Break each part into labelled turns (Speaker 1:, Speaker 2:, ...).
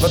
Speaker 1: Wat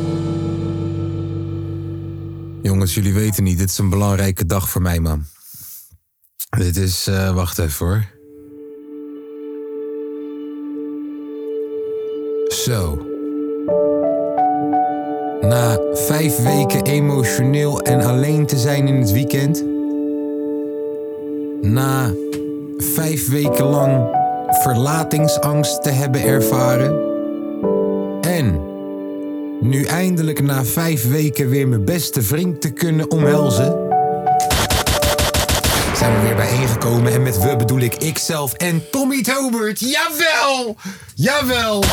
Speaker 2: Jongens, jullie weten niet, dit is een belangrijke dag voor mij, man. Dit is, eh, wacht even hoor. Zo. Na vijf weken emotioneel en alleen te zijn in het weekend. Na vijf weken lang verlatingsangst te hebben ervaren. En nu eindelijk na vijf weken weer mijn beste vriend te kunnen omhelzen. Zijn we weer bijeengekomen en met we bedoel ik ikzelf en Tommy Tobert. Jawel! Jawel!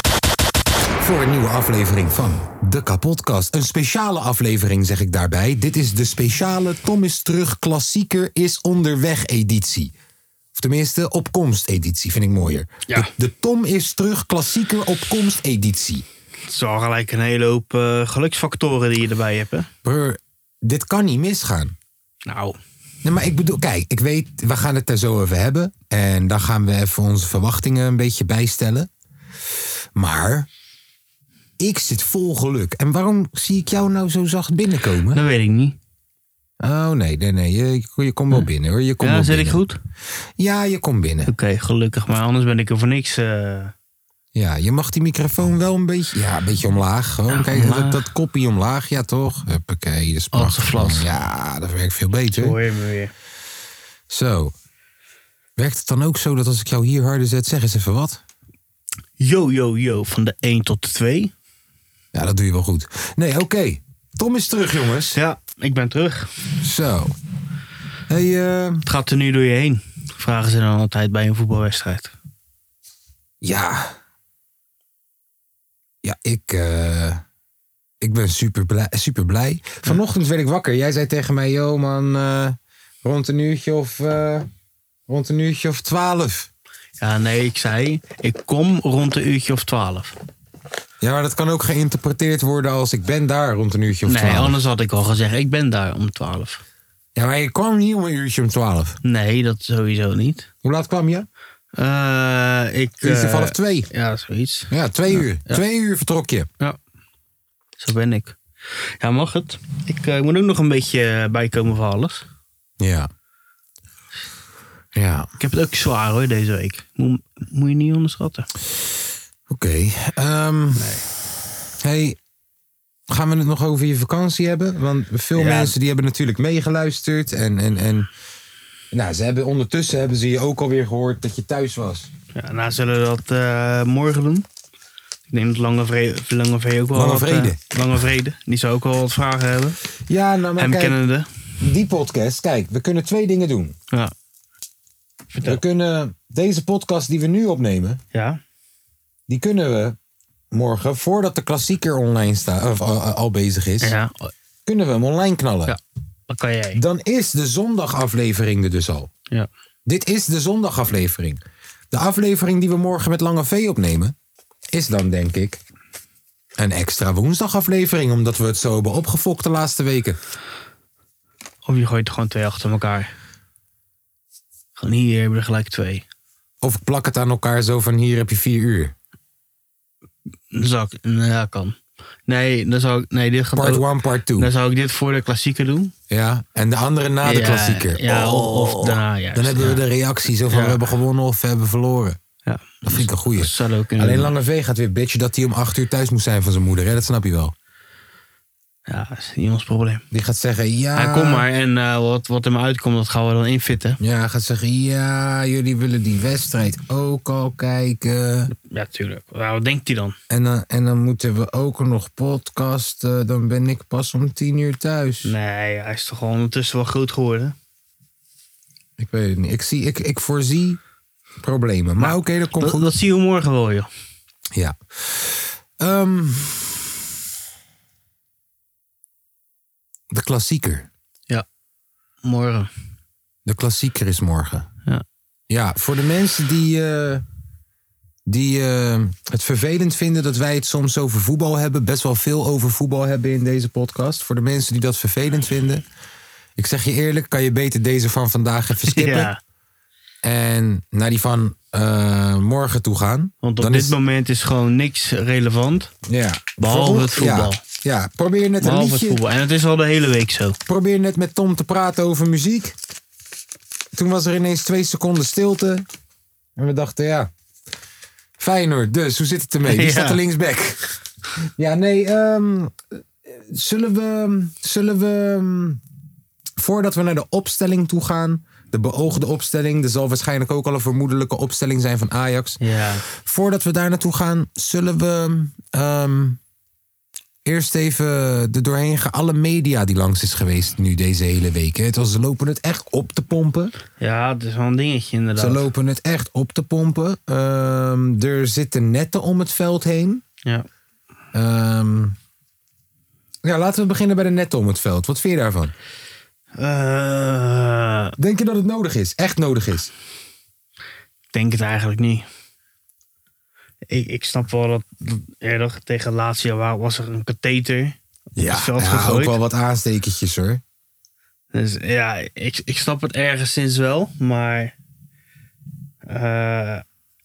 Speaker 2: Voor een nieuwe aflevering van De Kapotcast. Een speciale aflevering zeg ik daarbij. Dit is de speciale Tom is terug klassieker is onderweg editie. Of tenminste opkomst editie vind ik mooier.
Speaker 3: Ja.
Speaker 2: De, de Tom is terug klassieker opkomst editie.
Speaker 3: Het is al gelijk een hele hoop eh, geluksfactoren die je erbij hebt. Hè?
Speaker 2: Brr, dit kan niet misgaan.
Speaker 3: Nou,
Speaker 2: Nee, maar ik bedoel, kijk, ik weet, we gaan het er zo over hebben. En dan gaan we even onze verwachtingen een beetje bijstellen. Maar ik zit vol geluk. En waarom zie ik jou nou zo zacht binnenkomen?
Speaker 3: dat weet ik niet.
Speaker 2: Oh nee, nee, nee, je, je komt wel binnen hoor. Je komt
Speaker 3: ja,
Speaker 2: wel
Speaker 3: zit ik
Speaker 2: binnen.
Speaker 3: goed? Oké,
Speaker 2: Ja, je komt binnen.
Speaker 3: gelukkig maar. Anders ben ik er voor niks. eh.
Speaker 2: Ja, je mag die microfoon wel een beetje, ja, een beetje omlaag. Gewoon, kijk, Dat,
Speaker 3: omlaag.
Speaker 2: dat koppie omlaag, ja toch? Huppakee, dat is
Speaker 3: Als
Speaker 2: prachtig.
Speaker 3: een vlas.
Speaker 2: Ja, dat werkt veel beter.
Speaker 3: hoor je me weer.
Speaker 2: Zo. Werkt het dan ook zo dat als ik jou hier harder zet, zeg eens even wat?
Speaker 3: Yo, yo, yo. Van de 1 tot de 2.
Speaker 2: Ja, dat doe je wel goed. Nee, oké. Tom is terug, jongens.
Speaker 3: Dus Ja, ik ben terug.
Speaker 2: Zo. Hey, eh,
Speaker 3: Het gaat er nu door je heen. Vragen ze dan altijd bij een voetbalwedstrijd.
Speaker 2: ja. Ja, ik, eh, ik ben super blij, super blij. Vanochtend werd ik wakker. Jij zei tegen mij, yo man, eh, rond een uurtje of... eh, Rond een uurtje of twaalf.
Speaker 3: Ja, nee, ik zei, ik kom rond een uurtje of 12.
Speaker 2: Ja, maar dat kan ook geïnterpreteerd worden als ik ben daar rond een uurtje of
Speaker 3: Nee,
Speaker 2: twaalf.
Speaker 3: anders had ik al gezegd, ik ben daar om 12.
Speaker 2: Ja, maar je kwam niet om een uurtje om twaalf.
Speaker 3: Nee, dat sowieso niet.
Speaker 2: Hoe laat kwam je?
Speaker 3: Eh ik.
Speaker 2: Uurtje
Speaker 3: eh,
Speaker 2: vanaf twee.
Speaker 3: Ja, zoiets.
Speaker 2: Ja, twee uur. Twee uur vertrok je.
Speaker 3: Ja, zo ben ik. Ja, mag het. Ik eh, moet ook nog een beetje eh, bijkomen van alles.
Speaker 2: Ja. Ja,
Speaker 3: Ik heb het ook zwaar hoor deze week. Moet, moet je niet onderschatten.
Speaker 2: oké. Ehm, Hey, gaan we het nog over je vakantie hebben? Want veel
Speaker 3: Ja.
Speaker 2: mensen die hebben natuurlijk meegeluisterd. En, en, en nou, ze hebben, ondertussen hebben ze je ook alweer gehoord dat je thuis was.
Speaker 3: Ja, nou, zullen we dat eh, morgen doen? Ik denk dat Lange Vrede, Lange Vrede ook wel
Speaker 2: Lange
Speaker 3: wat, eh,
Speaker 2: Vrede.
Speaker 3: Lange Vrede. Die zou ook wel wat vragen hebben.
Speaker 2: Ja, nou maar
Speaker 3: Hem
Speaker 2: kijk,
Speaker 3: kennende.
Speaker 2: die podcast, kijk, we kunnen twee dingen doen.
Speaker 3: Ja.
Speaker 2: We kunnen deze podcast die we nu opnemen,
Speaker 3: ja.
Speaker 2: die kunnen we morgen, voordat de klassieker online staat, of al, al bezig is,
Speaker 3: Ja.
Speaker 2: kunnen we hem online knallen.
Speaker 3: Ja. Wat kan jij?
Speaker 2: Dan is de zondagaflevering er dus al.
Speaker 3: Ja.
Speaker 2: Dit is de zondagaflevering. De aflevering die we morgen met Lange V opnemen, is dan denk ik een extra woensdagaflevering, omdat we het zo hebben opgefokt de laatste weken.
Speaker 3: Of je gooit er gewoon twee achter elkaar. Gewoon hier hebben we er gelijk twee.
Speaker 2: Of ik plak het aan elkaar zo van hier heb je vier uur.
Speaker 3: Zak. nou Ja, kan. Nee, dan zou ik. Nee, dit gaat
Speaker 2: Part
Speaker 3: ook-
Speaker 2: one, part two.
Speaker 3: Dan zou ik dit voor de klassieker doen.
Speaker 2: Ja, en de andere na de
Speaker 3: Nou, Ja,
Speaker 2: klassieker. Oh.
Speaker 3: ja, of- of daarna juist,
Speaker 2: Dan hebben we
Speaker 3: ja.
Speaker 2: de reactie zo van
Speaker 3: Ja.
Speaker 2: we hebben gewonnen of we hebben verloren.
Speaker 3: Ja.
Speaker 2: Dat vind ik een goeie.
Speaker 3: Dat zou ook kunnen.
Speaker 2: Alleen Lange V gaat weer bitchen dat hij om acht uur thuis moest zijn van zijn moeder. Hè? Dat snap je wel.
Speaker 3: Ja, dat is niet ons probleem.
Speaker 2: Die gaat zeggen, ja...
Speaker 3: Hij kom maar en eh, wat, wat er maar uitkomt, dat gaan we dan infitten.
Speaker 2: Ja, hij gaat zeggen, ja, jullie willen die wedstrijd ook al kijken.
Speaker 3: Ja, tuurlijk. Nou, wat denkt hij dan?
Speaker 2: En dan, en dan moeten we ook nog podcasten. Dan ben ik pas om tien uur thuis.
Speaker 3: Nee, hij is toch al ondertussen wel groot geworden.
Speaker 2: Ik weet het niet. Ik, zie, ik, ik voorzie problemen. Maar oké, dat komt
Speaker 3: Dat,
Speaker 2: goed.
Speaker 3: dat zien we morgen wel, joh.
Speaker 2: Ja. Ehm, de klassieker.
Speaker 3: Morgen.
Speaker 2: De klassieker is morgen.
Speaker 3: Ja.
Speaker 2: Ja, voor de mensen die, eh, die eh, het vervelend vinden dat wij het soms over voetbal hebben, best wel veel over voetbal hebben in deze podcast. Voor de mensen die dat vervelend vinden, ik zeg je eerlijk, kan je beter deze van vandaag even skippen
Speaker 3: Ja,
Speaker 2: en naar die van eh, morgen toe gaan.
Speaker 3: want op
Speaker 2: Dan
Speaker 3: dit
Speaker 2: is-
Speaker 3: moment is gewoon niks relevant.
Speaker 2: ja.
Speaker 3: Behalve
Speaker 2: Voor-
Speaker 3: het voetbal.
Speaker 2: Ja, ja. probeer net een
Speaker 3: Behalve het
Speaker 2: liedje
Speaker 3: voetbal. En het is al de hele week zo.
Speaker 2: probeer net met Tom te praten over muziek. Toen was er ineens twee seconden stilte. En we dachten, ja. Feyenoord, dus hoe zit het ermee? Wie
Speaker 3: Ja.
Speaker 2: staat er linksback? Ja, nee. ehm, zullen we. Zullen we. ehm, Voordat we naar de opstelling toe gaan. De beoogde opstelling. Er zal waarschijnlijk ook al een vermoedelijke opstelling zijn van Ajax
Speaker 3: Ja.
Speaker 2: voordat we daar naartoe gaan, zullen we ehm, eerst even er doorheen gaan. Alle media die langs is geweest nu deze hele week. Hè. Het was, ze lopen het echt op te pompen.
Speaker 3: ja, het is wel een dingetje
Speaker 2: Ze
Speaker 3: inderdaad.
Speaker 2: lopen het echt op te pompen. Ehm, er zitten netten om het veld heen.
Speaker 3: Ja.
Speaker 2: Ehm, ja, laten we beginnen bij de netten om het veld. Wat vind je daarvan?
Speaker 3: Eh,
Speaker 2: Denk je dat het nodig is? Echt nodig is?
Speaker 3: ik denk het eigenlijk niet. Ik, ik snap wel dat, dat eerder tegen Lazio wa- was er een katheter. het veld
Speaker 2: ja ook
Speaker 3: gegooid.
Speaker 2: wel wat aanstekentjes hoor.
Speaker 3: Dus ja, ik, ik snap het ergens wel, maar eh,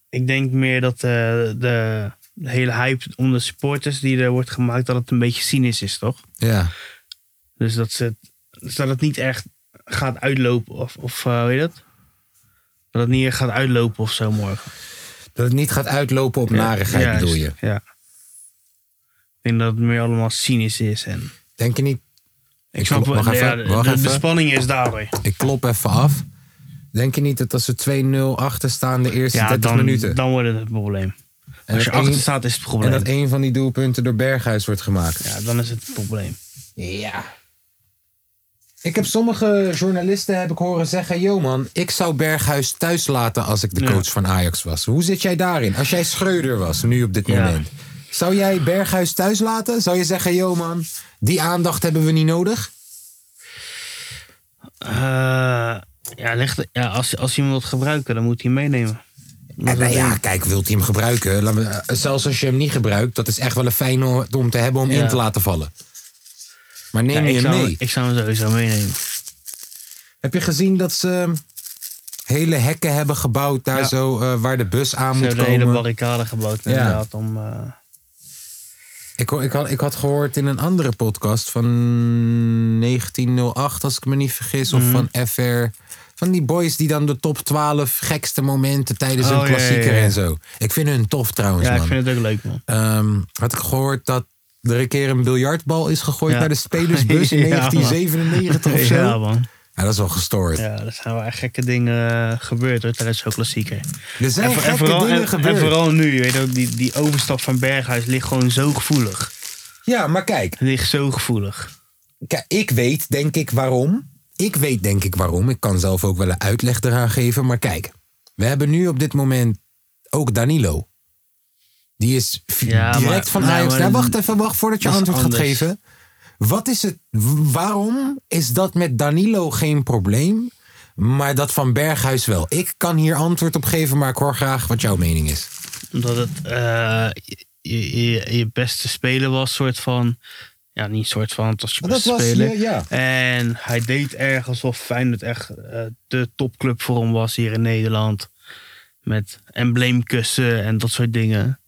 Speaker 3: ik denk meer dat de, de, de hele hype om de supporters die er wordt gemaakt, dat het een beetje cynisch is, toch?
Speaker 2: Ja.
Speaker 3: Dus dat, ze, het- dus dat het niet echt gaat uitlopen, of, of eh, hoe heet dat? Dat het niet echt gaat uitlopen of zo morgen.
Speaker 2: Dat het niet gaat uitlopen op narigheid
Speaker 3: Juist,
Speaker 2: bedoel je?
Speaker 3: Ja. Ik denk dat het meer allemaal cynisch is. En ik,
Speaker 2: Denk je niet? Ik
Speaker 3: snap
Speaker 2: klop-
Speaker 3: wel,
Speaker 2: wacht
Speaker 3: ja,
Speaker 2: even,
Speaker 3: de,
Speaker 2: wacht
Speaker 3: de- de
Speaker 2: even.
Speaker 3: spanning is daardoor.
Speaker 2: Ik klop even af. Denk je niet dat als ze 2-0 achter staan de eerste
Speaker 3: Ja,
Speaker 2: 30
Speaker 3: dan,
Speaker 2: minuten.
Speaker 3: dan wordt het het probleem.
Speaker 2: en,
Speaker 3: Als je
Speaker 2: dat één-
Speaker 3: achter staat is het
Speaker 2: en
Speaker 3: probleem.
Speaker 2: dat één van die doelpunten door Berghuis wordt gemaakt.
Speaker 3: Ja, dan is het het probleem.
Speaker 2: Ja. Ik heb sommige journalisten heb ik horen zeggen: Yo man, ik zou Berghuis thuis laten als ik de
Speaker 3: Ja.
Speaker 2: coach van Ajax was. Hoe zit jij daarin? Als jij Schreuder was nu op dit
Speaker 3: Ja.
Speaker 2: moment. Zou jij Berghuis thuis laten? Zou je zeggen: Yo man, die aandacht hebben we niet nodig?
Speaker 3: Eh, ja, ligt, ja als, als je hem wilt gebruiken, dan moet hij hem meenemen.
Speaker 2: En
Speaker 3: Dat is
Speaker 2: nou
Speaker 3: het
Speaker 2: ja,
Speaker 3: ding.
Speaker 2: kijk, wilt hij hem gebruiken? Laat me- eh, zelfs als je hem niet gebruikt, dat is echt wel een fijne om te hebben om
Speaker 3: Ja.
Speaker 2: in te laten vallen. Maar
Speaker 3: Ja,
Speaker 2: neem je
Speaker 3: ik,
Speaker 2: hem
Speaker 3: zou,
Speaker 2: mee.
Speaker 3: ik zou hem sowieso meenemen.
Speaker 2: Heb je gezien dat ze um, hele hekken hebben gebouwd daar
Speaker 3: Ja.
Speaker 2: zo, eh, waar de bus aan
Speaker 3: Ze
Speaker 2: moet
Speaker 3: hebben de hele
Speaker 2: komen?
Speaker 3: barricade gebouwd inderdaad om... eh,
Speaker 2: Ik, ho- ik, had, ik had gehoord in een andere podcast van 1908, als ik me niet vergis, of van FR. Van die boys die dan de top 12 gekste momenten tijdens
Speaker 3: Oh,
Speaker 2: een
Speaker 3: ja, ja,
Speaker 2: klassieker
Speaker 3: ja.
Speaker 2: en zo. Ik vind hun tof trouwens,
Speaker 3: ja,
Speaker 2: man.
Speaker 3: ik vind het ook leuk, man.
Speaker 2: Ehm, had ik gehoord dat er een keer een biljartbal is gegooid
Speaker 3: Ja.
Speaker 2: naar de spelersbus in
Speaker 3: Ja,
Speaker 2: 1997 of zo.
Speaker 3: Ja,
Speaker 2: Ja,
Speaker 3: man.
Speaker 2: dat is wel gestoord.
Speaker 3: Ja, er zijn wel echt gekke dingen eh, gebeurd hoor, tijdens zo'n klassieker.
Speaker 2: Er zijn
Speaker 3: voor-
Speaker 2: gekke
Speaker 3: vooral,
Speaker 2: dingen
Speaker 3: en,
Speaker 2: gebeurd.
Speaker 3: vooral nu, weet je, wel, die, die overstap van Berghuis ligt gewoon zo gevoelig.
Speaker 2: Ja, maar kijk,
Speaker 3: Ligt zo gevoelig.
Speaker 2: kijk, ik weet denk ik waarom. Ik weet denk ik waarom. Ik kan zelf ook wel een uitleg eraan geven. Maar kijk, we hebben nu op dit moment ook Danilo. Die is v-
Speaker 3: Ja, maar-
Speaker 2: direct van
Speaker 3: nee,
Speaker 2: Ajax.
Speaker 3: maar
Speaker 2: Nou,
Speaker 3: dat-
Speaker 2: wacht even, wacht voordat je
Speaker 3: dat is
Speaker 2: antwoord gaat
Speaker 3: anders.
Speaker 2: geven. Wat is het, w- waarom is dat met Danilo geen probleem, maar dat van Berghuis wel? Ik kan hier antwoord op geven, maar ik hoor graag wat jouw mening is.
Speaker 3: Omdat het eh, je, je, je beste speler was, soort van. Ja, niet soort van, het was je
Speaker 2: Dat
Speaker 3: beste
Speaker 2: was je,
Speaker 3: speler.
Speaker 2: ja.
Speaker 3: En hij deed erg alsof Feyenoord echt eh, de topclub voor hem was hier in Nederland. Met embleemkussen en dat soort dingen.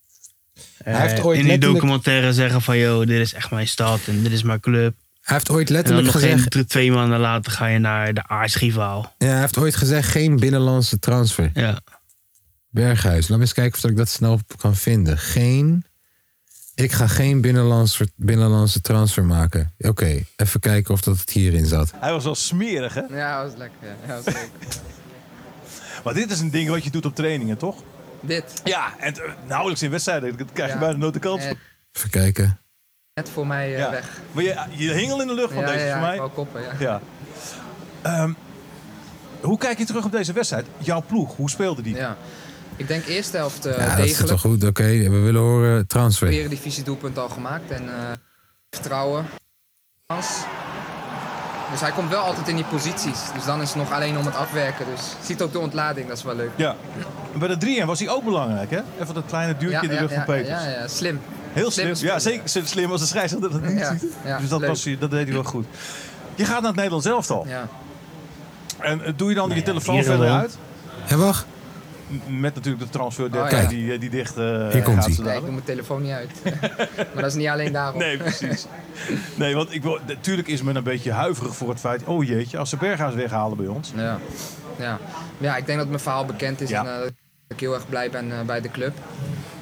Speaker 3: Eh,
Speaker 2: heeft ooit
Speaker 3: in die
Speaker 2: letterlijk-
Speaker 3: documentaire zeggen van, joh, dit is echt mijn stad en dit is mijn club.
Speaker 2: Hij heeft ooit
Speaker 3: En dan
Speaker 2: letterlijk
Speaker 3: nog geen
Speaker 2: gezegd,
Speaker 3: drie- twee maanden later ga je naar de aartsrivaal.
Speaker 2: ja, hij heeft ooit gezegd geen binnenlandse transfer.
Speaker 3: Ja.
Speaker 2: Berghuis, laat me eens kijken of ik dat snel kan vinden. Geen, ik ga geen binnenlandse, binnenlandse transfer maken. Oké, even kijken of dat het hierin zat.
Speaker 4: Hij was wel smerig, hè?
Speaker 5: Ja, dat was lekker. Ja, dat was leuk.
Speaker 4: Maar dit is een ding wat je doet op trainingen, toch?
Speaker 5: Dit,
Speaker 4: Ja, en eh, nauwelijks in wedstrijden. Dat krijg je
Speaker 5: Ja.
Speaker 4: bijna nooit de kans.
Speaker 5: Eh,
Speaker 4: voor.
Speaker 2: Even kijken.
Speaker 5: net voor mij eh,
Speaker 4: ja.
Speaker 5: weg.
Speaker 4: Maar je, je hing al in de lucht van
Speaker 5: ja,
Speaker 4: deze
Speaker 5: ja,
Speaker 4: voor
Speaker 5: ik
Speaker 4: mij.
Speaker 5: wou koppen, ja.
Speaker 4: Ja. Ehm, hoe kijk je terug op deze wedstrijd? Jouw ploeg, hoe speelde die?
Speaker 5: ja. Ik denk eerste helft eh
Speaker 2: Ja, dat is
Speaker 5: degelijk.
Speaker 2: toch goed. Oké, we willen horen transfer.
Speaker 5: De Eredivisie doelpunt al gemaakt en eh, vertrouwen. Kans. Dus hij komt wel altijd in die posities. Dus dan is het nog alleen om het afwerken. Dus je ziet ook de ontlading, dat is wel leuk.
Speaker 4: Ja. En bij de 3 was hij ook belangrijk, hè? Even dat kleine duwtje in de rug van Peters.
Speaker 5: ja, ja, ja, slim.
Speaker 4: Heel slim.
Speaker 5: spelen.
Speaker 4: Ja, zeker zo slim als de scheidsrechter dat niet
Speaker 5: Ja,
Speaker 4: ziet.
Speaker 5: ja,
Speaker 4: dus dat,
Speaker 5: leuk.
Speaker 4: was, hij- dat deed hij wel goed. Je gaat naar het Nederlands
Speaker 2: Oh,
Speaker 4: elftal.
Speaker 5: Ja.
Speaker 4: En eh, doe je dan je telefoon
Speaker 3: hier
Speaker 4: verder
Speaker 3: wel.
Speaker 4: uit?
Speaker 2: En wacht,
Speaker 4: M- Met natuurlijk de transfer
Speaker 5: ja.
Speaker 4: deadline die, eh, die dicht eh,
Speaker 2: Oh, Hier komt
Speaker 4: gaat
Speaker 2: ie.
Speaker 4: zo
Speaker 5: Nee,
Speaker 4: dadelijk.
Speaker 5: ik doe mijn telefoon niet uit. maar dat is niet alleen daarom.
Speaker 4: Nee, precies. Nee, want ik wil, natuurlijk is men een beetje huiverig voor het feit... oh jeetje, als ze Berghuis weghalen bij ons...
Speaker 5: Ja. Ja. ja, ik denk dat mijn verhaal bekend is
Speaker 4: Ja.
Speaker 5: en eh, dat ik heel erg blij ben eh, bij de club.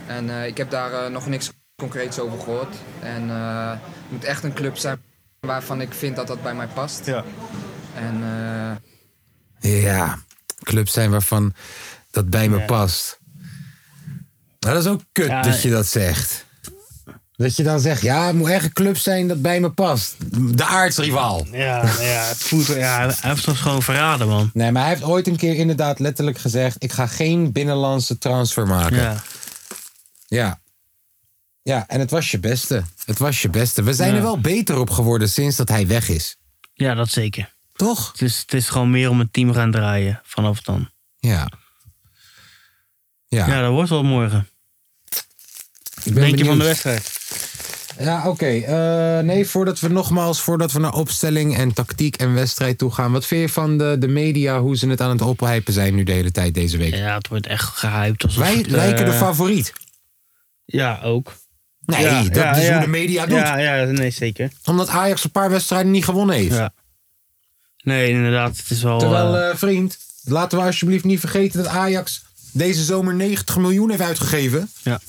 Speaker 5: En eh, ik heb daar eh, nog niks concreets over gehoord. En eh, het moet echt een club zijn waarvan ik vind dat dat bij mij past.
Speaker 4: Ja,
Speaker 5: En eh,
Speaker 2: Ja, clubs zijn waarvan dat bij me
Speaker 3: Ja.
Speaker 2: past. Nou, dat is ook kut
Speaker 3: Ja,
Speaker 2: dat je dat zegt. Dat je dan zegt, ja, het moet echt een club zijn dat bij me past. De aardsrivaal.
Speaker 3: Ja,
Speaker 2: nou
Speaker 3: ja, het voelt, ja, hij heeft ons gewoon verraden, man.
Speaker 2: Nee, maar hij heeft ooit een keer inderdaad letterlijk gezegd... ik ga geen binnenlandse transfer maken. Ja.
Speaker 3: Ja.
Speaker 2: ja. en het was je beste. Het was je beste. We zijn
Speaker 3: Ja.
Speaker 2: er wel beter op geworden sinds dat hij weg is.
Speaker 3: ja, dat zeker.
Speaker 2: Toch?
Speaker 3: Het is, het is gewoon meer om het team gaan draaien vanaf dan.
Speaker 2: Ja. Ja,
Speaker 3: Ja, dat wordt wel morgen.
Speaker 2: ik ben
Speaker 3: Denk je van de
Speaker 2: benieuwd.
Speaker 3: wedstrijd?
Speaker 2: Ja, oké. Eh, nee, voordat we nogmaals, voordat we naar opstelling en tactiek en wedstrijd toe gaan. Wat vind je van de, de media, hoe ze het aan het ophypen zijn nu de hele tijd deze week?
Speaker 3: Ja, het wordt echt gehyped. Alsof
Speaker 2: Wij
Speaker 3: het, eh,
Speaker 2: lijken de favoriet.
Speaker 3: Ja, ook.
Speaker 2: Nee,
Speaker 3: ja,
Speaker 2: dat
Speaker 3: ja,
Speaker 2: is
Speaker 3: ja.
Speaker 2: hoe de media doet.
Speaker 3: Ja, ja, nee, zeker.
Speaker 2: Omdat Ajax een paar wedstrijden niet gewonnen heeft.
Speaker 3: Ja. Nee, inderdaad, het is wel...
Speaker 2: Terwijl,
Speaker 3: eh,
Speaker 2: eh, vriend, laten we alsjeblieft niet vergeten dat Ajax deze zomer 90 miljoen heeft uitgegeven.
Speaker 3: Ja.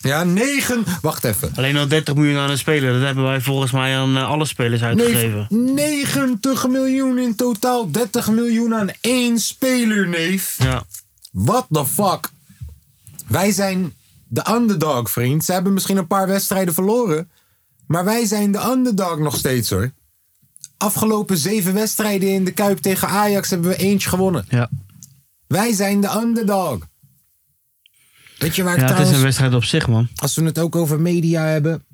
Speaker 2: Ja, 9. Wacht even.
Speaker 3: Alleen al 30 miljoen aan een speler. Dat hebben wij volgens mij aan eh, alle spelers uitgegeven.
Speaker 2: Neef, 90 miljoen in totaal. 30 miljoen aan één speler, neef.
Speaker 3: Ja.
Speaker 2: What the fuck? Wij zijn de underdog, vriend. Ze hebben misschien een paar wedstrijden verloren. Maar wij zijn de underdog nog steeds, hoor. Afgelopen zeven wedstrijden in de Kuip tegen Ajax hebben we eentje gewonnen.
Speaker 3: Ja.
Speaker 2: Wij zijn de underdog. Weet je waar ik
Speaker 3: ja, het is
Speaker 2: trouwens
Speaker 3: een wedstrijd op zich, man.
Speaker 2: als we het ook over media hebben.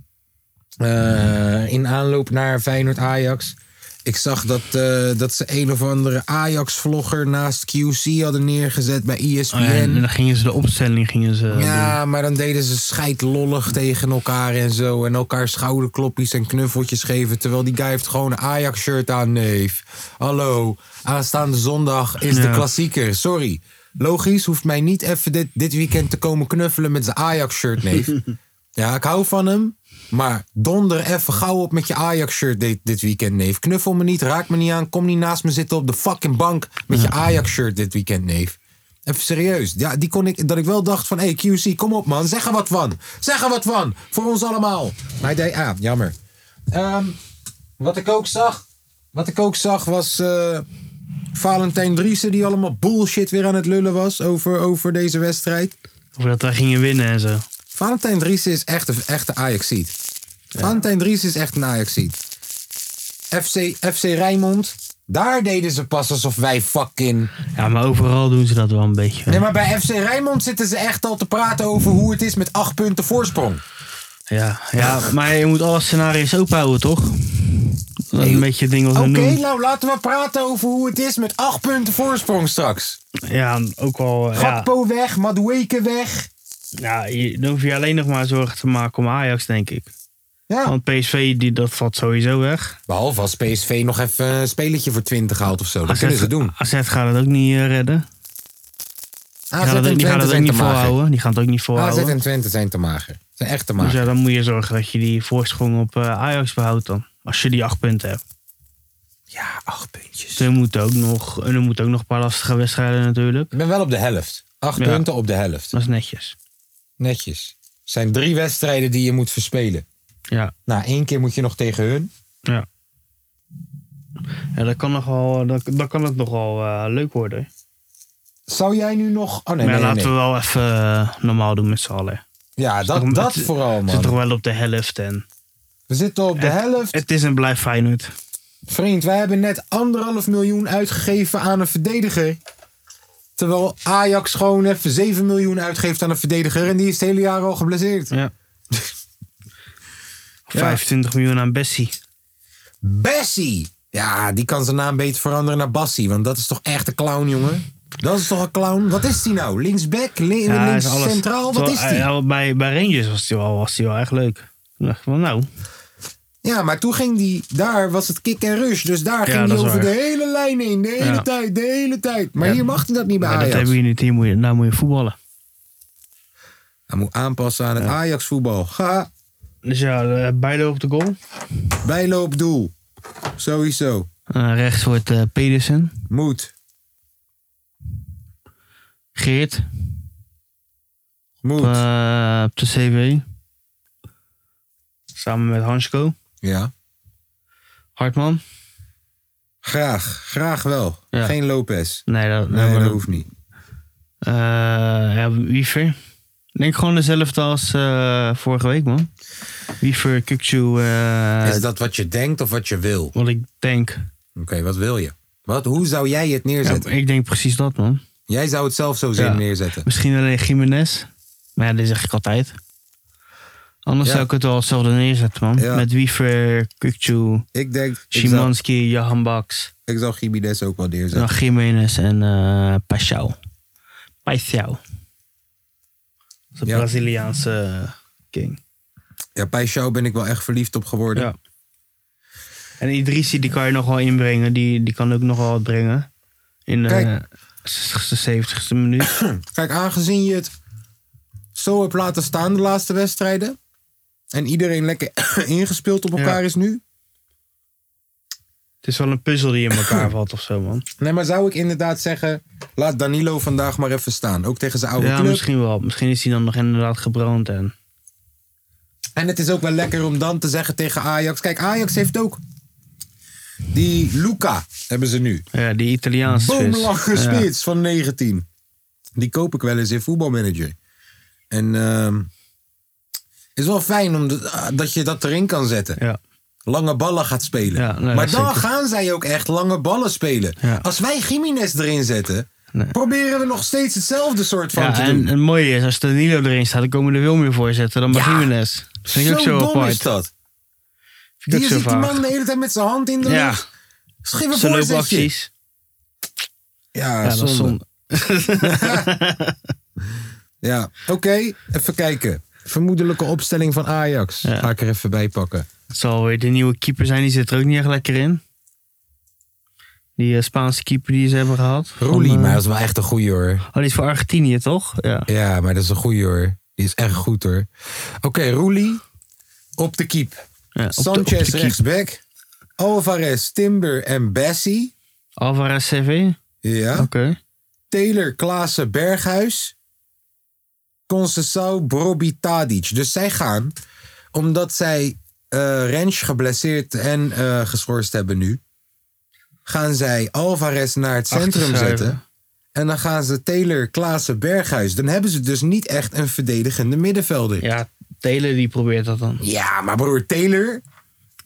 Speaker 2: eh, in aanloop naar Feyenoord-Ajax. Ik zag dat, eh, dat ze een of andere Ajax-vlogger naast QC hadden neergezet bij E ESPN.
Speaker 3: En Oh dan gingen ze de opstelling gingen ze doen.
Speaker 2: ja, maar dan deden ze scheidlollig tegen elkaar en zo. En elkaar schouderklopjes en knuffeltjes geven. Terwijl die guy heeft gewoon een Ajax-shirt aan, neef. Hallo, aanstaande zondag is de
Speaker 3: Ja.
Speaker 2: klassieker. Sorry. Logisch, hoeft mij niet even dit, dit weekend te komen knuffelen met zijn Ajax-shirt, neef. ja, ik hou van hem. Maar donder even gauw op met je Ajax-shirt dit, dit weekend, neef. Knuffel me niet, raak me niet aan. Kom niet naast me zitten op de fucking bank met je Ajax-shirt dit weekend, neef. Even serieus. Ja, die kon ik, dat ik wel dacht van, hey QC, kom op man. Zeg er wat van. Zeg er wat van. Voor ons allemaal. Maar hij deed, ah, jammer. Ehm, wat ik ook zag, wat ik ook zag was... eh, Valentijn Driessen die allemaal bullshit weer aan het lullen was over, over deze wedstrijd.
Speaker 3: Of dat wij gingen winnen en zo.
Speaker 2: Valentijn Driessen is echt een echte Ajaxiet. Valentijn Driessen is echt een Ajaxiet. FC, FC Rijnmond, daar deden ze pas alsof wij fucking...
Speaker 3: Ja, maar overal doen ze dat wel een beetje.
Speaker 2: Nee, maar bij FC Rijnmond zitten ze echt al te praten over hoe het is met acht punten voorsprong.
Speaker 3: Ja, ja, maar je moet alle scenario's openhouden, toch? Dat is een beetje het ding wat we
Speaker 2: Oké,
Speaker 3: doen.
Speaker 2: nou laten we praten over hoe het is met acht punten voorsprong straks.
Speaker 3: Ja, ook wel. eh, Ja,
Speaker 2: Gakpo weg, Madueke weg.
Speaker 3: ja, je- dan hoef je alleen nog maar zorgen te maken om Ajax, denk ik.
Speaker 2: Ja.
Speaker 3: Want PSV, die, dat valt sowieso weg.
Speaker 2: Behalve als PSV nog even een spelletje voor 20 haalt of zo. Dat kunnen ze doen.
Speaker 3: AZ gaat het ook niet eh, redden. Die
Speaker 2: AZ
Speaker 3: gaan, het,
Speaker 2: en
Speaker 3: ook- die gaan het
Speaker 2: Ah, Twente
Speaker 3: ook
Speaker 2: zijn te
Speaker 3: niet
Speaker 2: mager.
Speaker 3: volhouden. Die gaan het ook niet
Speaker 2: AZ
Speaker 3: volhouden.
Speaker 2: en Twente zijn te mager. Ze Zijn echt te
Speaker 3: Dus ja,
Speaker 2: mager.
Speaker 3: dan moet je zorgen dat je die voorsprong op eh, Ajax behoudt dan. Als je die acht punten hebt.
Speaker 2: Ja, acht puntjes.
Speaker 3: Dus er moeten ook nog, en er moeten ook nog een paar lastige wedstrijden natuurlijk.
Speaker 2: Ik ben wel op de helft. Acht
Speaker 3: Ja.
Speaker 2: punten op de helft.
Speaker 3: Dat is netjes.
Speaker 2: Netjes. Zijn drie wedstrijden die je moet verspelen.
Speaker 3: Ja,
Speaker 2: Nou, één keer moet je nog tegen hun.
Speaker 3: ja. Ja, dat kan, nogal, dat, dat kan het nogal eh, leuk worden.
Speaker 2: Zou jij nu nog... Oh nee,
Speaker 3: maar
Speaker 2: nee,
Speaker 3: ja, laten
Speaker 2: nee.
Speaker 3: we wel even eh, normaal doen met z'n allen.
Speaker 2: Ja, dat,
Speaker 3: Toch-
Speaker 2: dat
Speaker 3: het-
Speaker 2: vooral,
Speaker 3: We zitten toch
Speaker 2: man.
Speaker 3: wel op de helft. En
Speaker 2: We zitten op de
Speaker 3: Het-
Speaker 2: helft.
Speaker 3: het is een blijf Feyenoord.
Speaker 2: Vriend, wij hebben net anderhalf miljoen uitgegeven aan een verdediger. Terwijl Ajax gewoon even 7 miljoen uitgeeft aan een verdediger. En die is het hele jaar al geblesseerd.
Speaker 3: Ja. 25 miljoen aan Bessie.
Speaker 2: Bessie! Ja, die kan zijn naam beter veranderen naar Bassie. Want dat is toch echt een clown, jongen? Dat is toch een clown? Wat is die nou? Linksback? Li-
Speaker 3: Ja, hij
Speaker 2: links
Speaker 3: is alles-
Speaker 2: centraal? Wat
Speaker 3: Terwijl-
Speaker 2: is die?
Speaker 3: ja, bij, bij Rangers was hij wel, was die wel echt leuk. Toen dacht ik van nou,
Speaker 2: Ja, maar toen ging die... Daar was het kick en rush. Dus daar
Speaker 3: Ja, dat
Speaker 2: ging hij
Speaker 3: is
Speaker 2: over
Speaker 3: waar.
Speaker 2: de hele lijn heen. De hele
Speaker 3: Ja.
Speaker 2: tijd, de hele tijd. Maar
Speaker 3: Ja.
Speaker 2: hier mag hij dat niet bij
Speaker 3: maar dat
Speaker 2: Ajax.
Speaker 3: hebben we hier niet. Hier moet je, nou moet je voetballen.
Speaker 2: Hij moet aanpassen aan het Ajax-voetbal. Ga,
Speaker 3: Dus ja, eh, beide op de goal.
Speaker 2: bijloop, doel. Sowieso.
Speaker 3: Eh, rechts wordt eh, Pedersen,
Speaker 2: Moet,
Speaker 3: Geert
Speaker 2: moet.
Speaker 3: eh, op de CV. Samen met Hansko,
Speaker 2: ja,
Speaker 3: Hartman.
Speaker 2: graag. Graag wel.
Speaker 3: Ja.
Speaker 2: Geen Lopez.
Speaker 3: Nee, dat,
Speaker 2: Nee,
Speaker 3: maar
Speaker 2: dat
Speaker 3: dat-
Speaker 2: hoeft niet.
Speaker 3: Eh, ja, Wiever. Denk gewoon dezelfde als eh, vorige week, man. Wiever, Kukchu, eh,
Speaker 2: is dat wat je denkt of wat je wil? Oké,
Speaker 3: wat ik denk.
Speaker 2: wat wil je? Wat, hoe zou jij het
Speaker 3: Ja,
Speaker 2: neerzetten?
Speaker 3: ik denk precies dat, man.
Speaker 2: Jij zou het zelf zo zien
Speaker 3: Ja.
Speaker 2: neerzetten.
Speaker 3: Misschien alleen Jiménez. Maar ja, dat zeg ik altijd. Anders
Speaker 2: Ja.
Speaker 3: zou ik het wel hetzelfde neerzetten, man.
Speaker 2: Ja.
Speaker 3: Met Wiever, Kukchu,
Speaker 2: Ik denk, ik zou,
Speaker 3: Szymanski, Jahan Baks,
Speaker 2: ik zou Gimenez ook wel neerzetten.
Speaker 3: dan Jiménez en eh Paixão. Paixão. De
Speaker 2: Ja.
Speaker 3: Braziliaanse eh, king.
Speaker 2: Ja, Paixão ben ik wel echt verliefd op geworden.
Speaker 3: Ja. En Idrissi, die kan je nog wel inbrengen. Die, die kan ook nog wel wat brengen. In de
Speaker 2: Kijk.
Speaker 3: 60ste, 70ste minuut.
Speaker 2: Kijk, aangezien je het zo hebt laten staan de laatste wedstrijden. En iedereen lekker ingespeeld op elkaar
Speaker 3: Ja.
Speaker 2: is nu.
Speaker 3: Het is wel een puzzel die in elkaar valt of zo, man.
Speaker 2: Nee, maar zou ik inderdaad zeggen, laat Danilo vandaag maar even staan. Ook tegen zijn oude
Speaker 3: Ja,
Speaker 2: club.
Speaker 3: misschien wel. Misschien is hij dan nog inderdaad gebrand. En...
Speaker 2: En het is ook wel lekker om dan te zeggen tegen Ajax. Kijk, Ajax heeft ook die Luca, hebben ze nu.
Speaker 3: Ja, die Italiaanse vis.
Speaker 2: Boomlange
Speaker 3: Ja.
Speaker 2: spits van 19. Die koop ik wel eens in voetbalmanager. En ehm, is wel fijn om de- ah, dat je dat erin kan zetten.
Speaker 3: Ja.
Speaker 2: Lange ballen gaat spelen.
Speaker 3: Ja, nee,
Speaker 2: maar dan
Speaker 3: zeker.
Speaker 2: gaan zij ook echt lange ballen spelen.
Speaker 3: Ja.
Speaker 2: Als wij Jiménez erin zetten,
Speaker 3: Nee.
Speaker 2: proberen we nog steeds hetzelfde soort van
Speaker 3: Ja,
Speaker 2: te
Speaker 3: en
Speaker 2: doen.
Speaker 3: het mooie is, als Danilo erin staat, dan komen er veel meer voorzetten dan bij
Speaker 2: Ja.
Speaker 3: Jiménez. Dat vind ik ook zo
Speaker 2: dom
Speaker 3: apart.
Speaker 2: is dat.
Speaker 3: Vind ik
Speaker 2: Die
Speaker 3: ook zo
Speaker 2: ziet die
Speaker 3: vaag.
Speaker 2: man de hele tijd met zijn hand in de
Speaker 3: Ja,
Speaker 2: lucht. Schip een
Speaker 3: ze lopen
Speaker 2: voorzetje.
Speaker 3: acties.
Speaker 2: Ja,
Speaker 3: Ja, dat
Speaker 2: zonde.
Speaker 3: is zonde.
Speaker 2: Ja, oké. Even kijken. Vermoedelijke opstelling van Ajax.
Speaker 3: Ja.
Speaker 2: Ga ik er even bij pakken.
Speaker 3: Het zal weer de nieuwe keeper zijn, die zit er ook niet echt lekker in. Die eh, Spaanse keeper die ze hebben gehad. Van,
Speaker 2: Roelie,
Speaker 3: eh,
Speaker 2: maar dat is wel echt een goeie hoor.
Speaker 3: Oh, die is voor Argentinië, toch? Ja.
Speaker 2: Ja, maar dat is een goeie hoor. Die is echt goed hoor. Oké, Roelie op de keep.
Speaker 3: ja op de- op de
Speaker 2: Sanchez eh.
Speaker 3: keep.
Speaker 2: rechtsback. Alvarez, Timber en Bessie.
Speaker 3: Alvarez CV?
Speaker 2: Ja.
Speaker 3: Oké.
Speaker 2: Taylor, Klaassen, Berghuis. Concessao, Broby, Tadic. Dus zij gaan, omdat zij eh Rens geblesseerd en eh, geschorst hebben nu... gaan zij Alvarez naar het centrum
Speaker 3: Achterschuiven.
Speaker 2: zetten. En dan gaan ze Taylor, Klaassen, Berghuis. Dan hebben ze dus niet echt een verdedigende middenvelder. Ja,
Speaker 3: Ja, Taylor die probeert dat dan.
Speaker 2: maar broer, Taylor...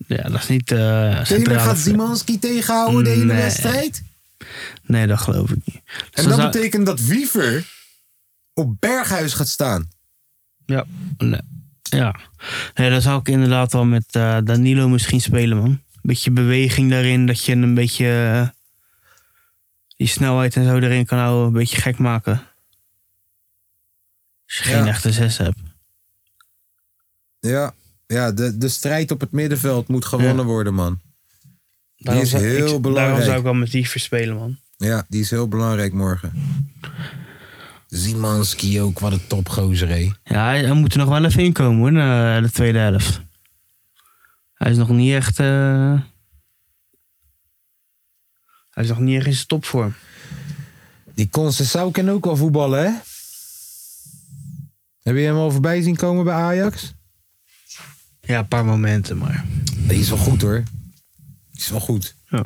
Speaker 3: Ja, dat is niet eh
Speaker 2: Taylor
Speaker 3: centrale
Speaker 2: gaat
Speaker 3: ver-
Speaker 2: Zimanski tegenhouden de hele
Speaker 3: Nee.
Speaker 2: wedstrijd.
Speaker 3: Nee, dat geloof ik niet. Dus
Speaker 2: En
Speaker 3: dan
Speaker 2: dat
Speaker 3: zou-
Speaker 2: betekent dat Wiever op Berghuis gaat staan.
Speaker 3: Ja. Nee. Ja. Nee, dan zou ik inderdaad wel met eh, Danilo misschien spelen, man. Beetje beweging daarin, dat je een beetje eh, die snelheid en zo erin kan houden. Een beetje gek maken. Als je
Speaker 2: Ja.
Speaker 3: geen echte zes hebt.
Speaker 2: Ja, ja de, de strijd op het middenveld moet gewonnen
Speaker 3: Ja.
Speaker 2: worden, man. is
Speaker 3: zou-
Speaker 2: heel belangrijk.
Speaker 3: Daarom zou ik wel met die verspelen, man.
Speaker 2: Ja, die is heel belangrijk morgen. Zimanski ook, wat een topgozer, hé.
Speaker 3: Ja, hij, hij moet er nog wel even in komen, hoor, na de tweede helft. Hij is nog niet echt... eh, Hij is nog niet echt in zijn topvorm.
Speaker 2: Die Concessao kan ook wel voetballen, hè? Heb je hem al voorbij zien komen bij Ajax?
Speaker 3: Ja, een paar momenten, maar...
Speaker 2: Die is wel goed, hoor. Die is wel goed.
Speaker 3: Ja.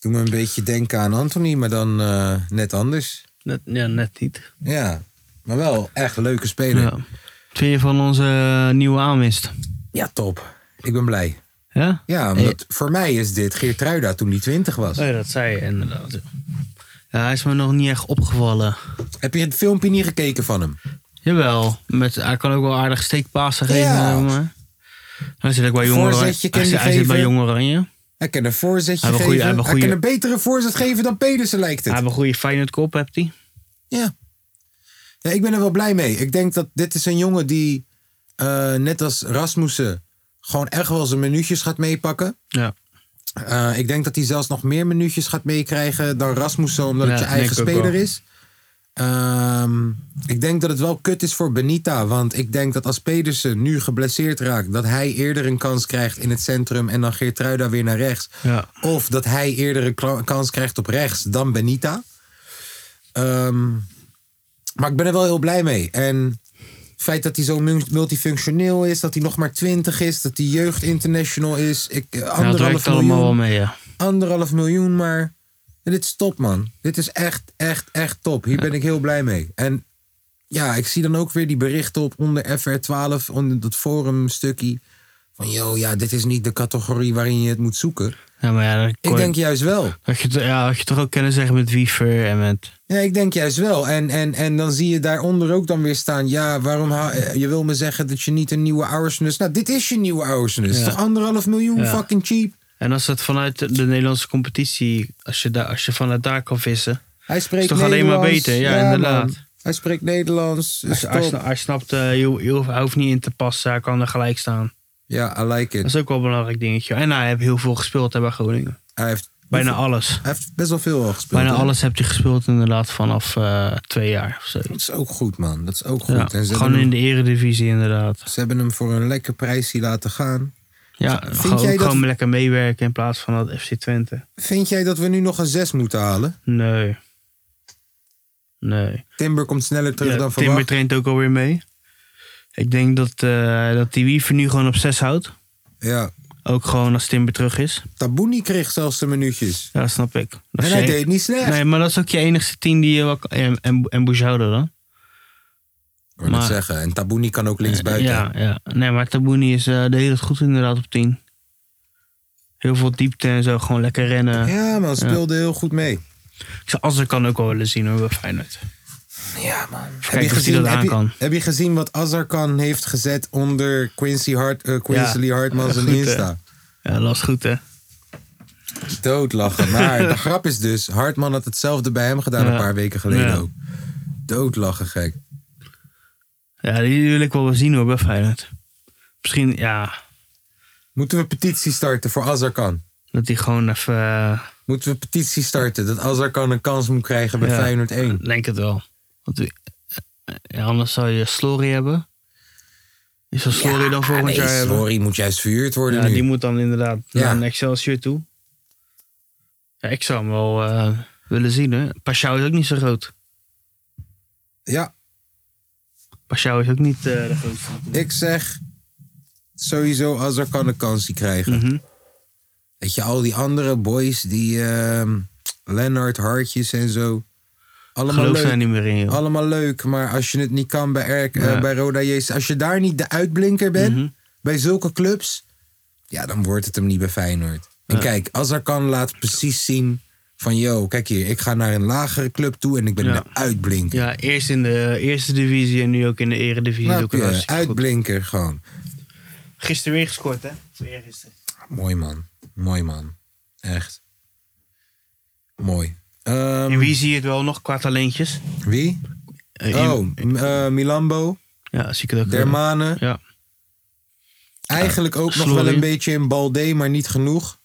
Speaker 2: Doe me een beetje denken aan Anthony, maar dan eh, net anders.
Speaker 3: Net, ja, net niet.
Speaker 2: Ja, maar wel echt een leuke speler.
Speaker 3: Ja.
Speaker 2: Ja,
Speaker 3: Wat vind je van onze eh, nieuwe aanwist?
Speaker 2: top. Ik ben blij.
Speaker 3: Ja?
Speaker 2: Ja,
Speaker 3: Hey.
Speaker 2: omdat voor mij is dit Geert toen hij 20 was.
Speaker 3: Oh ja, dat zei je inderdaad. ja. Ja, hij is me nog niet echt opgevallen.
Speaker 2: Heb je het filmpje niet gekeken van hem?
Speaker 3: Jawel, met, hij kan ook wel aardig steekpasen geven.
Speaker 2: Ja.
Speaker 3: eh, Maar. Hij zit ook bij Jong Oranje.
Speaker 2: Voorzetje kan
Speaker 3: Hij, zit-
Speaker 2: hij
Speaker 3: hij zit bij
Speaker 2: geven.
Speaker 3: Jong Oranje.
Speaker 2: Hij kan een voorzetje
Speaker 3: Hij heeft een goeie-
Speaker 2: geven.
Speaker 3: hij heeft een
Speaker 2: hij kan
Speaker 3: goeie-
Speaker 2: een betere voorzet geven dan Pedersen lijkt
Speaker 3: Hij
Speaker 2: het.
Speaker 3: heeft een goede Feyenoord kop, hebt hij.
Speaker 2: Ja. ja. Ik ben er wel blij mee. Ik denk dat dit is een jongen die, eh, net als Rasmussen, gewoon echt wel zijn minuutjes gaat meepakken.
Speaker 3: Ja.
Speaker 2: Eh, ik denk dat hij zelfs nog meer minuutjes gaat meekrijgen dan Rasmussen, omdat het
Speaker 3: Ja,
Speaker 2: je eigen
Speaker 3: denk ik ook
Speaker 2: speler
Speaker 3: wel.
Speaker 2: is. Ehm, ik denk dat het wel kut is voor Benita. Want ik denk dat als Pedersen nu geblesseerd raakt, dat hij eerder een kans krijgt in het centrum en dan Geertruida weer naar rechts.
Speaker 3: Ja.
Speaker 2: Of dat hij eerder een kla- kans krijgt op rechts dan Benita. Ehm, maar ik ben er wel heel blij mee. En het feit dat hij zo mun- multifunctioneel is, dat hij nog maar 20 is, dat hij jeugd international is. Ik, eh,
Speaker 3: Ja, dat
Speaker 2: anderhalf
Speaker 3: werkt allemaal wel
Speaker 2: miljoen,
Speaker 3: mee, ja.
Speaker 2: anderhalf miljoen, maar ja, dit is top, man. Dit is echt, echt, echt top. Hier ben ik heel blij mee. En ja, ik zie dan ook weer die berichten op onder FR12, onder dat forum stukje. Van, yo, ja, dit is niet de categorie waarin je het moet zoeken.
Speaker 3: Ja, maar ja, dat kon
Speaker 2: Ik
Speaker 3: je-
Speaker 2: denk juist wel.
Speaker 3: had, je, t- ja, had je toch ook kunnen zeggen met Wiever en met...
Speaker 2: Ja, ik denk juist wel. En, en, en dan zie je daaronder ook dan weer staan. Ja, waarom hou- eh, je wil me zeggen dat je niet een nieuwe Oursnus. Nou, dit is je nieuwe Oursnus.
Speaker 3: Ja.
Speaker 2: Toch anderhalf miljoen
Speaker 3: Ja.
Speaker 2: fucking cheap.
Speaker 3: En als het vanuit de de Nederlandse competitie, als je, daar, als je vanuit daar kan vissen.
Speaker 2: Hij spreekt
Speaker 3: Is toch alleen maar
Speaker 2: Nederlands.
Speaker 3: beter? Ja, inderdaad.
Speaker 2: man. Hij spreekt Nederlands.
Speaker 3: Hij,
Speaker 2: Is
Speaker 3: Dus hij, sna-
Speaker 2: top.
Speaker 3: hij snapt, eh, je, ho- je hoeft- hij hoeft niet in te passen, hij kan er gelijk staan.
Speaker 2: Ja, I like
Speaker 3: Dat
Speaker 2: it.
Speaker 3: is ook wel een belangrijk dingetje. En hij heeft heel veel gespeeld hè, bij Groningen.
Speaker 2: Hij heeft,
Speaker 3: Bijna alles.
Speaker 2: hij heeft best wel veel al gespeeld.
Speaker 3: Bijna
Speaker 2: hè?
Speaker 3: alles heb je gespeeld inderdaad vanaf eh, twee jaar of zo.
Speaker 2: Dat is ook goed, man. Dat is ook goed.
Speaker 3: Ja,
Speaker 2: en ze hebben,
Speaker 3: gewoon
Speaker 2: hem,
Speaker 3: in de eredivisie inderdaad.
Speaker 2: ze hebben hem voor een lekker prijsje laten gaan.
Speaker 3: Ja,
Speaker 2: Vind
Speaker 3: gewoon,
Speaker 2: jij dat-
Speaker 3: gewoon lekker meewerken in plaats van dat FC Twente.
Speaker 2: Vind jij dat we nu nog een 6 moeten halen?
Speaker 3: Nee. Nee.
Speaker 2: Timber komt sneller terug
Speaker 3: Ja,
Speaker 2: dan verwacht.
Speaker 3: Timber traint ook alweer mee. Ik denk dat, eh, dat die Wiever nu gewoon op 6 houdt.
Speaker 2: Ja.
Speaker 3: Ook gewoon als Timber terug is.
Speaker 2: Tabouni kreeg zelfs de minuutjes.
Speaker 3: Ja, dat snap ik. Dat
Speaker 2: En
Speaker 3: is
Speaker 2: hij
Speaker 3: je-
Speaker 2: deed niet slecht.
Speaker 3: Nee, maar dat is ook je enigste tien die je wel kan- En, en, en Boujouda dan?
Speaker 2: Ik wil net
Speaker 3: Maar-
Speaker 2: zeggen. En Tabouni kan ook linksbuiten.
Speaker 3: Ja, ja. Nee, maar Tabouni is eh de hele goed inderdaad op tien. Heel veel diepte en zo. Gewoon lekker rennen.
Speaker 2: Ja, man, speelde heel goed mee.
Speaker 3: Ik zou Azar kan ook wel willen zien hoor, bij Feyenoord.
Speaker 2: Ja, man.
Speaker 3: kijken of hij dat
Speaker 2: heb,
Speaker 3: aan
Speaker 2: je,
Speaker 3: kan.
Speaker 2: heb je gezien wat Azarkan heeft gezet onder Quincy, Hart, eh, Quincy
Speaker 3: Ja.
Speaker 2: Hartman zijn
Speaker 3: Goed, hè?
Speaker 2: Insta?
Speaker 3: Ja, dat was goed hè.
Speaker 2: Doodlachen. Maar de grap is dus, Hartman had hetzelfde bij hem gedaan een
Speaker 3: Ja.
Speaker 2: paar weken geleden
Speaker 3: Ja.
Speaker 2: ook. Doodlachen, gek.
Speaker 3: Ja, die wil ik wel wel zien hoor, bij Feyenoord. Misschien, ja,
Speaker 2: Moeten we een petitie starten voor Azarkan?
Speaker 3: dat hij gewoon even... eh,
Speaker 2: Moeten we een petitie starten dat Azarkan een kans moet krijgen bij
Speaker 3: Ja.
Speaker 2: Feyenoord 1?
Speaker 3: Denk het wel. Want wie- ja, anders zou je Slory hebben. Is zou Slory dan volgend
Speaker 2: Nee,
Speaker 3: jaar hebben?
Speaker 2: Sorry, moet juist verhuurd worden
Speaker 3: Ja,
Speaker 2: nu.
Speaker 3: die moet dan inderdaad
Speaker 2: Ja.
Speaker 3: naar een Excelsior toe. Ja, ik zou hem wel eh, willen zien. hè. Pashao is ook niet zo groot.
Speaker 2: Ja,
Speaker 3: Pashao is ook niet eh, de grootste.
Speaker 2: Ik zeg sowieso als er kan een kansje krijgen.
Speaker 3: Mhm.
Speaker 2: Weet je, al die andere boys, die ehm Lennart, Hartjes en zo. Allemaal
Speaker 3: Geloof daar
Speaker 2: leuk,
Speaker 3: niet meer in, joh.
Speaker 2: allemaal leuk, maar als je het niet kan bij, Erk, eh,
Speaker 3: Ja.
Speaker 2: bij Roda JC, als je daar niet de uitblinker bent
Speaker 3: Mhm.
Speaker 2: bij zulke clubs, ja, dan wordt het hem niet bij Feyenoord. En kijk, als er kan, laat precies zien van, yo, kijk hier, ik ga naar een lagere club toe en ik ben
Speaker 3: Ja.
Speaker 2: de uitblinker.
Speaker 3: Ja, eerst in de eerste divisie en nu ook in de eredivisie.
Speaker 2: Snap
Speaker 3: Ook een
Speaker 2: je?
Speaker 3: hartstikke goed.
Speaker 2: uitblinker gewoon.
Speaker 3: Gisteren weer gescoord, hè? Eergisteren.
Speaker 2: Mooi man. Mooi man. Echt. Mooi. Ehm,
Speaker 3: En wie zie je het wel nog qua talentjes?
Speaker 2: wie?
Speaker 3: Eh, in-
Speaker 2: Oh, m- eh, Milambo,
Speaker 3: Ja, zie ik het ook. wel.
Speaker 2: Dermane.
Speaker 3: Ja.
Speaker 2: Eigenlijk ook nog
Speaker 3: Slory.
Speaker 2: wel een beetje in Balde, maar niet genoeg.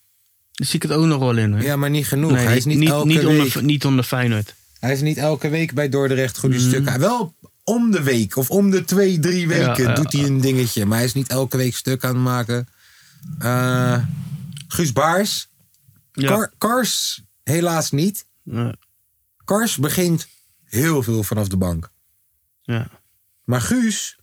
Speaker 3: Daar zie ik het ook nog wel in. Hè?
Speaker 2: Ja, maar niet genoeg.
Speaker 3: Nee,
Speaker 2: hij is niet, elke
Speaker 3: niet
Speaker 2: week.
Speaker 3: Onder, niet onder Feyenoord.
Speaker 2: Hij is niet elke week bij Dordrecht goede stukken. Wel om de week of om de twee, drie weken
Speaker 3: Mm. ja.
Speaker 2: doet hij een dingetje. Maar hij is niet elke week stuk aan het maken. Eh, Guus Baars.
Speaker 3: Ja.
Speaker 2: Kar- Kars helaas niet.
Speaker 3: Ja.
Speaker 2: Kars begint heel veel vanaf de bank.
Speaker 3: ja.
Speaker 2: Maar Guus.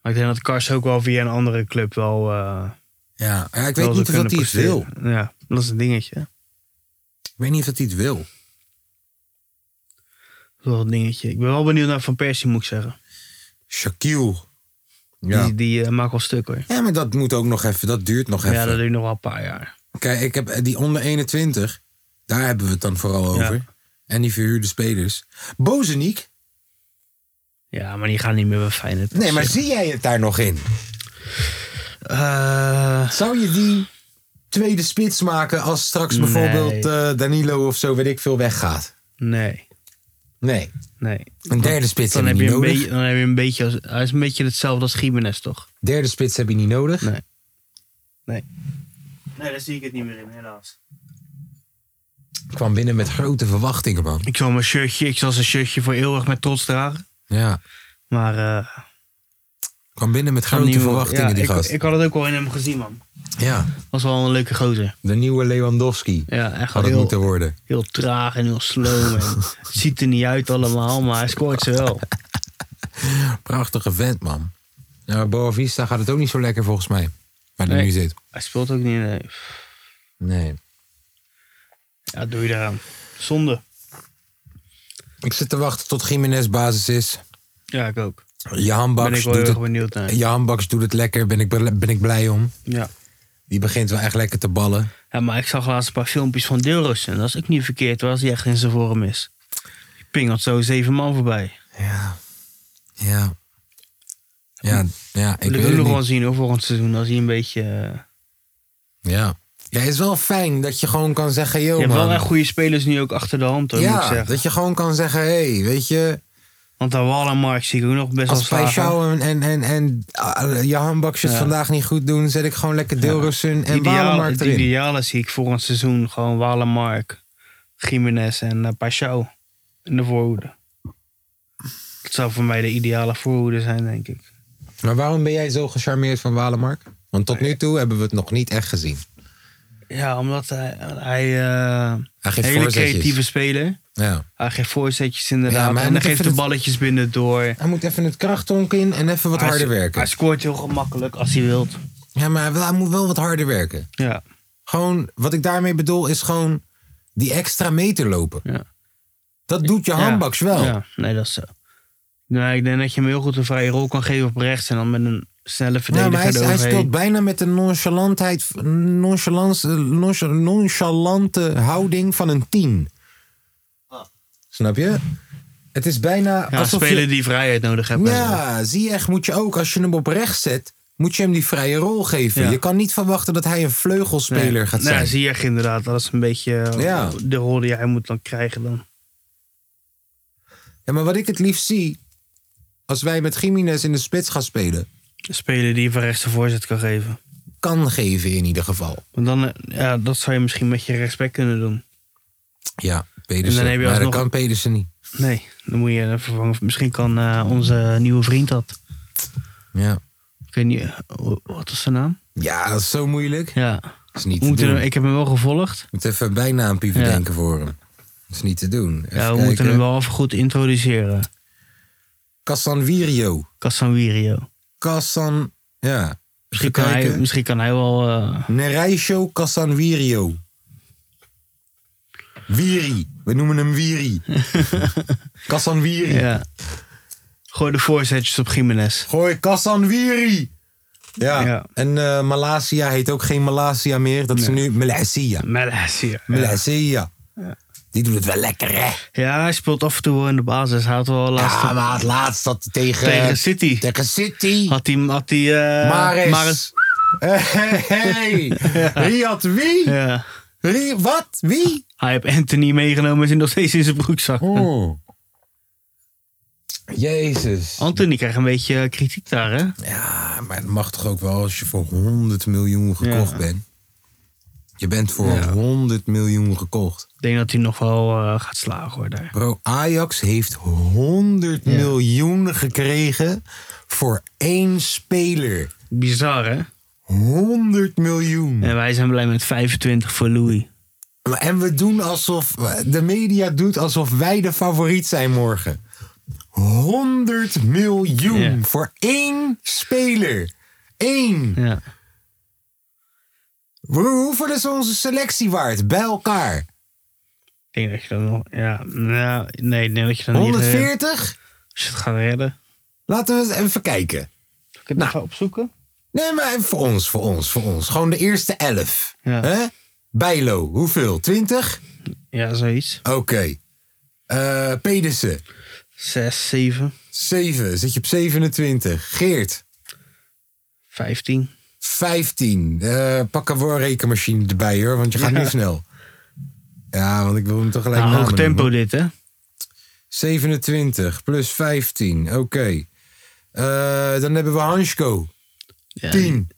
Speaker 3: Maar ik denk dat Kars ook wel via een andere club wel... eh,
Speaker 2: Ja, ja, ik
Speaker 3: wel
Speaker 2: weet
Speaker 3: zou
Speaker 2: niet of dat
Speaker 3: kunnen
Speaker 2: hij het wil.
Speaker 3: presteren. Ja, dat is een dingetje. hè.
Speaker 2: Ik weet niet of dat hij het wil.
Speaker 3: Dat is wel een dingetje. Ik ben wel benieuwd naar Van Persie, moet ik zeggen.
Speaker 2: Shaquille. Ja.
Speaker 3: Die, die eh, maakt wel stuk hoor.
Speaker 2: ja, maar dat moet ook nog even. Dat duurt nog even.
Speaker 3: Ja, dat duurt nog wel een paar jaar.
Speaker 2: Kijk, ik heb eh, die onder 21. Daar hebben we het dan vooral over. En die verhuurde spelers. Bozeniek.
Speaker 3: Ja, maar die gaan niet meer bij Feyenoord.
Speaker 2: Nee, maar
Speaker 3: Dus,
Speaker 2: zie jij het daar nog in?
Speaker 3: eh,
Speaker 2: Zou je die tweede spits maken als straks bijvoorbeeld eh, Danilo of zo, weet ik veel, weggaat.
Speaker 3: Nee,
Speaker 2: Nee,
Speaker 3: nee.
Speaker 2: een derde spits
Speaker 3: Dan
Speaker 2: heb
Speaker 3: heb,
Speaker 2: je
Speaker 3: je
Speaker 2: niet
Speaker 3: een
Speaker 2: nodig.
Speaker 3: beetje, dan heb je een beetje... Als, hij is een beetje hetzelfde als Gimenez, toch?
Speaker 2: Derde spits heb je niet nodig.
Speaker 3: Nee. Nee, daar zie ik het niet meer in, helaas.
Speaker 2: Kwam binnen met grote verwachtingen, man.
Speaker 3: Ik zal mijn shirtje... Ik zal zijn shirtje voor eeuwig met trots dragen.
Speaker 2: Ja,
Speaker 3: Maar... eh,
Speaker 2: kwam binnen met
Speaker 3: kan
Speaker 2: grote
Speaker 3: niet meer-
Speaker 2: verwachtingen,
Speaker 3: ja,
Speaker 2: die
Speaker 3: ik,
Speaker 2: gast.
Speaker 3: Ik had het ook wel in hem gezien, man.
Speaker 2: ja,
Speaker 3: Was wel een leuke gozer.
Speaker 2: de nieuwe Lewandowski
Speaker 3: Ja, echt
Speaker 2: had
Speaker 3: wel
Speaker 2: het moeten
Speaker 3: heel,
Speaker 2: worden.
Speaker 3: heel traag en heel slow. en het ziet er niet uit allemaal, maar hij scoort ze wel.
Speaker 2: Prachtige vent, man. Nou, Boavista gaat het ook niet zo lekker, volgens mij. Waar hij
Speaker 3: Nee.
Speaker 2: nu zit.
Speaker 3: Hij speelt ook niet. Nee.
Speaker 2: Nee.
Speaker 3: Ja, doe je eraan. Zonde.
Speaker 2: Ik zit te wachten tot Jiménez basis is.
Speaker 3: Ja, ik ook.
Speaker 2: Jahan
Speaker 3: Ben
Speaker 2: Baks
Speaker 3: ik wel heel
Speaker 2: doet
Speaker 3: erg
Speaker 2: het,
Speaker 3: benieuwd naar.
Speaker 2: Jahan Baks doet het lekker, ben ik, bel- ben ik blij om.
Speaker 3: Ja.
Speaker 2: Die begint wel echt lekker te ballen.
Speaker 3: ja, maar ik zag laatst een paar filmpjes van Deelroos. En dat is ook niet verkeerd hoor, als hij echt in zijn vorm is. Die pingelt zo zeven man voorbij.
Speaker 2: Ja. Ja.
Speaker 3: Hm.
Speaker 2: Ja, ja ik
Speaker 3: Wil ik
Speaker 2: weet
Speaker 3: ook
Speaker 2: het
Speaker 3: nog wel
Speaker 2: niet.
Speaker 3: zien hoor, volgend seizoen. Als hij een beetje... eh,
Speaker 2: Ja. Ja, het is wel fijn dat je gewoon kan zeggen,
Speaker 3: je
Speaker 2: joh
Speaker 3: hebt wel
Speaker 2: Oh, man.
Speaker 3: echt goede spelers nu ook achter de hand hoor, moet ik
Speaker 2: ja,
Speaker 3: zeggen.
Speaker 2: dat je gewoon kan zeggen, hé, hey, weet je,
Speaker 3: Want daar Wallenmark zie ik ook nog best wel
Speaker 2: als
Speaker 3: slagen.
Speaker 2: Peixau en, en, en, en ah, Jahan Baks het
Speaker 3: Ja.
Speaker 2: vandaag niet goed doen, zet ik gewoon lekker Deelrussen
Speaker 3: Het
Speaker 2: en
Speaker 3: ideaal-
Speaker 2: Walemark
Speaker 3: het
Speaker 2: erin.
Speaker 3: ideale zie ik volgend seizoen gewoon Wallenmark, Jiménez en uh, Pashao in de voorhoede. Dat zou voor mij de ideale voorhoede zijn, denk ik.
Speaker 2: Maar waarom ben jij zo gecharmeerd van Walemark? Want tot nu toe hebben we het nog niet echt gezien.
Speaker 3: Ja, omdat hij, hij eh,
Speaker 2: Hij geeft
Speaker 3: hele
Speaker 2: voorzetjes.
Speaker 3: creatieve speler.
Speaker 2: Ja.
Speaker 3: Hij geeft voorzetjes inderdaad.
Speaker 2: Ja, maar
Speaker 3: en
Speaker 2: hij
Speaker 3: hij
Speaker 2: moet
Speaker 3: geeft
Speaker 2: even
Speaker 3: de
Speaker 2: het-
Speaker 3: balletjes binnen door.
Speaker 2: Hij moet even het krachtonk in en even wat harder werken.
Speaker 3: Hij scoort heel gemakkelijk als hij wilt.
Speaker 2: Ja, maar hij, wil- hij moet wel wat harder werken.
Speaker 3: Ja,
Speaker 2: Gewoon, wat ik daarmee bedoel is gewoon die extra meter lopen.
Speaker 3: Ja.
Speaker 2: Dat doet je handbaks wel.
Speaker 3: ja, nee, dat is zo. Nou, ik denk dat je hem heel goed een vrije rol kan geven op rechts. En dan met een snelle
Speaker 2: Ja,
Speaker 3: verdediger
Speaker 2: Nou, maar hij, hij
Speaker 3: eroverheen.
Speaker 2: speelt bijna met de nonchalantheid, nonchalance, noncha- nonchalante houding van een tien. Snap je? Het is bijna
Speaker 3: Ja,
Speaker 2: alsof
Speaker 3: spelen
Speaker 2: je...
Speaker 3: die vrijheid nodig hebben.
Speaker 2: Ja, zie je echt, moet je ook, als je hem op rechts zet, moet je hem die vrije rol geven.
Speaker 3: Ja.
Speaker 2: Je kan niet verwachten dat hij een vleugelspeler
Speaker 3: Nee.
Speaker 2: gaat
Speaker 3: Nou,
Speaker 2: zijn.
Speaker 3: zie je inderdaad. Dat is een beetje eh,
Speaker 2: Ja.
Speaker 3: de rol die hij moet dan krijgen dan.
Speaker 2: Ja, maar wat ik het liefst zie, als wij met Jiménez in de spits gaan spelen,
Speaker 3: Een speler die van rechts de voorzet kan geven.
Speaker 2: kan geven in ieder geval.
Speaker 3: Want dan, eh, ja, dat zou je misschien met je rechtsback kunnen doen.
Speaker 2: Ja, Pedersen.
Speaker 3: En dan heb je
Speaker 2: maar dat
Speaker 3: alsnog-
Speaker 2: kan Pedersen niet.
Speaker 3: Nee, dan moet je een vervangen. Misschien kan eh, onze nieuwe vriend dat.
Speaker 2: Ja.
Speaker 3: Ik weet niet, eh, hoe- wat is zijn naam? ja
Speaker 2: ja, dat is zo moeilijk.
Speaker 3: Ja,
Speaker 2: Dat is niet
Speaker 3: we
Speaker 2: te
Speaker 3: moeten
Speaker 2: doen.
Speaker 3: hem, ik heb hem wel gevolgd.
Speaker 2: moet even een bijnaampje bedenken voor hem. Dat is niet te doen. Even
Speaker 3: Ja, we
Speaker 2: kijken.
Speaker 3: moeten hem wel even goed introduceren.
Speaker 2: Casanvirio.
Speaker 3: Casanvirio.
Speaker 2: Casan... Ja.
Speaker 3: Misschien kan, hij,
Speaker 2: Kijken.
Speaker 3: misschien kan hij wel... eh,
Speaker 2: Nereisho Casanvirio. Wiri. We noemen hem Wiri. Casanviri.
Speaker 3: ja. Gooi de voorzetjes op Jiménez.
Speaker 2: Gooi Casanviri. Ja.
Speaker 3: Ja.
Speaker 2: En eh Malasia heet ook geen Malasia meer. Dat is nu Malasia.
Speaker 3: Malasia.
Speaker 2: Malasia. Die doet het wel lekker, hè?
Speaker 3: Ja, hij speelt af en toe wel in de basis. Hij had wel laatst
Speaker 2: Ja, maar het laatst dat hij tegen,
Speaker 3: tegen City.
Speaker 2: tegen City.
Speaker 3: Had hij... Had hij eh,
Speaker 2: Maris.
Speaker 3: Maris-
Speaker 2: Hey, hey. Riyad wie?
Speaker 3: Ja.
Speaker 2: Ri- wat? Wie?
Speaker 3: Hij heeft Anthony meegenomen en zit nog steeds in zijn broekzak.
Speaker 2: Oh. Jezus.
Speaker 3: Anthony krijgt een beetje eh, kritiek daar, hè?
Speaker 2: Ja, maar het mag toch ook wel als je voor 100 miljoen gekocht
Speaker 3: Ja.
Speaker 2: bent. Je bent voor 100 miljoen gekocht.
Speaker 3: Ik denk dat hij nog wel eh, gaat slagen, hoor, daar.
Speaker 2: Bro, Ajax heeft 100 miljoen gekregen voor één speler.
Speaker 3: Bizar, hè?
Speaker 2: 100 miljoen.
Speaker 3: En wij zijn blij met 25 voor Louis.
Speaker 2: Maar- En we doen alsof. De media doet alsof wij de favoriet zijn morgen. 100 miljoen
Speaker 3: Ja.
Speaker 2: voor één speler. Eén.
Speaker 3: Ja.
Speaker 2: Hoe- Hoeveel is onze selectie waard bij elkaar?
Speaker 3: Ik denk dat je dan nog... Ja, nou, nee, ik denk dat je dan niet... eh,
Speaker 2: 140?
Speaker 3: Als je het gaat redden.
Speaker 2: Laten we eens even kijken.
Speaker 3: Zal ik het
Speaker 2: Nou.
Speaker 3: nog even opzoeken?
Speaker 2: Nee, maar even voor ons, voor ons, voor ons. Gewoon de eerste 11.
Speaker 3: Ja.
Speaker 2: Hè? Bijlo, hoeveel? 20?
Speaker 3: Ja, zoiets.
Speaker 2: Oké. Eh, Pedersen,
Speaker 3: 6, 7,
Speaker 2: 7. Zit je op 27. Geert,
Speaker 3: 15.
Speaker 2: 15. Eh, pak een woorrekenmachine erbij hoor, want je gaat nu snel. Ja, want ik wil hem tegelijk
Speaker 3: Nou, hoog
Speaker 2: namen noemen.
Speaker 3: tempo dit, hè?
Speaker 2: 27 plus 15, oké. Eh, dan hebben we Hansko. 10.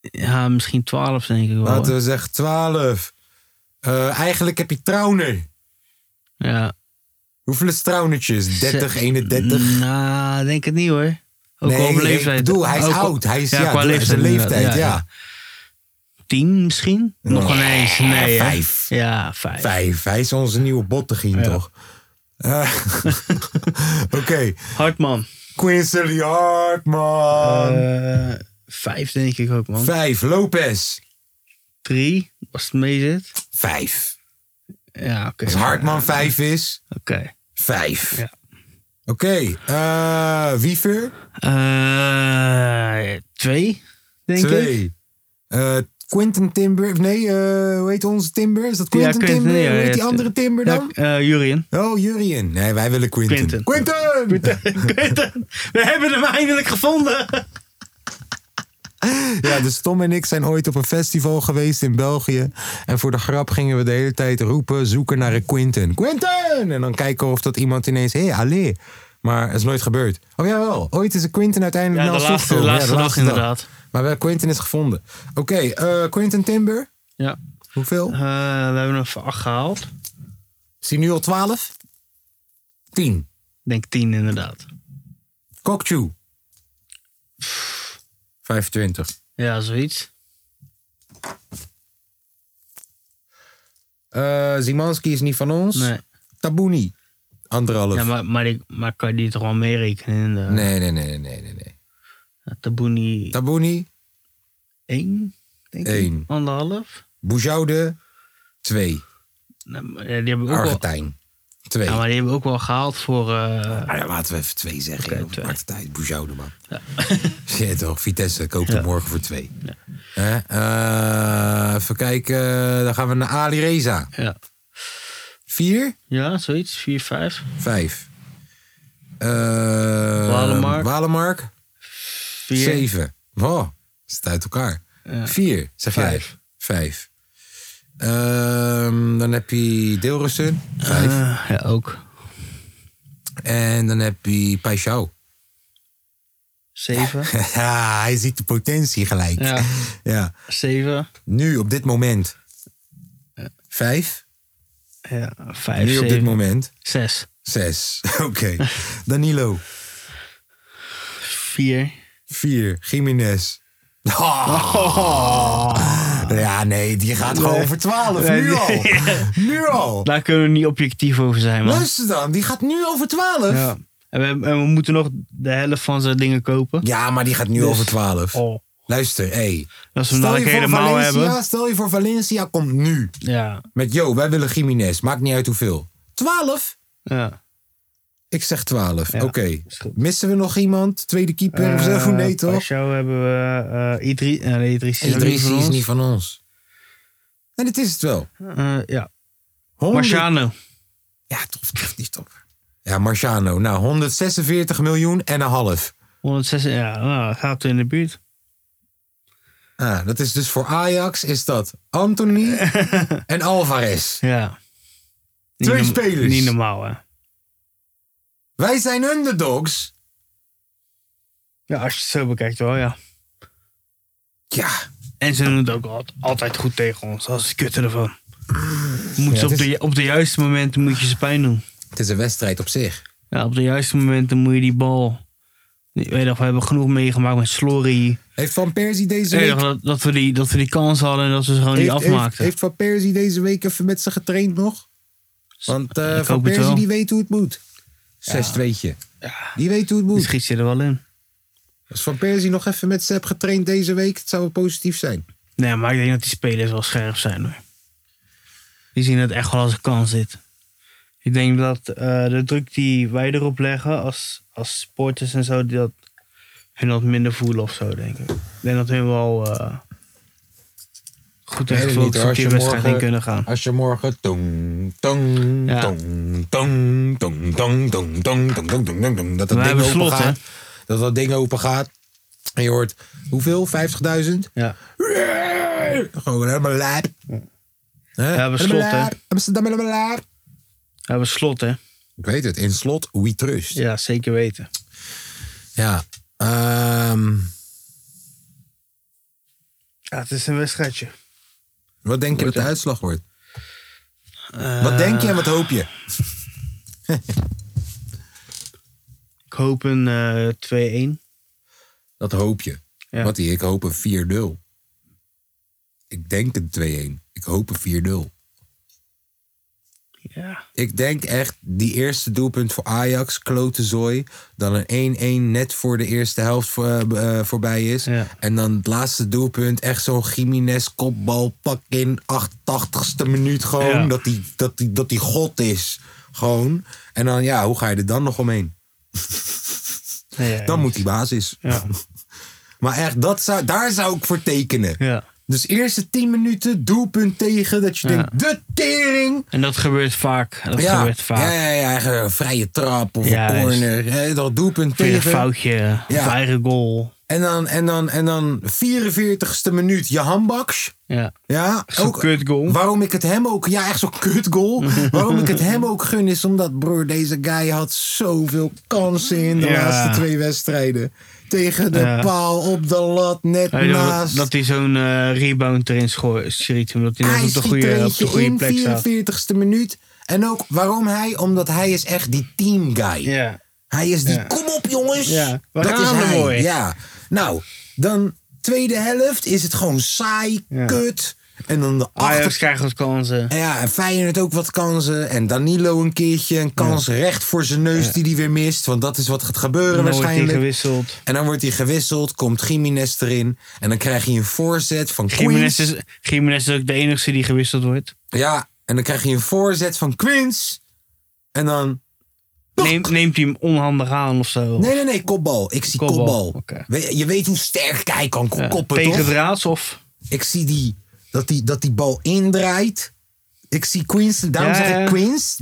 Speaker 3: Ja, misschien 12 denk ik wel.
Speaker 2: Laten we zeggen 12. Eh, eigenlijk heb je Trauner.
Speaker 3: Ja.
Speaker 2: Hoeveel is Traunertjes? 30,
Speaker 3: Ze-
Speaker 2: 31?
Speaker 3: Nou, denk het niet hoor. Ook
Speaker 2: Nee,
Speaker 3: al op
Speaker 2: nee,
Speaker 3: leeftijd.
Speaker 2: ik bedoel, hij is
Speaker 3: Ook al-
Speaker 2: oud. Hij is, ja, qua leeftijd, leeftijd
Speaker 3: inderdaad.
Speaker 2: ja.
Speaker 3: Tien misschien? Nog
Speaker 2: Nee,
Speaker 3: ineens. Nee, hè?
Speaker 2: vijf.
Speaker 3: Ja, vijf.
Speaker 2: Vijf. Hij is onze nieuwe bottegien, toch? Eh, Oké.
Speaker 3: Hartman.
Speaker 2: Quincy Hartman.
Speaker 3: Eh, vijf denk ik ook, man.
Speaker 2: Vijf. Lopez.
Speaker 3: Drie, als het mee zit.
Speaker 2: Vijf.
Speaker 3: Ja, oké.
Speaker 2: Als Hartman vijf is,
Speaker 3: Oké.
Speaker 2: vijf.
Speaker 3: Ja.
Speaker 2: Oké. eh Wiever.
Speaker 3: Eh, twee, denk ik.
Speaker 2: Twee. Eh, Quentin Timber. Nee, eh, hoe heet onze Timber? Is dat Quentin
Speaker 3: Quentin,
Speaker 2: Timber?
Speaker 3: ja,
Speaker 2: hoe heet die
Speaker 3: ja,
Speaker 2: andere Timber
Speaker 3: Ja,
Speaker 2: dan?
Speaker 3: eh, Jurien.
Speaker 2: Oh, Jurien. Nee, wij willen Quentin.
Speaker 3: Quentin.
Speaker 2: Quentin!
Speaker 3: Quentin, we hebben hem eindelijk gevonden.
Speaker 2: Ja, dus Tom en ik zijn ooit op een festival geweest in België. En voor de grap gingen we de hele tijd roepen, zoeken naar een Quinten. Quinten! En dan kijken of dat iemand ineens, hé, hey, allee. Maar dat is nooit gebeurd. Oh jawel, ooit is een Quinten uiteindelijk
Speaker 3: Ja,
Speaker 2: naar
Speaker 3: de
Speaker 2: ons
Speaker 3: laatste, de
Speaker 2: toegekomen.
Speaker 3: laatste
Speaker 2: ja, de
Speaker 3: dag inderdaad.
Speaker 2: Maar wel, Quinten is gevonden. Oké, eh Quinten Timber,
Speaker 3: Ja.
Speaker 2: hoeveel?
Speaker 3: Eh, we hebben hem voor acht gehaald.
Speaker 2: Is hij nu al 12? 10.
Speaker 3: Ik denk tien inderdaad.
Speaker 2: Kokchu. 25.
Speaker 3: Ja, zoiets.
Speaker 2: Eh Zimanski is niet van ons.
Speaker 3: Nee.
Speaker 2: Tabouni. Anderhalf.
Speaker 3: Ja, maar, maar, die- maar kan die toch wel meerekenen? In de,
Speaker 2: Nee, nee, nee, nee, nee, nee, nee.
Speaker 3: Tabouni
Speaker 2: Tabouni,
Speaker 3: 1, denk
Speaker 2: Eén.
Speaker 3: ik. Anderhalf.
Speaker 2: Boujoude, 2.
Speaker 3: Nee, maar ja, die hebben we ook wel,
Speaker 2: Argentijn, 2.
Speaker 3: ja, Nou, maar
Speaker 2: Ja,
Speaker 3: die hebben we ook wel gehaald voor... eh,
Speaker 2: laten we even 2 zeggen.
Speaker 3: Oké,
Speaker 2: joh.
Speaker 3: twee.
Speaker 2: Argentijn, Boujoude, man. Shit, toch? Vitesse koopt hem morgen voor 2. even kijken, dan gaan we naar Ali Reza.
Speaker 3: ja.
Speaker 2: 4,
Speaker 3: ja, zoiets. 4, 5.
Speaker 2: 5.
Speaker 3: Walemark.
Speaker 2: Eh, Walemark,
Speaker 3: 4.
Speaker 2: 7. Wow, is het uit elkaar. 4, zeg
Speaker 3: Vijf.
Speaker 2: jij. 5. Ehm, dan heb je Deelrussen, 5.
Speaker 3: Eh, ja, ook.
Speaker 2: Eh, En dan heb je Paixão.
Speaker 3: 7.
Speaker 2: Ja, hij ziet de potentie gelijk.
Speaker 3: Ja.
Speaker 2: Ja.
Speaker 3: 7.
Speaker 2: Nu, op dit moment. Vijf.
Speaker 3: Ja, 5,
Speaker 2: Nu, op dit
Speaker 3: 7.
Speaker 2: moment.
Speaker 3: 6.
Speaker 2: Zes. Oké. Danilo.
Speaker 3: 4.
Speaker 2: Vier. Jiménez. Ja, nee, die gaat gewoon voor twaalf.
Speaker 3: Oh. Nee,
Speaker 2: Nu
Speaker 3: nee.
Speaker 2: al. Nu al.
Speaker 3: Daar kunnen we niet objectief over zijn, man.
Speaker 2: Luister dan, die gaat nu over twaalf.
Speaker 3: Ja. En, we, en we moeten nog de helft van zijn dingen kopen.
Speaker 2: Ja, maar die gaat nu
Speaker 3: Dus-
Speaker 2: over twaalf.
Speaker 3: Oh.
Speaker 2: Luister, hé. Hey.
Speaker 3: Als we hem
Speaker 2: Stel,
Speaker 3: dadelijk
Speaker 2: je voor
Speaker 3: helemaal hebben.
Speaker 2: Valencia- stel je voor Valencia komt nu.
Speaker 3: Ja.
Speaker 2: Met, yo, wij willen Jiménez. Maakt niet uit hoeveel. 12?
Speaker 3: ja.
Speaker 2: Ik zeg 12.
Speaker 3: Ja,
Speaker 2: Oké.
Speaker 3: is goed.
Speaker 2: Missen we nog iemand? Tweede keeper of zo?
Speaker 3: Eh,
Speaker 2: Nee, toch?
Speaker 3: Paschal hebben we eh Idri eh, nee, Idrissi is
Speaker 2: Idrissi
Speaker 3: niet
Speaker 2: is
Speaker 3: van
Speaker 2: niet
Speaker 3: ons.
Speaker 2: van ons. En dit is het wel.
Speaker 3: Eh, ja.
Speaker 2: 100
Speaker 3: Marciano.
Speaker 2: Ja, tof, tof, niet top. Ja, Marciano. Nou, 146 miljoen en een half.
Speaker 3: 106, ja, nou, dat gaat in de buurt.
Speaker 2: Ah, dat is dus voor Ajax is dat Anthony en Alvarez.
Speaker 3: Ja. Niet
Speaker 2: Twee
Speaker 3: norm-
Speaker 2: spelers.
Speaker 3: Niet normaal, hè.
Speaker 2: Wij zijn underdogs.
Speaker 3: Ja, als je het zo bekijkt wel, ja.
Speaker 2: Ja,
Speaker 3: En ze doen het ook al- altijd goed tegen ons. Dat is kutten ervan. Moet ze
Speaker 2: het
Speaker 3: op,
Speaker 2: is-
Speaker 3: de, ju- op de juiste momenten moet je ze pijn doen.
Speaker 2: het is een wedstrijd op zich.
Speaker 3: Ja, op de juiste momenten moet je die bal... Ik weet nog, we hebben genoeg meegemaakt met Slory.
Speaker 2: Heeft Van Persie deze
Speaker 3: Ik weet
Speaker 2: week...
Speaker 3: nog dat, dat, we die, dat we die kans hadden en dat we ze gewoon niet
Speaker 2: heeft, heeft,
Speaker 3: afmaakten.
Speaker 2: heeft Van Persie deze week even met ze getraind nog? Want eh,
Speaker 3: Ik
Speaker 2: Van
Speaker 3: hoop het
Speaker 2: Persie
Speaker 3: wel.
Speaker 2: die weet hoe het moet. 6 tweetje. Die weet hoe het
Speaker 3: Die
Speaker 2: moet.
Speaker 3: schiet je er wel in.
Speaker 2: Als Van Persie nog even met ze hebt getraind deze week, het zou wel positief zijn.
Speaker 3: Nee, maar ik denk dat die spelers wel scherp zijn hoor. Die zien het echt wel als een kans dit. Ik denk dat eh, de druk die wij erop leggen als, als sporters en zo, die dat hun wat minder voelen of zo, denk ik. Ik denk dat hun wel eh, goed en
Speaker 2: Weet ik niet,
Speaker 3: gefocust
Speaker 2: hoor.
Speaker 3: op die
Speaker 2: Als je
Speaker 3: wedstrijd in
Speaker 2: morgen-
Speaker 3: kunnen gaan.
Speaker 2: Als je morgen. Tong, tong,
Speaker 3: Ja.
Speaker 2: tong, tong, tong, tong, tong, tong, tong, tong, tong, tong, tong, dat dat
Speaker 3: We
Speaker 2: ding
Speaker 3: hebben
Speaker 2: open
Speaker 3: slot, hè?
Speaker 2: gaat. Dat dat ding open gaat. En je hoort hoeveel? 50.000?
Speaker 3: Ja.
Speaker 2: Gewoon helemaal lijp. Hè?
Speaker 3: Ja, we slot, hè?
Speaker 2: Lijp. Amsterdam helemaal lijp.
Speaker 3: Ja, we slot, hè?
Speaker 2: Ik weet het, in slot, we trust.
Speaker 3: Ja, zeker weten.
Speaker 2: Ja. Ehm,
Speaker 3: Ja, het is een wedstrijdje.
Speaker 2: wat denk je dat de uitslag wordt?
Speaker 3: Eh,
Speaker 2: wat denk je en wat hoop je?
Speaker 3: Ik hoop een eh 2-1.
Speaker 2: Dat hoop je.
Speaker 3: Ja.
Speaker 2: Wat ik hoop een 4-0. Ik denk een 2-1. Ik hoop een 4-0.
Speaker 3: Ja.
Speaker 2: Ik denk echt die eerste doelpunt voor Ajax, klote zooi. Dan een 1-1 net voor de eerste helft voor- eh, eh, voorbij is.
Speaker 3: Ja.
Speaker 2: En dan het laatste doelpunt, echt zo'n Jiménez kopbal pak in 88ste minuut gewoon.
Speaker 3: Ja.
Speaker 2: Dat, die, dat, die, dat die god is. Gewoon. En dan ja, hoe ga je er dan nog omheen?
Speaker 3: Nee, ja,
Speaker 2: Dan
Speaker 3: ja.
Speaker 2: moet die basis.
Speaker 3: Ja.
Speaker 2: Maar echt, dat zou, daar zou ik voor tekenen.
Speaker 3: ja.
Speaker 2: Dus eerste 10 minuten doelpunt tegen. Dat je
Speaker 3: Ja.
Speaker 2: denkt, de tering.
Speaker 3: En dat gebeurt vaak. Dat gebeurt
Speaker 2: ja,
Speaker 3: vaak.
Speaker 2: ja, ja, eigen vrije trap of
Speaker 3: Juist.
Speaker 2: een corner. hè, Dat doelpunt
Speaker 3: Weer een
Speaker 2: tegen.
Speaker 3: foutje. Of eigen goal.
Speaker 2: En dan, en dan, en dan 44ste minuut je handbaks.
Speaker 3: Ja.
Speaker 2: Ja,
Speaker 3: Zo'n kut goal.
Speaker 2: Waarom ik het hem ook... Ja, echt zo'n kut goal. waarom ik het hem ook gun is omdat, broer, deze guy had zoveel kansen in de
Speaker 3: Ja.
Speaker 2: laatste twee wedstrijden. Tegen de
Speaker 3: Ja.
Speaker 2: paal, op de lat, net
Speaker 3: Weet je wel,
Speaker 2: naast.
Speaker 3: dat hij zo'n eh, rebound erin scho- schiet. Omdat hij net op de
Speaker 2: schiet
Speaker 3: goede,
Speaker 2: er
Speaker 3: op de
Speaker 2: eentje
Speaker 3: goede plek staat.
Speaker 2: in, 44ste minuut. En ook, waarom hij? Omdat hij is echt die team guy.
Speaker 3: Ja.
Speaker 2: Hij is die,
Speaker 3: Ja.
Speaker 2: kom op jongens.
Speaker 3: Ja, we
Speaker 2: dat is
Speaker 3: gaan er
Speaker 2: hij.
Speaker 3: mooi.
Speaker 2: Ja. Nou, dan tweede helft is het gewoon saai,
Speaker 3: Ja.
Speaker 2: kut. En dan de
Speaker 3: Ajax
Speaker 2: achter...
Speaker 3: krijgt wat kansen.
Speaker 2: En ja, en Feyenoord ook wat kansen. En Danilo een keertje een kans recht voor zijn neus die hij weer mist. Want dat is wat gaat gebeuren
Speaker 3: Dan wordt hij
Speaker 2: waarschijnlijk.
Speaker 3: gewisseld.
Speaker 2: en dan wordt hij gewisseld, komt Jiménez erin. En dan krijg je een voorzet van
Speaker 3: Gimenez
Speaker 2: Quince.
Speaker 3: is, Gimenez is ook de enige die gewisseld wordt.
Speaker 2: Ja, en dan krijg je een voorzet van Quince. En dan
Speaker 3: Neem, neemt hij hem onhandig aan of zo?
Speaker 2: Nee, nee, nee, kopbal. Ik zie
Speaker 3: Kopbal,
Speaker 2: kopbal.
Speaker 3: oké.
Speaker 2: We- je weet hoe sterk hij kan ko-
Speaker 3: Ja,
Speaker 2: koppen,
Speaker 3: tegen
Speaker 2: toch?
Speaker 3: draads of?
Speaker 2: Ik zie die, dat, die, dat die bal indraait. Ik zie Queens, daarom
Speaker 3: Ja,
Speaker 2: zeg
Speaker 3: ja.
Speaker 2: ik Queens,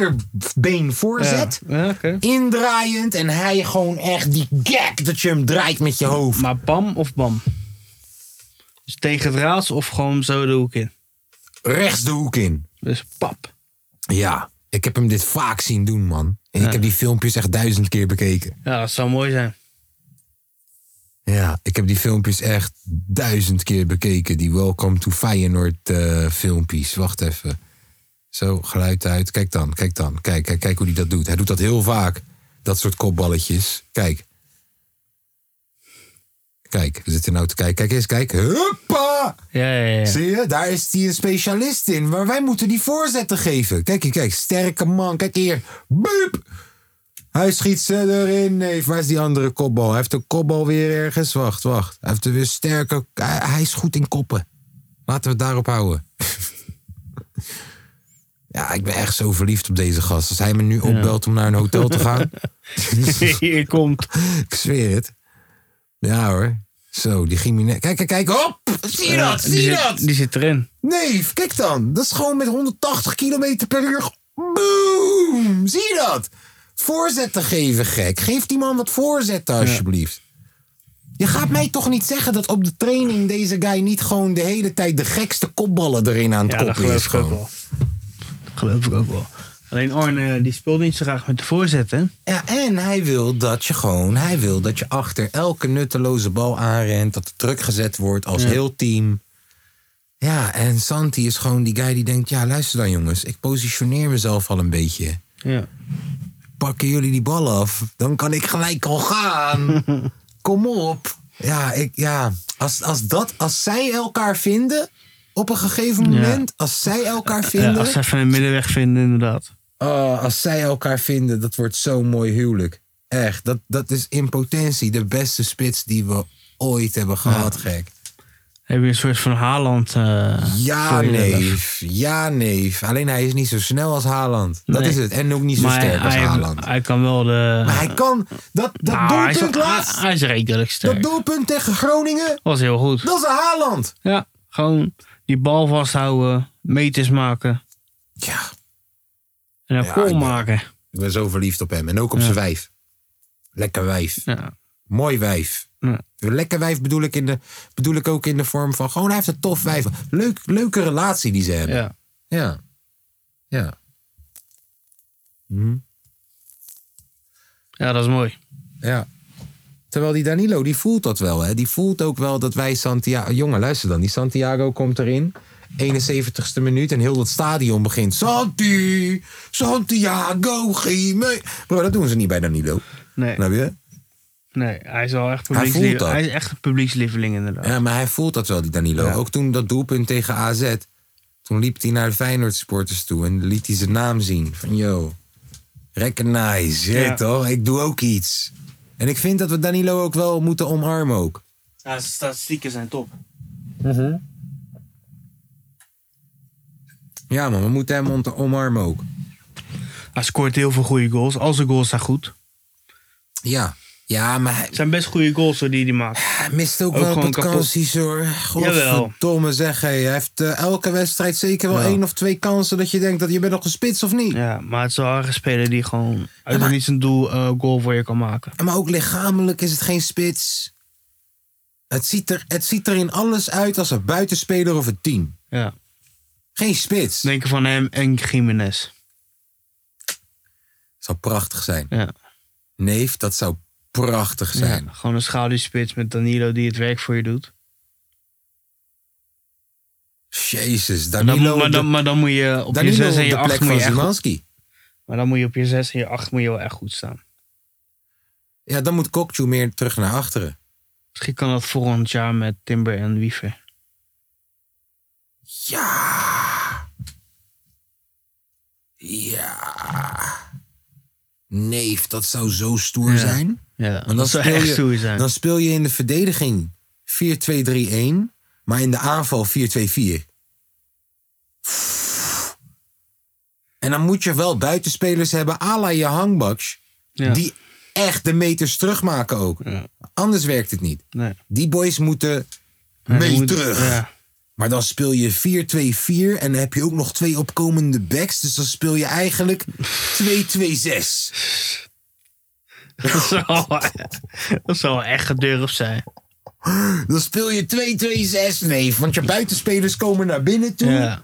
Speaker 2: linkerbeen voorzet.
Speaker 3: Ja, ja, oké.
Speaker 2: Indraaiend en hij gewoon echt die gek dat je hem draait met je hoofd.
Speaker 3: Maar bam of bam? Dus tegen draads of gewoon zo de hoek in?
Speaker 2: Rechts de hoek in.
Speaker 3: Dus pap.
Speaker 2: Ja, ik heb hem dit vaak zien doen, man. En ik heb die filmpjes echt duizend keer bekeken.
Speaker 3: Ja, dat zou mooi zijn.
Speaker 2: Ja, ik heb die filmpjes echt duizend keer bekeken. Die Welcome to Feyenoord eh, filmpjes. Wacht even. Zo, geluid uit. Kijk dan, kijk dan. Kijk, kijk, kijk hoe hij dat doet. Hij doet dat heel vaak. Dat soort kopballetjes. Kijk. Kijk, we zitten nou te kijken. Kijk eens, kijk. Huppa!
Speaker 3: Ja, ja, ja.
Speaker 2: Zie je, daar is hij een specialist in. Maar wij moeten die voorzetten geven. Kijk hier, kijk. Sterke man. Kijk hier. Boep. Hij schiet ze erin. Nee, waar is die andere kopbal? Hij heeft de kopbal weer ergens. Wacht, wacht. Hij heeft er weer sterke... Hij, hij is goed in koppen. Laten we het daarop houden. ja, ik ben echt zo verliefd op deze gast. Als hij me nu opbelt om naar een hotel te gaan...
Speaker 3: Hier komt.
Speaker 2: ik zweer het. Ja hoor. Zo, die Jiménez. Kijk, kijk, kijk. Hop! Zie je dat?
Speaker 3: Ja, Eh, die
Speaker 2: Zie je
Speaker 3: zit-
Speaker 2: dat?
Speaker 3: Die zit erin.
Speaker 2: Nee, kijk dan. Dat is gewoon met 180 km per uur. Boom! Zie je dat? Voorzetten geven, gek. Geef die man wat voorzetten, alsjeblieft. Je gaat mij toch niet zeggen dat op de training deze guy niet gewoon de hele tijd de gekste kopballen erin aan het
Speaker 3: Ja, dat
Speaker 2: koppen is.
Speaker 3: geloof ik ook
Speaker 2: Gewoon.
Speaker 3: wel. Dat geloof ik ook wel. Alleen Arne, die speelde niet zo graag met de voorzet, hè?
Speaker 2: Ja, en hij wil dat je gewoon, hij wil dat je achter elke nutteloze bal aanrent, dat er druk gezet wordt als heel team. Ja, en Santi is gewoon die guy die denkt, ja luister dan jongens, ik positioneer mezelf al een beetje.
Speaker 3: Ja.
Speaker 2: pakken jullie die bal af. Dan kan ik gelijk al gaan. Kom op. Ja, ik, ja. Als, als, dat, als zij elkaar vinden op een gegeven moment, als zij elkaar
Speaker 3: ja
Speaker 2: vinden,
Speaker 3: Eh, als ze even een middenweg vinden, inderdaad.
Speaker 2: Oh, als zij elkaar vinden, dat wordt zo'n mooi huwelijk. Echt, dat, dat is in potentie de beste spits die we ooit hebben gehad, gek.
Speaker 3: Heb je een soort van Haaland. eh,
Speaker 2: Ja,
Speaker 3: voor je middenweg.
Speaker 2: neef. Ja, neef. Alleen hij is niet zo snel als Haaland. Dat
Speaker 3: Nee.
Speaker 2: is het. En ook niet zo
Speaker 3: Maar hij,
Speaker 2: sterk als
Speaker 3: hij,
Speaker 2: Haaland.
Speaker 3: hij kan wel de.
Speaker 2: Maar hij kan... Dat, dat
Speaker 3: Nou, hij is,
Speaker 2: doelpunt
Speaker 3: wel-
Speaker 2: laatst...
Speaker 3: hij- hij is redelijk sterk.
Speaker 2: Dat doelpunt tegen Groningen,
Speaker 3: was heel goed.
Speaker 2: dat is een Haaland.
Speaker 3: Ja, gewoon die bal vasthouden, meters maken
Speaker 2: Ja,
Speaker 3: en een
Speaker 2: Ja, ik
Speaker 3: goal
Speaker 2: ben-
Speaker 3: maken.
Speaker 2: ik ben zo verliefd op hem. En ook op zijn wijf. Lekker wijf.
Speaker 3: Ja,
Speaker 2: Mooi wijf.
Speaker 3: ja.
Speaker 2: Lekker wijf bedoel ik, in de, bedoel ik ook in de vorm van gewoon, hij heeft een tof wijf. Leuk, leuke relatie die ze hebben.
Speaker 3: Ja.
Speaker 2: Ja. Ja.
Speaker 3: ja, dat is mooi.
Speaker 2: Ja. Terwijl die Danilo, die voelt dat wel. Hè? Die voelt ook wel dat wij Santiago... Jongen, luister dan. Die Santiago komt erin. 71ste minuut en heel dat stadion begint. Santi, Santiago, Gime. Bro, dat doen ze niet bij Danilo.
Speaker 3: Nee,
Speaker 2: Snap je?
Speaker 3: nee hij is wel echt
Speaker 2: Hij voelt
Speaker 3: publiekslieveling.
Speaker 2: dat.
Speaker 3: Hij, is echt een publiekslieveling inderdaad.
Speaker 2: Ja, maar hij voelt dat wel, die Danilo. Ook toen dat doelpunt tegen AZ. Toen liep hij naar de Feyenoord supporters toe en liet hij zijn naam zien. Van yo, recognize. Je
Speaker 3: Ja.
Speaker 2: weet toch? Ik doe ook iets. En ik vind dat we Danilo ook wel moeten omarmen ook.
Speaker 3: zijn statistieken zijn top.
Speaker 2: Ja man, we moeten hem ont- omarmen ook.
Speaker 3: Hij scoort heel veel goede goals. Al zijn goals zijn goed.
Speaker 2: Ja. Ja, maar hij
Speaker 3: Het zijn best goede goals hoor, die hij maakt.
Speaker 2: hij mist ook,
Speaker 3: Ook
Speaker 2: wel
Speaker 3: gewoon kapot.
Speaker 2: vakanties hoor. Godverdomme zeg. hé. Hij heeft eh, elke wedstrijd zeker wel
Speaker 3: Ja.
Speaker 2: één of twee kansen dat je denkt dat je bent nog gespitst of niet.
Speaker 3: Ja, maar het is wel erg een speler die gewoon uit
Speaker 2: maar-
Speaker 3: niet zijn doel eh, goal voor je kan maken.
Speaker 2: Maar ook lichamelijk is het geen spits. Het ziet, er, het ziet er in alles uit als een buitenspeler of een team.
Speaker 3: Ja.
Speaker 2: Geen spits. Dat
Speaker 3: Denken van hem en Jiménez.
Speaker 2: zou prachtig zijn.
Speaker 3: Ja.
Speaker 2: Neef, dat zou prachtig zijn.
Speaker 3: Ja, Gewoon een schaduwspits met Danilo die het werk voor je doet.
Speaker 2: Jezus,
Speaker 3: En dan,
Speaker 2: Danilo,
Speaker 3: moet- maar, dan, maar dan moet je op
Speaker 2: op de, Danilo
Speaker 3: je 6 en
Speaker 2: op
Speaker 3: je
Speaker 2: de
Speaker 3: 8
Speaker 2: plek
Speaker 3: moet
Speaker 2: van
Speaker 3: je echt goed,
Speaker 2: Szymanski.
Speaker 3: Maar dan moet je op je 6 en je 8 moet je wel echt goed staan.
Speaker 2: Ja, dan moet Kokju meer terug naar achteren.
Speaker 3: Misschien kan dat volgend jaar met Timber en Wiever.
Speaker 2: Ja. Ja. Neef, dat zou zo stoer
Speaker 3: Ja.
Speaker 2: zijn.
Speaker 3: Ja,
Speaker 2: Maar dan
Speaker 3: dat zou
Speaker 2: speel,
Speaker 3: echt
Speaker 2: je,
Speaker 3: stoer zijn.
Speaker 2: dan speel je in de verdediging 4-2-3-1, maar in de aanval 4-2-4. En dan moet je wel buitenspelers hebben, à la je hangbaks,
Speaker 3: Ja.
Speaker 2: die echt de meters terugmaken ook.
Speaker 3: Ja.
Speaker 2: Anders werkt het niet.
Speaker 3: Nee.
Speaker 2: Die boys moeten
Speaker 3: Ja,
Speaker 2: mee
Speaker 3: die moet-
Speaker 2: terug.
Speaker 3: Ja.
Speaker 2: Maar dan speel je 4-2-4 en dan heb je ook nog twee opkomende backs. Dus dan speel je eigenlijk 2-2-6.
Speaker 3: Dat zou, dat zou wel echt gedurfd zijn.
Speaker 2: Dan speel je 2-2-6, nee. Want je buitenspelers komen naar binnen toe.
Speaker 3: Ja.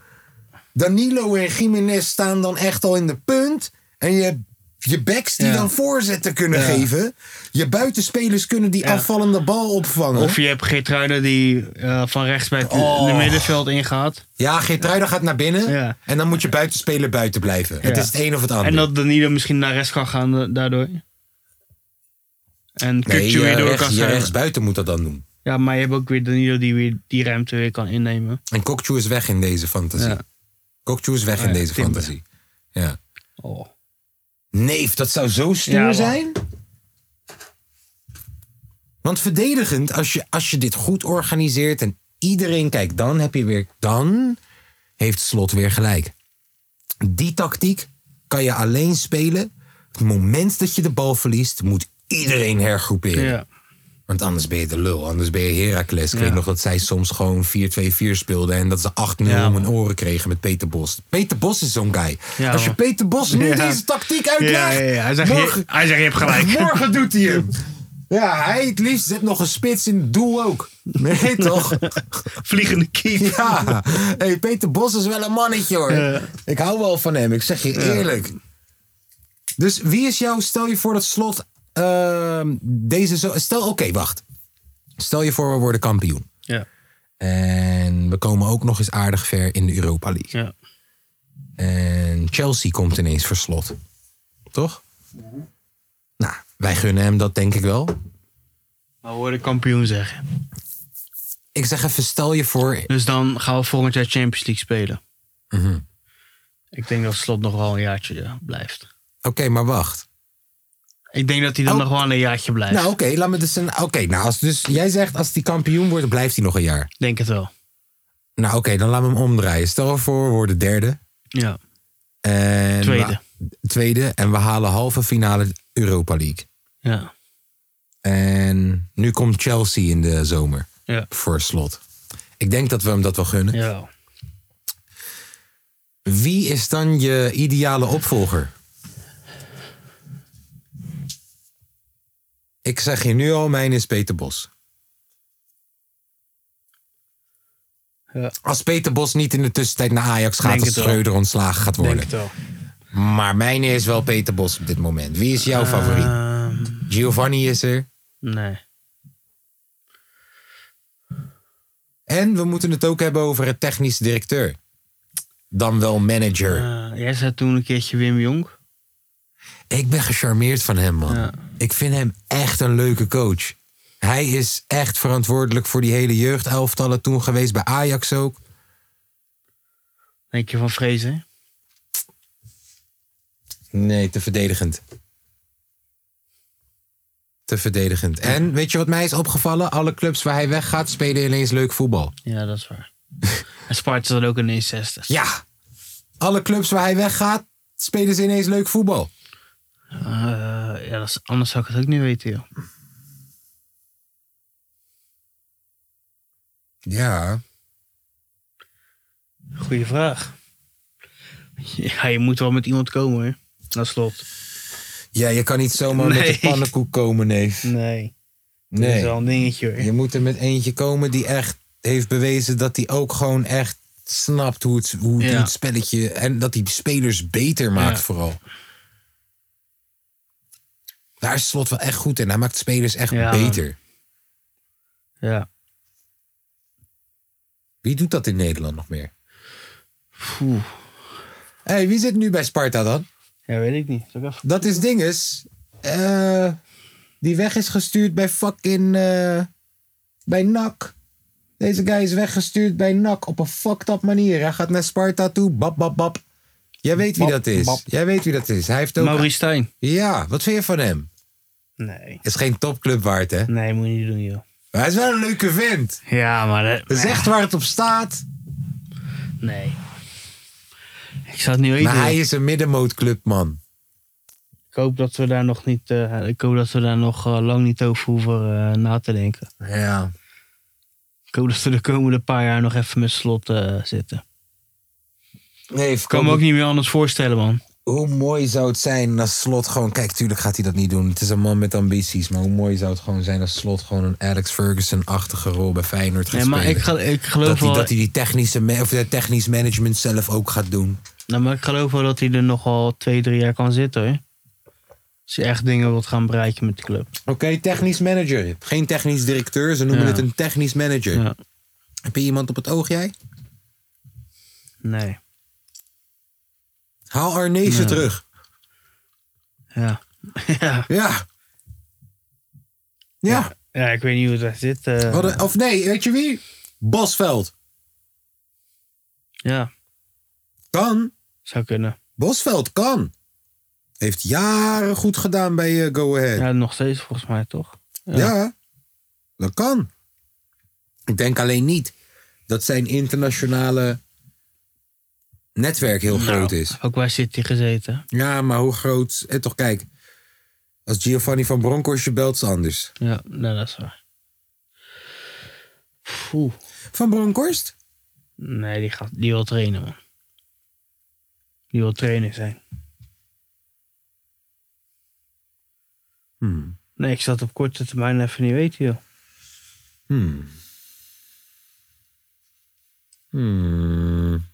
Speaker 2: Danilo en Jiménez staan dan echt al in de punt. En je hebt je backs die
Speaker 3: Ja.
Speaker 2: dan voorzetten kunnen
Speaker 3: Ja.
Speaker 2: geven. Je buitenspelers kunnen die
Speaker 3: Ja.
Speaker 2: afvallende bal opvangen.
Speaker 3: Of je hebt Geertruiden die eh, van rechts bij het
Speaker 2: Oh.
Speaker 3: de middenveld ingaat.
Speaker 2: Ja, Geertruida gaat naar binnen.
Speaker 3: Ja.
Speaker 2: En dan moet je buitenspeler buiten blijven. Het
Speaker 3: Ja.
Speaker 2: is het een of het ander.
Speaker 3: En dat Danilo misschien naar rechts kan gaan eh, daardoor. En
Speaker 2: nee,
Speaker 3: Kukju
Speaker 2: je,
Speaker 3: weer door
Speaker 2: rechts-
Speaker 3: kan
Speaker 2: je
Speaker 3: zijn.
Speaker 2: rechtsbuiten moet dat dan doen.
Speaker 3: Ja, maar je hebt ook weer Danilo die weer die ruimte weer kan innemen.
Speaker 2: En Kokchu is weg in deze fantasie.
Speaker 3: Ja.
Speaker 2: Kokchu is weg
Speaker 3: Ah
Speaker 2: in
Speaker 3: ja,
Speaker 2: deze
Speaker 3: Timber.
Speaker 2: fantasie. Ja.
Speaker 3: Oh.
Speaker 2: Neef, dat zou zo stoer
Speaker 3: Ja, man.
Speaker 2: zijn. Want verdedigend, als je, als je dit goed organiseert en iedereen kijkt, dan heb je weer. Dan heeft slot weer gelijk. Die tactiek kan je alleen spelen. Het moment dat je de bal verliest, moet iedereen hergroeperen.
Speaker 3: Ja.
Speaker 2: Want anders ben je de lul, anders ben je Heracles. Ik weet nog dat zij soms gewoon 4-2-4 speelden en dat ze 8-0
Speaker 3: Ja,
Speaker 2: om
Speaker 3: man.
Speaker 2: hun oren kregen met Peter Bos. Peter Bos is zo'n guy.
Speaker 3: Ja,
Speaker 2: Als je
Speaker 3: man.
Speaker 2: Peter Bos nu
Speaker 3: Ja.
Speaker 2: deze tactiek
Speaker 3: Ja, ja,
Speaker 2: uitlegt,
Speaker 3: ja. Hij, zegt,
Speaker 2: morgen,
Speaker 3: je, hij zegt je hebt gelijk.
Speaker 2: morgen doet hij hem. Ja, hij het liefst zet nog een spits in het doel ook. Nee, toch?
Speaker 3: Vliegende keep.
Speaker 2: Ja. Hey, Peter Bos is wel een mannetje hoor.
Speaker 3: Ja.
Speaker 2: Ik hou wel van hem, ik zeg je eerlijk. Dus wie is jouw, stel je voor dat slot ehm, deze zo. Stel, oké, wacht. Stel je voor, we worden kampioen.
Speaker 3: Ja.
Speaker 2: En we komen ook nog eens aardig ver in de Europa League.
Speaker 3: Ja.
Speaker 2: En Chelsea komt ineens voor slot. Toch? Nou, wij gunnen hem dat denk ik wel.
Speaker 3: Nou, we worden kampioen zeggen.
Speaker 2: Ik zeg even, stel je voor.
Speaker 3: Dus dan gaan we volgend jaar Champions League spelen.
Speaker 2: Mhm.
Speaker 3: Ik denk dat Slot nog wel een jaartje ja, blijft.
Speaker 2: Oké, maar wacht.
Speaker 3: Ik denk dat hij dan
Speaker 2: Oh.
Speaker 3: nog wel een jaartje blijft.
Speaker 2: Nou, oké, laat me dus een. Oké, nou, als, dus jij zegt als die kampioen wordt, blijft hij nog een jaar.
Speaker 3: Ik denk het wel.
Speaker 2: Nou, oké, dan laat me hem omdraaien. Stel voor, we worden derde.
Speaker 3: Ja.
Speaker 2: En
Speaker 3: Tweede.
Speaker 2: we- tweede. En we halen halve finale Europa League.
Speaker 3: Ja.
Speaker 2: En nu komt Chelsea in de zomer
Speaker 3: Ja.
Speaker 2: voor slot. Ik denk dat we hem dat wel gunnen.
Speaker 3: Ja.
Speaker 2: Wie is dan je ideale opvolger? Ik zeg je nu al, mijn is Peter Bos. Als Peter Bos niet in de tussentijd naar Ajax gaat,
Speaker 3: Denk
Speaker 2: als
Speaker 3: het wel.
Speaker 2: Schreuder ontslagen gaat
Speaker 3: Denk
Speaker 2: worden.
Speaker 3: het wel.
Speaker 2: Maar mijn is wel Peter Bos op dit moment. Wie is
Speaker 3: Ah.
Speaker 2: jouw favoriet?
Speaker 3: Ehm,
Speaker 2: Giovanni is er.
Speaker 3: nee.
Speaker 2: En we moeten het ook hebben over het technisch directeur. Dan wel manager.
Speaker 3: Eh, jij zei toen een keertje Wim Jong.
Speaker 2: Ik ben gecharmeerd van hem, man.
Speaker 3: Ja.
Speaker 2: Ik vind hem echt een leuke coach. Hij is echt verantwoordelijk voor die hele jeugdelftallen toen geweest, bij Ajax ook.
Speaker 3: Denk je van Vrezen?
Speaker 2: Nee, te verdedigend. Te verdedigend. En weet je wat mij is opgevallen? Alle clubs waar hij weggaat spelen ineens leuk voetbal.
Speaker 3: Ja, dat is waar. en Sparta zat ook in de 60.
Speaker 2: Ja, alle clubs waar hij weggaat spelen ze ineens leuk voetbal.
Speaker 3: Eh, ja, dat is, anders zou ik het ook niet weten, joh.
Speaker 2: Ja.
Speaker 3: Goeie vraag. Ja, je moet wel met iemand komen, hoor. Dat slot.
Speaker 2: Ja, je kan niet zomaar met
Speaker 3: Nee.
Speaker 2: de pannenkoek komen, neef.
Speaker 3: Nee. Dat is
Speaker 2: Nee.
Speaker 3: wel een dingetje, hoor.
Speaker 2: Je moet er met eentje komen die echt heeft bewezen dat hij ook gewoon echt snapt hoe het, hoe,
Speaker 3: Ja.
Speaker 2: hoe het spelletje. En dat hij spelers beter maakt,
Speaker 3: Ja.
Speaker 2: vooral. Daar is slot wel echt goed in. Hij maakt spelers echt
Speaker 3: Ja.
Speaker 2: beter.
Speaker 3: Ja.
Speaker 2: Wie doet dat in Nederland nog meer?
Speaker 3: Poeh.
Speaker 2: Hé, hey, wie zit nu bij Sparta dan?
Speaker 3: Ja, weet ik niet. Zal ik even...
Speaker 2: Dat is dinges. eh, die weg is gestuurd bij fucking. eh, bij NAC. Deze guy is weggestuurd bij NAC op een fucked up manier. Hij gaat naar Sparta toe. Bap, bap, bap. Jij weet wie
Speaker 4: Bap,
Speaker 2: dat is.
Speaker 4: bap.
Speaker 2: Jij weet wie dat is. Hij heeft ook.
Speaker 3: Maurice Stijn.
Speaker 2: Ja, wat vind je van hem?
Speaker 3: Nee.
Speaker 2: Is geen topclub waard, hè?
Speaker 3: Nee, moet je niet doen, joh.
Speaker 2: Maar hij is wel een leuke vent.
Speaker 3: Ja, maar... dat-
Speaker 2: Dat is echt waar het op staat.
Speaker 3: Nee. Ik zou het niet weten.
Speaker 2: Maar hij
Speaker 3: joh.
Speaker 2: is een middenmootclub, man.
Speaker 3: Ik hoop dat we daar nog niet... eh, ik hoop dat we daar nog eh, lang niet over hoeven eh, na te denken.
Speaker 2: Ja.
Speaker 3: Ik hoop dat we de komende paar jaar nog even met slot eh, zitten. Ik
Speaker 2: Nee,
Speaker 3: kan me ook niet meer anders voorstellen, man.
Speaker 2: hoe mooi zou het zijn als Slot gewoon... Kijk, tuurlijk gaat hij dat niet doen. Het is een man met ambities. Maar hoe mooi zou het gewoon zijn als Slot gewoon een Alex Ferguson-achtige rol bij Feyenoord gaat
Speaker 3: Nee, maar ik,
Speaker 2: spelen.
Speaker 3: ga, ik geloof
Speaker 2: dat, hij,
Speaker 3: wel...
Speaker 2: dat hij die technische ma- of dat technisch management zelf ook gaat doen.
Speaker 3: Nou, maar ik geloof wel dat hij er nogal twee, drie jaar kan zitten, hoor. Als hij echt dingen wilt gaan bereiken met de club.
Speaker 2: Oké, technisch manager. Geen technisch directeur. Ze noemen
Speaker 3: Ja.
Speaker 2: het een technisch manager.
Speaker 3: Ja.
Speaker 2: Heb je iemand op het oog, jij?
Speaker 3: Nee.
Speaker 2: Haal Arnezen
Speaker 3: Nee.
Speaker 2: terug.
Speaker 3: Ja. ja.
Speaker 2: Ja. Ja.
Speaker 3: Ja, ik weet niet hoe het echt zit. eh.
Speaker 2: Hadden- Of nee, weet je wie? Bosveld.
Speaker 3: Ja,
Speaker 2: Kan.
Speaker 3: zou kunnen.
Speaker 2: Bosveld kan. Heeft jaren goed gedaan bij eh, Go Ahead.
Speaker 3: Ja, nog steeds volgens mij, toch?
Speaker 2: Ja. dat kan. Ik denk alleen niet dat zijn internationale netwerk heel groot
Speaker 3: Nou,
Speaker 2: is.
Speaker 3: Ook bij City gezeten.
Speaker 2: Ja, maar hoe groot... eh, toch, kijk. Als Giovanni van Bronckhorst je belt, is het anders.
Speaker 3: Ja, nou, dat is waar. Oeh.
Speaker 2: Van Bronckhorst?
Speaker 3: Nee, die, gaat, die wil trainen, man. Die wil trainer zijn.
Speaker 2: Hmm.
Speaker 3: Nee, ik zat op korte termijn even niet weten, joh.
Speaker 2: Hmm. Hmm.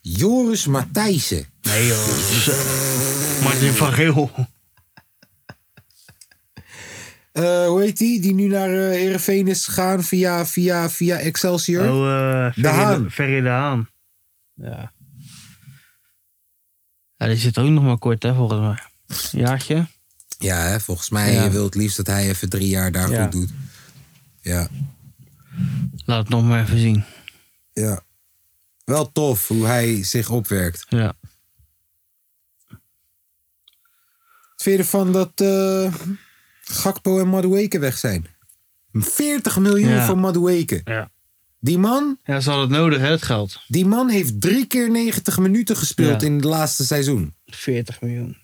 Speaker 2: Joris Matthijssen.
Speaker 3: Nee, joh. Martin van Geel.
Speaker 2: Eh, hoe heet die? Die nu naar eh Heerenveen is gegaan via, via, via Excelsior.
Speaker 3: Oh, eh, Ferry de
Speaker 2: Haan.
Speaker 3: Ferry de Haan. Ja. Ja, die zit ook nog maar kort, hè, volgens mij. Jaartje.
Speaker 2: Ja, hè, volgens mij
Speaker 3: Ja.
Speaker 2: je wil het liefst dat hij even drie jaar daar
Speaker 3: Ja.
Speaker 2: goed doet. Ja,
Speaker 3: Laat het nog maar even zien.
Speaker 2: ja. Wel tof hoe hij zich opwerkt.
Speaker 3: Ja.
Speaker 2: Wat vind je ervan dat eh, Gakpo en Madueke weg zijn? 40 miljoen
Speaker 3: Ja.
Speaker 2: voor Madueke.
Speaker 3: Ja.
Speaker 2: Die man,
Speaker 3: Ja, ze hadden het nodig, hè, het geld.
Speaker 2: die man heeft drie keer 90 minuten gespeeld
Speaker 3: Ja.
Speaker 2: in het laatste seizoen.
Speaker 3: 40 miljoen.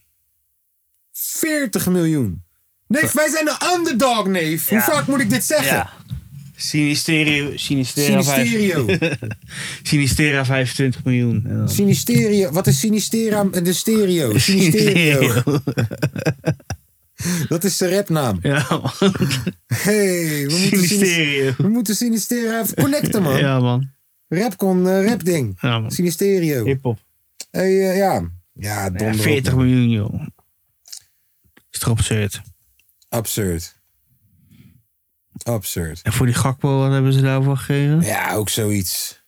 Speaker 2: 40 miljoen. Neef, wij zijn de underdog, neef. Hoe
Speaker 3: Ja.
Speaker 2: vaak moet ik dit zeggen?
Speaker 3: Ja. Sinisterio. Sinisteria.
Speaker 2: Sinisterio.
Speaker 3: Sinistera 25 miljoen. En dan-
Speaker 2: Sinisterio. Wat is Sinistera? De stereo. Sinisterio. Dat is de rapnaam.
Speaker 3: Ja, man.
Speaker 2: Hey, we moeten Sinis-
Speaker 3: Sinisterio.
Speaker 2: We moeten Sinisteria even connecten, man.
Speaker 3: Ja, man.
Speaker 2: Rapcon, eh, rapding.
Speaker 3: Ja, man.
Speaker 2: Sinisterio.
Speaker 3: Hip-hop.
Speaker 2: Hey, eh, ja. Ja,
Speaker 3: Ja,
Speaker 2: donder op,
Speaker 3: 40
Speaker 2: man.
Speaker 3: miljoen, joh. Is toch absurd.
Speaker 2: Absurd. Absurd.
Speaker 3: En voor die Gakpo, wat hebben ze daarvoor gegeven?
Speaker 2: Ja, ook zoiets.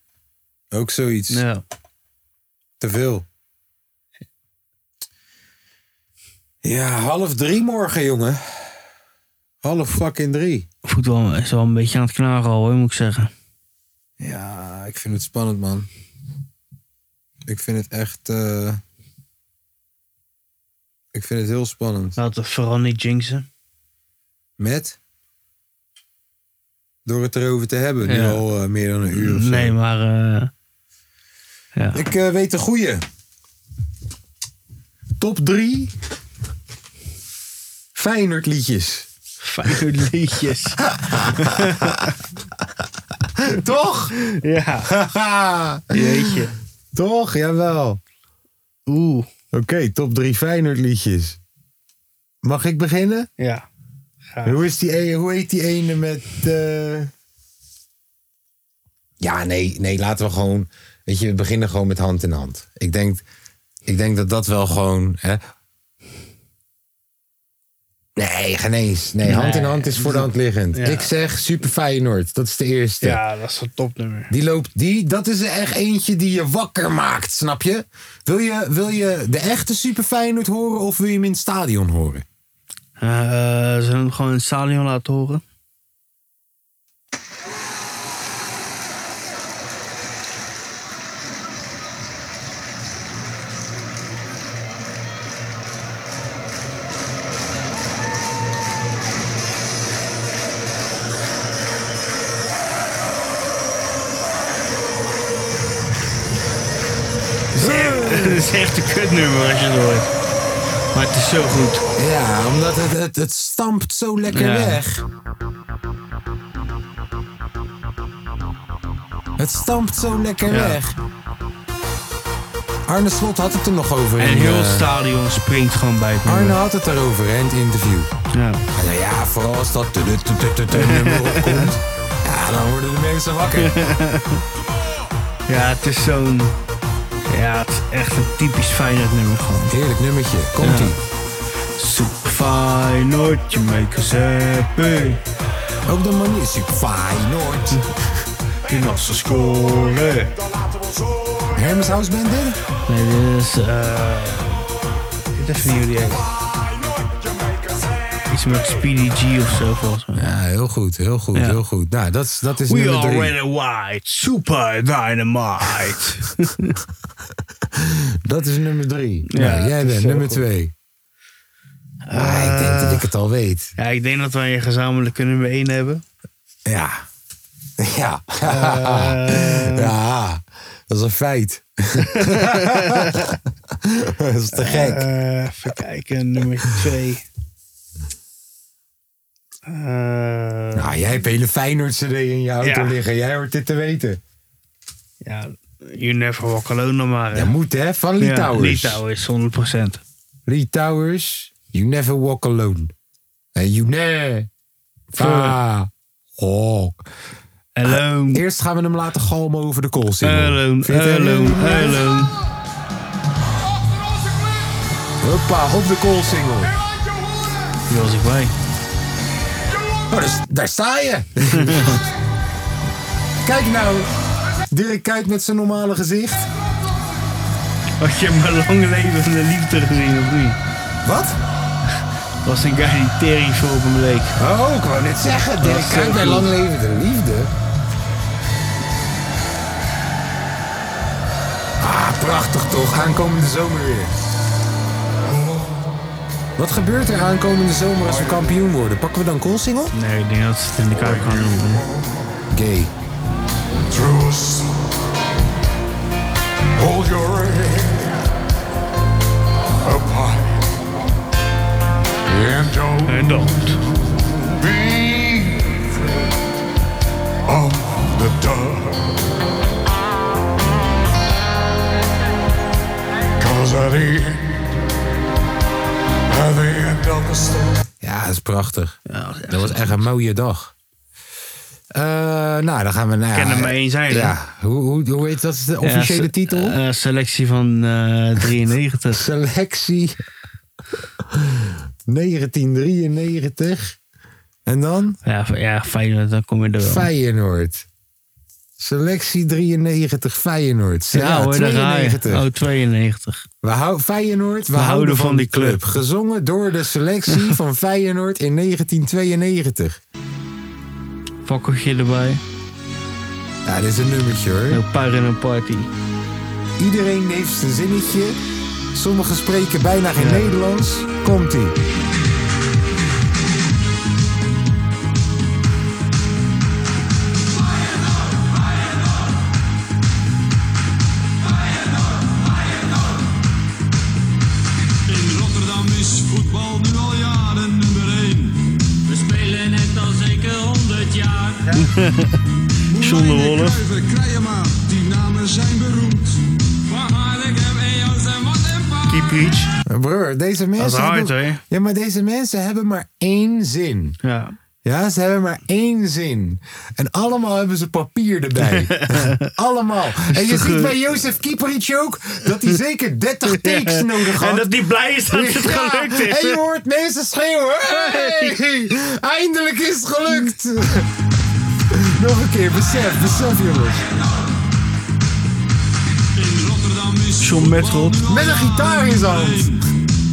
Speaker 2: Ook zoiets.
Speaker 3: Ja.
Speaker 2: Te veel. Ja, half drie morgen, jongen. Half fucking drie.
Speaker 3: Voetbal is wel een beetje aan het knagen al, hoor, moet ik zeggen.
Speaker 2: Ja, ik vind het spannend, man. Ik vind het echt. eh, Ik vind het heel spannend.
Speaker 3: Laten we vooral niet jinxen.
Speaker 2: Met? Door het erover te hebben. Nu
Speaker 3: Ja.
Speaker 2: al eh, meer dan een uur of zo.
Speaker 3: Nee, maar... eh, ja.
Speaker 2: Ik eh, weet de goeie. Top drie. Feyenoord liedjes.
Speaker 3: Feyenoord liedjes.
Speaker 2: Toch?
Speaker 3: ja.
Speaker 2: Haha.
Speaker 3: Jeetje.
Speaker 2: Toch? Jawel.
Speaker 3: Oeh.
Speaker 2: Oké, top drie Feyenoord liedjes. Mag ik beginnen?
Speaker 3: Ja.
Speaker 2: Hoe, is die, e- hoe heet die ene met. eh, Ja, nee, nee, laten we gewoon. Weet je, we beginnen gewoon met hand in hand. Ik denk, ik denk dat dat wel gewoon. Hè... Nee, geen eens. Nee, hand in
Speaker 3: Nee.
Speaker 2: hand is voor de hand liggend.
Speaker 3: Ja.
Speaker 2: Ik zeg Super Feyenoord. Dat is de eerste.
Speaker 3: Ja, dat is een topnummer.
Speaker 2: Die loopt, die, dat is er echt eentje die je wakker maakt, snap je? Wil je, wil je de echte Super Feyenoord horen of wil je hem in het stadion horen?
Speaker 3: Eh, eh, zullen we hem gewoon in het stadion laten horen? Dat is echt een kutnummer als je het hoort. Maar het is zo goed.
Speaker 2: Ja, omdat het, het, het stampt zo lekker
Speaker 3: Ja.
Speaker 2: weg. Het stampt zo lekker
Speaker 3: Ja.
Speaker 2: weg. Arne Slot had het er nog over.
Speaker 3: En
Speaker 2: in,
Speaker 3: heel het
Speaker 2: eh,
Speaker 3: stadion springt gewoon bij het
Speaker 2: Arne
Speaker 3: nummer.
Speaker 2: had het erover hè, in het interview.
Speaker 3: Ja.
Speaker 2: En nou ja, vooral als dat tu- tu- tu- tu- tu- tu- nummer opkomt. Ja, dan worden de mensen wakker.
Speaker 3: ja, het is zo'n... Ja, het is echt een typisch Feyenoord nummer gewoon.
Speaker 2: Heerlijk nummertje. Komt-ie.
Speaker 3: Super Feyenoord, je make us happy.
Speaker 2: Ook de manier. Super Feyenoord.
Speaker 3: En als ze scoren...
Speaker 2: Hermes Housebende?
Speaker 3: Nee, dit is... eh dit is van jullie echt. Iets met Speedy G of zo volgens mij.
Speaker 2: Ja, heel goed. Heel goed.
Speaker 3: Ja.
Speaker 2: Heel goed. Nou, dat is, dat is
Speaker 3: We
Speaker 2: nummer
Speaker 3: are
Speaker 2: drie.
Speaker 3: red and white, super dynamite.
Speaker 2: Dat is nummer drie.
Speaker 3: Ja,
Speaker 2: nou, jij
Speaker 3: het is
Speaker 2: bent
Speaker 3: heel
Speaker 2: nummer
Speaker 3: goed.
Speaker 2: twee. Ah, ik denk dat ik het al weet.
Speaker 3: ja, ik denk dat wij een gezamenlijke nummer 1 hebben.
Speaker 2: Ja. Ja.
Speaker 3: Eh.
Speaker 2: ja. Dat is een feit. dat is te gek.
Speaker 3: Eh, even kijken, nummer 2. Eh,
Speaker 2: nou, jij hebt hele Feyenoord CD in je auto
Speaker 3: Ja.
Speaker 2: liggen. Jij hoort dit te weten.
Speaker 3: ja, You Never Walk Alone dan maar.
Speaker 2: Dat moet hè, van Lee
Speaker 3: Ja,
Speaker 2: Towers.
Speaker 3: Litouwers, 100%.
Speaker 2: Lee Towers, You Never Walk Alone. En You Never... Ah. Oh.
Speaker 3: Alone,
Speaker 2: Eerst gaan we hem laten galmen over de kool single.
Speaker 3: alone,
Speaker 2: Vind je het
Speaker 3: alone,
Speaker 2: heel-
Speaker 3: alone.
Speaker 2: Hoppa, op de kool single.
Speaker 3: Die was ik bij.
Speaker 2: Oh, dus, daar sta je. Kijk nou. Dirk kijkt met zijn normale gezicht.
Speaker 3: Had je mijn lang levende liefde gezien of niet?
Speaker 2: Wat?
Speaker 3: Was een guy die tering veel op hem leek.
Speaker 2: Oh, ik wou net zeggen. Dirk
Speaker 3: Dat is
Speaker 2: kijkt
Speaker 3: zo
Speaker 2: bij
Speaker 3: goed.
Speaker 2: langlevende liefde. Ah, prachtig toch. Aankomende zomer weer. Wat gebeurt er aankomende zomer als we kampioen worden? Pakken we dan koolsingel?
Speaker 3: Nee, ik denk dat ze het in de kaart gaan doen.
Speaker 2: Gay.
Speaker 1: Truce. Hold your head up high. And don't
Speaker 3: En don't.
Speaker 1: be afraid of the dark. Cause at the end, at the end
Speaker 2: Ja, dat is prachtig.
Speaker 3: Ja, dat is echt
Speaker 2: Dat was echt een mooie dag. Eh, nou, dan gaan we naar...
Speaker 3: Kennen maar één zijde.
Speaker 2: Ja, hoe, hoe, hoe heet dat? Is de
Speaker 3: Ja,
Speaker 2: officiële
Speaker 3: se-
Speaker 2: titel?
Speaker 3: eh, selectie van eh 93.
Speaker 2: Selectie 1993. En dan?
Speaker 3: ja, f- ja, Feyenoord, dan kom je er wel.
Speaker 2: Feyenoord. Selectie 93 Feyenoord. Ja,
Speaker 3: ja, hoor, daar ga je.
Speaker 2: 92.
Speaker 3: Oh, 92.
Speaker 2: We hou, Feyenoord, we, houden, van, die club. Gezongen door de selectie van Feyenoord in 1992.
Speaker 3: Fakkeltje erbij.
Speaker 2: Ja, dit is een nummertje hoor.
Speaker 3: Een par in een party.
Speaker 2: Iedereen heeft zijn zinnetje. Sommigen spreken bijna geen Nederlands. Komt-ie.
Speaker 6: In Rotterdam is voetbal nu al jaren nummer 1. We spelen het al zeker 100 jaar.
Speaker 3: John de Wolf.
Speaker 6: Krijema, die namen zijn beroemd. Van Haarlem en Jansen, wat een paar.
Speaker 3: Kieprits.
Speaker 2: Broer, deze mensen.
Speaker 3: hard,
Speaker 2: hebben-
Speaker 3: hoor.
Speaker 2: Ja, maar deze mensen hebben maar één zin.
Speaker 3: Ja.
Speaker 2: Ja, ze hebben maar één zin. En allemaal hebben ze papier erbij. allemaal. En je
Speaker 3: toch,
Speaker 2: ziet
Speaker 3: eh,
Speaker 2: bij Jozef Kieperic ook dat hij zeker 30 takes nodig had.
Speaker 3: En dat die blij is dat het
Speaker 2: Ja,
Speaker 3: gelukt is.
Speaker 2: En je hoort mensen schreeuwen. Hey, eindelijk is het gelukt. Nog een keer, besef, besef jongens.
Speaker 6: In Rotterdam is
Speaker 3: John Metrop.
Speaker 2: Met een gitaar in zijn hand.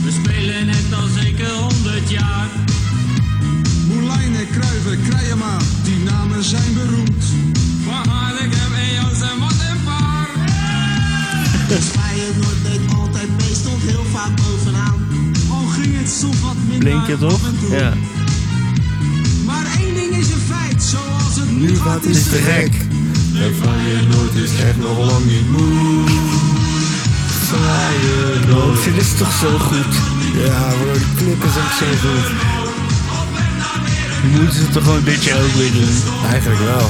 Speaker 6: We spelen het al zeker 100 jaar. Moelijnen, Kruiven, Krijema, die namen zijn beroemd. Van Haarlem en Jansen, wat een paar.
Speaker 7: Feyenoord deed altijd mee, stond heel vaak bovenaan.
Speaker 6: Al ging het soms wat minder.
Speaker 3: Blink je
Speaker 6: af en
Speaker 3: toch?
Speaker 6: toe.
Speaker 3: Ja.
Speaker 6: Maar één ding is een feit, zoals het nu, gaat
Speaker 2: Wat is te gek.
Speaker 3: Dit is toch zo goed.
Speaker 2: Ja, bro, die clip is ook zo goed.
Speaker 3: Moeten ze toch gewoon dit jaar ook weer doen?
Speaker 2: Eigenlijk wel.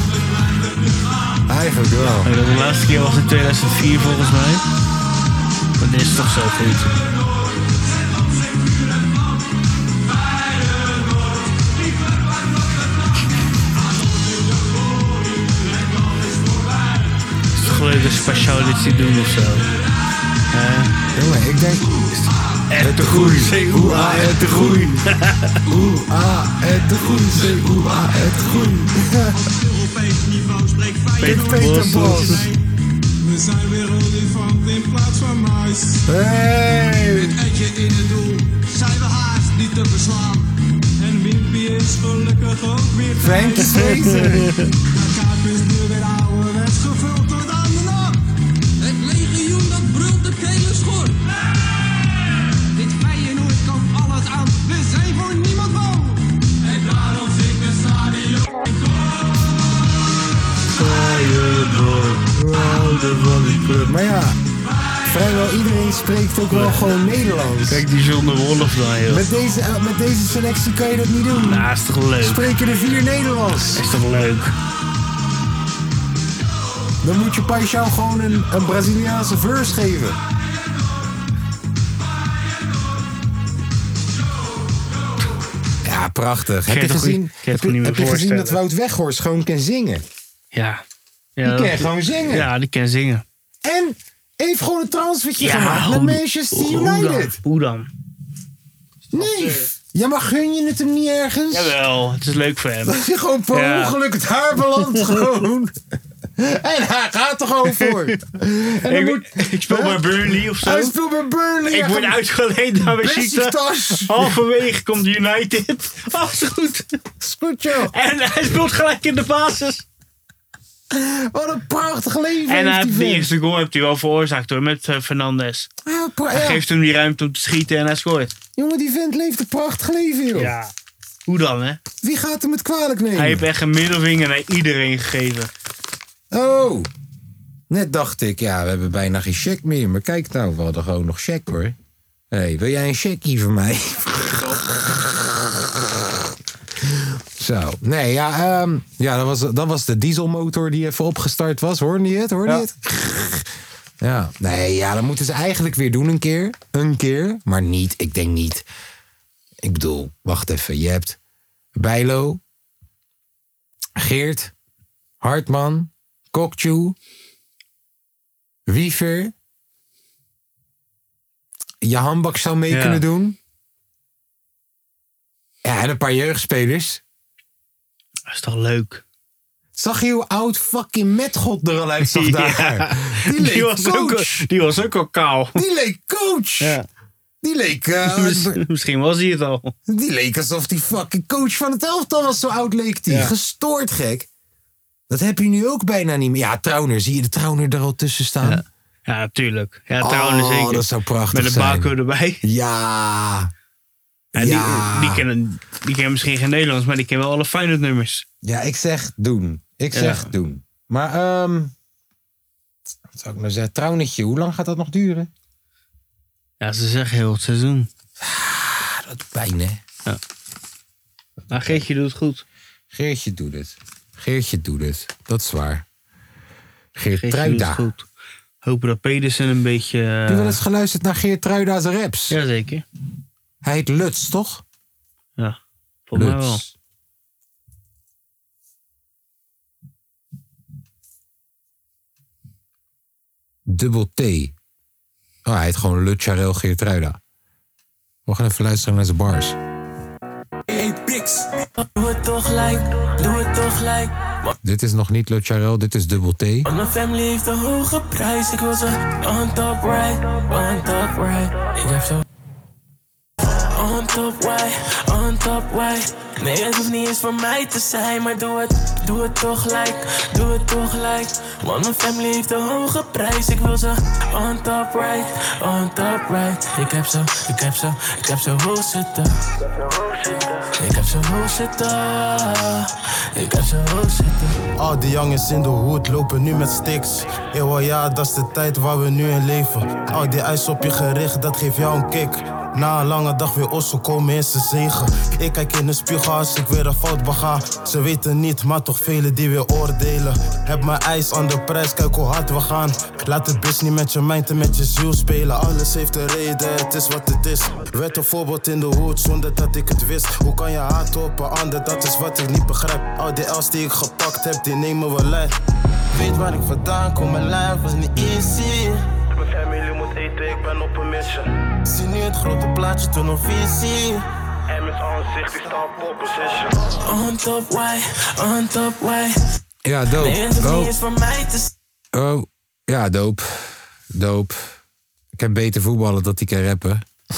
Speaker 2: Eigenlijk wel.
Speaker 3: Ja, De laatste keer was in 2004 volgens mij. Maar dit is toch zo goed. Het is toch leuk dat ze speciaal dit zien doen of zo.
Speaker 2: Jongen, ik denk...
Speaker 3: Echt te groei.
Speaker 2: Oeh, ah, het te groei. Oeh, ah, het te groei. Zee, oeh, ah, het te groei.
Speaker 6: Europees niveau spreekt
Speaker 3: Peter
Speaker 6: Feyenoord.
Speaker 2: Peter Bos.
Speaker 6: We zijn weer olifant in plaats van muis.
Speaker 2: Hey.
Speaker 6: Etje in het doel, zijn we haast niet te verslaan. En Wimpy is gelukkig ook weer
Speaker 2: Frank is bezig.
Speaker 6: De kaart is nu weer ouderwets gevuld tot aan de nok. Het legioen dat brult de kele schor. Dit Feyenoord kan alles aan, we zijn voor niemand bang. En daarom zingt het stadion.
Speaker 2: Maar ja, vrijwel iedereen spreekt ook wel gewoon Nederlands.
Speaker 3: Kijk die John de Wolf dan, joh.
Speaker 2: Met deze, eh, met deze selectie kan je dat niet doen.
Speaker 3: Nou, is toch leuk?
Speaker 2: Spreken er vier Nederlands.
Speaker 3: Is toch leuk?
Speaker 2: Dan moet je Paixão gewoon een, een Braziliaanse verse geven. Ja, prachtig. Heb
Speaker 3: Geen
Speaker 2: je
Speaker 3: toch
Speaker 2: gezien,
Speaker 3: goed- geen
Speaker 2: heb
Speaker 3: toch
Speaker 2: je,
Speaker 3: niet
Speaker 2: heb
Speaker 3: meer
Speaker 2: je gezien dat
Speaker 3: voorstellen.
Speaker 2: Wout Weghorst gewoon kan zingen?
Speaker 3: Ja. ja
Speaker 2: Die
Speaker 3: dat-
Speaker 2: kan gewoon zingen.
Speaker 3: Ja, die kan zingen.
Speaker 2: En heeft gewoon een transfertje gemaakt
Speaker 3: hoe-
Speaker 2: met Manchester
Speaker 3: hoe dan?
Speaker 2: United.
Speaker 3: Hoe dan?
Speaker 2: Nee, ja, maar gun je het hem niet ergens?
Speaker 3: Jawel, het is leuk voor hem.
Speaker 2: Dat je gewoon per
Speaker 3: Ja.
Speaker 2: ongeluk het haar belandt gewoon. En hij gaat er gewoon voor. En dan
Speaker 3: Ik,
Speaker 2: moet,
Speaker 3: ik speel bij Burnley of zo.
Speaker 2: hij speelt bij Burnley.
Speaker 3: Ik
Speaker 2: Hij
Speaker 3: word
Speaker 2: gaat-
Speaker 3: uitgeleend naar
Speaker 2: Plastic
Speaker 3: Besiktas.
Speaker 2: tas.
Speaker 3: Halverwege komt United. Alles goed.
Speaker 2: Oh, Is goed, joh.
Speaker 3: En hij speelt gelijk in de basis.
Speaker 2: Wat een prachtig leven
Speaker 3: En hij
Speaker 2: heeft
Speaker 3: heeft de
Speaker 2: die vent.
Speaker 3: eerste goal heeft hij wel veroorzaakt hoor, met eh, Fernandes.
Speaker 2: Ja, Ah, pra-
Speaker 3: Hij
Speaker 2: ja.
Speaker 3: geeft hem die ruimte om te schieten en hij scoort.
Speaker 2: Jongen, die vent leeft een prachtig leven, joh.
Speaker 3: Ja. Hoe dan hè?
Speaker 2: Wie gaat hem het kwalijk nemen?
Speaker 3: Hij heeft echt een middelvinger naar iedereen gegeven.
Speaker 2: Oh. Net dacht ik, ja, we hebben bijna geen check meer. Maar kijk nou, we hadden gewoon nog check, hoor. Hé, hey, wil jij een checkie van mij? Zo. Nee, ja, ehm, ja dat, was, dat was de dieselmotor die even opgestart was. Hoorde je het? Hoorde je
Speaker 8: Ja.
Speaker 2: het? Ja. Nee, ja, dat moeten ze eigenlijk weer doen een keer. Een keer. Maar niet, ik denk niet. Ik bedoel, wacht even. Je hebt Bijlo, Geert, Hartman, Kokju, Wiever. Je handbak zou mee
Speaker 3: Ja.
Speaker 2: kunnen doen. Ja, en een paar jeugdspelers.
Speaker 3: Dat is toch leuk?
Speaker 2: Zag je hoe oud fucking Metgod er al uit zag daar? Die leek coach.
Speaker 3: al- die was ook al kaal.
Speaker 2: Die leek coach.
Speaker 3: Ja.
Speaker 2: Die leek, eh,
Speaker 3: Miss- Misschien was hij het al.
Speaker 2: die leek alsof die fucking coach van het elftal was. Zo oud leek die.
Speaker 3: Ja.
Speaker 2: Gestoord gek. Dat heb je nu ook bijna niet meer. Ja, Trauner. Zie je de Trauner er al tussen staan?
Speaker 3: Ja. Ja, natuurlijk. Ja,
Speaker 2: Oh,
Speaker 3: trouwens zeker.
Speaker 2: dat zou prachtig
Speaker 3: Met een
Speaker 2: zijn.
Speaker 3: barcode erbij.
Speaker 2: Ja.
Speaker 3: Ja,
Speaker 2: Ja.
Speaker 3: Die, die, kennen, die kennen misschien geen Nederlands, maar die kennen wel alle Feyenoord nummers.
Speaker 2: Ja, ik zeg doen. Ik zeg
Speaker 3: Ja.
Speaker 2: doen. Maar, ehm wat zou ik nou zeggen? Trouwnetje, hoe lang gaat dat nog duren?
Speaker 3: Ja, ze zeggen heel het seizoen.
Speaker 2: Ah, dat doet pijn, hè?
Speaker 3: Maar Geertje Nou, doet het goed.
Speaker 2: Geertje doet het. Geertje doet het. Dat is waar. Geert
Speaker 3: Geertje doet het
Speaker 2: Truida.
Speaker 3: goed. Hopen dat Pedersen een beetje... eh,
Speaker 2: Heb je wel eens geluisterd naar Geert Truida's raps?
Speaker 3: Jazeker.
Speaker 2: Hij heet Luts, toch?
Speaker 3: Ja, volgens mij wel.
Speaker 2: Dubbel T. Oh, hij heet gewoon Lutjarel Geertruida. We gaan even luisteren naar zijn bars.
Speaker 9: Doe het toch gelijk, doe het toch gelijk.
Speaker 2: Dit is nog niet Lutjarel, dit is Dubbel T.
Speaker 9: Want mijn family heeft een hoge prijs. Ik wil ze on top right, on top right. Ik heb zo. On top right, on top right. Nee, het hoeft niet eens van mij te zijn. Maar doe het, doe het toch gelijk, doe het toch gelijk. Want mijn family heeft een hoge prijs. Ik wil ze on top right, on top right. Ik heb zo, ik heb zo, ik heb zo hoog zitten. Ik heb zo hoog zitten. Ik heb zo hoog zitten.
Speaker 10: Al Ah, die jongens in de hoed lopen nu met sticks. Eeuw, ja, dat is de tijd waar we nu in leven. Al die ijs op je gericht, dat geeft jou een kick. Na een lange dag weer osso komen in zijn zegen. Ik kijk in de spiegel als ik weer een fout bega. Ze weten niet, maar toch velen die weer oordelen. Heb mijn ijs aan de prijs, kijk hoe hard we gaan. Laat de bitch niet met je mind en met je ziel spelen. Alles heeft een reden, het is wat het is. Werd een voorbeeld in de hoed zonder dat ik het wist. Hoe kan je haat op een ander, dat is wat ik niet begrijp. Al die L's die ik gepakt heb, die nemen we lijf. Weet waar ik vandaan kom, mijn lijf was niet easy. Mijn familie moet eten, ik ben op een mission. Zie nu het grote plaatje, toen een visie. MS aanzicht, ik sta op position.
Speaker 9: On top way, on top way.
Speaker 2: Ja,
Speaker 9: Nee,
Speaker 2: doop.
Speaker 9: het hoeft niet
Speaker 2: Oh,
Speaker 9: eens van mij te zijn.
Speaker 2: oh. Ja, doop. Doop. Ik heb beter voetballen dat ik kan rappen. Daar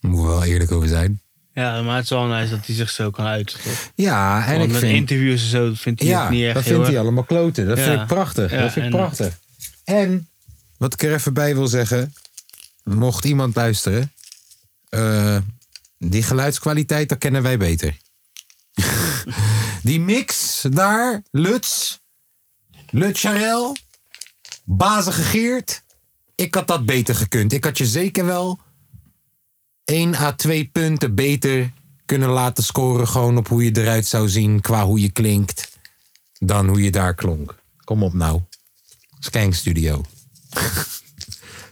Speaker 2: moeten we wel eerlijk over zijn.
Speaker 3: Ja, maar het is wel nice dat hij zich zo kan uiten. toch?
Speaker 2: Ja, en
Speaker 3: Want
Speaker 2: ik
Speaker 3: met
Speaker 2: vind...
Speaker 3: interviews en zo dat vindt hij
Speaker 2: Ja,
Speaker 3: het niet echt
Speaker 2: dat
Speaker 3: heel
Speaker 2: vindt hij
Speaker 3: erg.
Speaker 2: allemaal kloten. Dat
Speaker 3: Ja.
Speaker 2: vind ik prachtig.
Speaker 3: Ja,
Speaker 2: dat vind ik
Speaker 3: en-
Speaker 2: prachtig. En wat ik er even bij wil zeggen, mocht iemand luisteren, eh, die geluidskwaliteit, dat kennen wij beter. die mix daar, Lutz, Lutz Charel, bazige Geert, ik had dat beter gekund. Ik had je zeker wel 1 à 2 punten beter kunnen laten scoren. Gewoon op hoe je eruit zou zien qua hoe je klinkt. Dan hoe je daar klonk. Kom op nou. Skank Studio.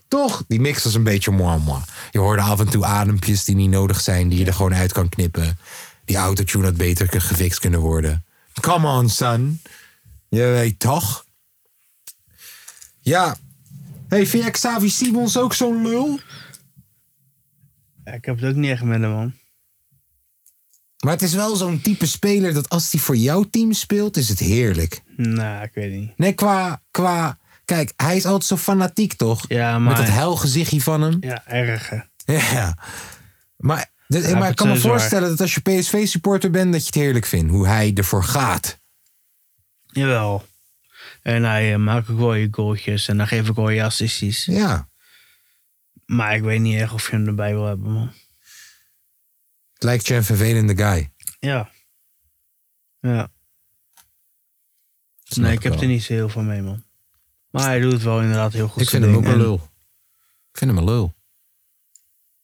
Speaker 2: Toch? Die mix was een beetje moi moi. Je hoorde af en toe adempjes die niet nodig zijn. Die je er gewoon uit kan knippen. Die autotune had beter k- gefixt kunnen worden. Come on son. Je weet toch? Ja. Hey, vind jij Xavi Simons ook zo'n lul?
Speaker 3: Ja, ik heb het ook niet echt met hem, man.
Speaker 2: Maar het is wel zo'n type speler dat als hij voor jouw team speelt, is het heerlijk.
Speaker 3: Nou, ik weet niet.
Speaker 2: Nee, qua, qua... Kijk, hij is altijd zo fanatiek, toch?
Speaker 3: Ja,
Speaker 2: Met
Speaker 3: maar...
Speaker 2: dat huilgezichtje van hem.
Speaker 3: ja, erg. hè.
Speaker 2: Ja. Maar, dit-
Speaker 3: Ja,
Speaker 2: maar ik kan me
Speaker 3: dat is waar.
Speaker 2: voorstellen dat als je PSV-supporter bent, dat je het heerlijk vindt. Hoe hij ervoor gaat.
Speaker 3: Jawel. En hij eh, maakt ook wel je goaltjes en dan geef ik wel je assisties.
Speaker 2: Ja.
Speaker 3: Maar ik weet niet echt of je hem erbij wil hebben, man.
Speaker 2: Het lijkt je een vervelende guy.
Speaker 3: Ja. Ja.
Speaker 2: Snap
Speaker 3: nee,
Speaker 2: ik
Speaker 3: ik heb
Speaker 2: wel.
Speaker 3: er niet zo heel veel mee, man. Maar hij doet het wel inderdaad heel goed.
Speaker 2: Ik
Speaker 3: zijn
Speaker 2: vind hem ook
Speaker 3: ding.
Speaker 2: een
Speaker 3: En-
Speaker 2: lul. Ik vind hem een lul.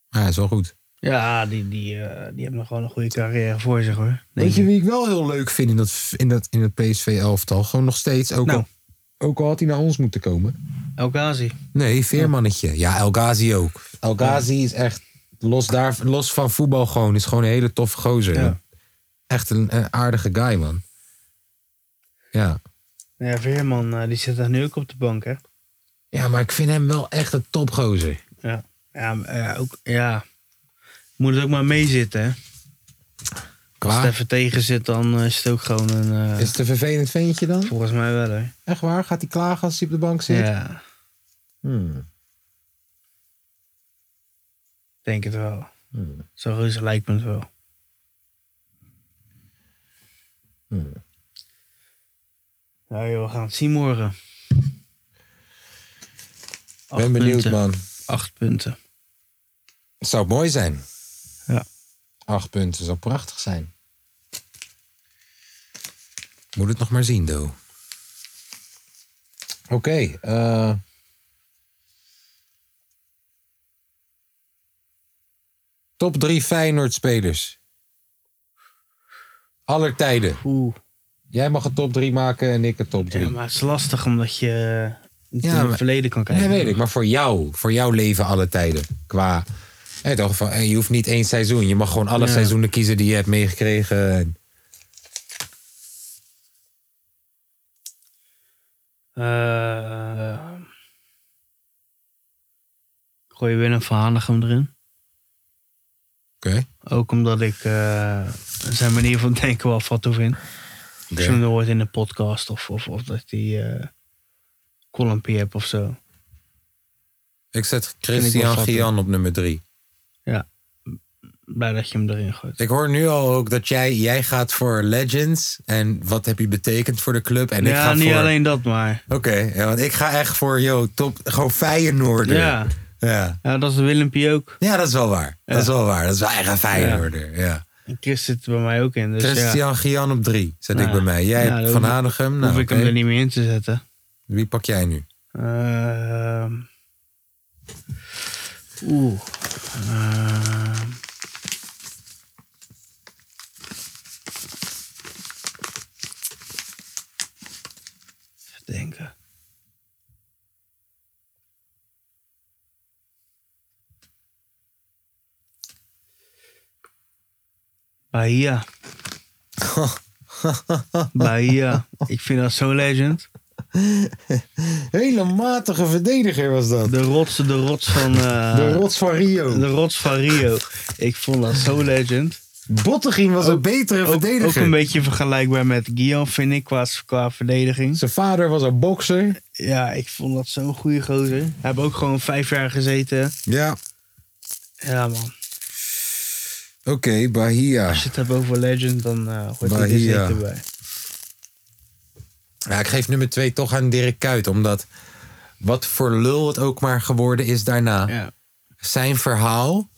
Speaker 2: Maar hij is wel goed.
Speaker 3: Ja, die, die, eh, die hebben nog gewoon een goede carrière voor zich, hoor. Denk
Speaker 2: Weet je
Speaker 3: ik.
Speaker 2: wie ik wel heel leuk vind in dat, in dat, in dat PSV-elftal? Gewoon nog steeds. Ook,
Speaker 3: Nou.
Speaker 2: al, ook al had hij naar ons moeten komen.
Speaker 3: El Ghazi.
Speaker 2: Nee, Veermannetje. Ja, El Ghazi ook. El Ghazi is echt los, daar, los van voetbal gewoon, is gewoon een hele toffe gozer. Echt een, een aardige guy, man. Ja.
Speaker 3: Ja, Veerman, eh, die zit daar nu ook op de bank, hè?
Speaker 2: Ja, maar ik vind hem wel echt een topgozer.
Speaker 3: Ja. Ja, maar, ja, ook, ja. Moet het ook maar meezitten, hè? Als het even tegen zit, dan eh, is het ook gewoon een... eh,
Speaker 2: Is het een vervelend ventje dan?
Speaker 3: Volgens mij wel, hè?
Speaker 2: Echt waar? Gaat hij klagen als hij op de bank zit?
Speaker 3: Ja.
Speaker 2: Hmm.
Speaker 3: Denk het wel.
Speaker 2: Hmm.
Speaker 3: Zo reuze lijkt me het wel.
Speaker 2: Hmm.
Speaker 3: Nou joh, we gaan het zien morgen.
Speaker 2: ben benieuwd, man.
Speaker 3: Acht punten.
Speaker 2: Het zou mooi zijn.
Speaker 3: Ja.
Speaker 2: Acht punten zou prachtig zijn. Moet het nog maar zien, Do. Oké. eh, top drie Feyenoord-spelers. Aller tijden. Jij mag een top drie maken en ik een top drie.
Speaker 3: Ja, maar het is lastig omdat je niet
Speaker 2: Ja,
Speaker 3: in
Speaker 2: maar-
Speaker 3: het verleden kan kijken.
Speaker 2: Nee, weet ik. Maar voor jou, voor jouw leven alle tijden. Qua, hè, toch, van, eh, je hoeft niet één seizoen. Je mag gewoon alle
Speaker 3: Ja.
Speaker 2: seizoenen kiezen die je hebt meegekregen. En-
Speaker 3: Eh, ik gooi Willem van Hanegem erin.
Speaker 2: Oké.
Speaker 3: Ook omdat ik eh, zijn manier van denken wel wat toe vind. Als je hem hoort in een podcast of, of, of dat hij eh columnpie hebt of zo.
Speaker 2: Ik zet
Speaker 3: ik wel
Speaker 2: Christian
Speaker 3: grappig.
Speaker 2: Gian op nummer drie.
Speaker 3: Ja, blij dat je hem erin gooit.
Speaker 2: Ik hoor nu al ook dat jij, jij gaat voor Legends. En wat heb je betekend voor de club? En ik
Speaker 3: ja,
Speaker 2: ga
Speaker 3: niet
Speaker 2: voor...
Speaker 3: alleen dat, maar...
Speaker 2: Oké, ja, want ik ga echt voor, yo, top, gewoon Feyenoorder.
Speaker 3: Ja.
Speaker 2: Ja.
Speaker 3: ja, dat is Willempie ook.
Speaker 2: Ja, dat is wel waar. Dat is wel waar. Dat is wel echt een Feyenoorder. Ja.
Speaker 3: En Chris zit er bij mij ook in. Dus
Speaker 2: Christian
Speaker 3: ja.
Speaker 2: Gian op drie, zet
Speaker 3: Nou
Speaker 2: ik bij
Speaker 3: ja.
Speaker 2: mij. Jij
Speaker 3: Nou,
Speaker 2: hebt
Speaker 3: dan
Speaker 2: Van
Speaker 3: hoef-
Speaker 2: Hanegem. Nou,
Speaker 3: hoef ik hem
Speaker 2: oké.
Speaker 3: er niet meer in te zetten.
Speaker 2: Wie pak jij nu?
Speaker 3: Ehm. Oeh. Ehm. Even denken. Bahia. Bahia. Ik vind dat zo legend.
Speaker 2: Hele matige verdediger was dat.
Speaker 3: De rots, de rots van... eh,
Speaker 2: De rots van Rio.
Speaker 3: De rots van Rio. Ik vond dat zo legend.
Speaker 2: Bottegien was een betere
Speaker 3: ook,
Speaker 2: verdediger.
Speaker 3: Ook een beetje vergelijkbaar met Guillaume, vind ik, qua, qua verdediging.
Speaker 2: Zijn vader was een bokser.
Speaker 3: Ja, ik vond dat zo'n goede gozer. Hij heeft ook gewoon vijf jaar gezeten.
Speaker 2: Ja.
Speaker 3: Ja, man.
Speaker 2: Oké, Bahia.
Speaker 3: Als je het hebt over legend, dan eh hoort hij er
Speaker 2: Bahia.
Speaker 3: zeker bij.
Speaker 2: Ja, ik geef nummer twee toch aan Dirk Kuyt. Omdat wat voor lul het ook maar geworden is daarna. Zijn verhaal.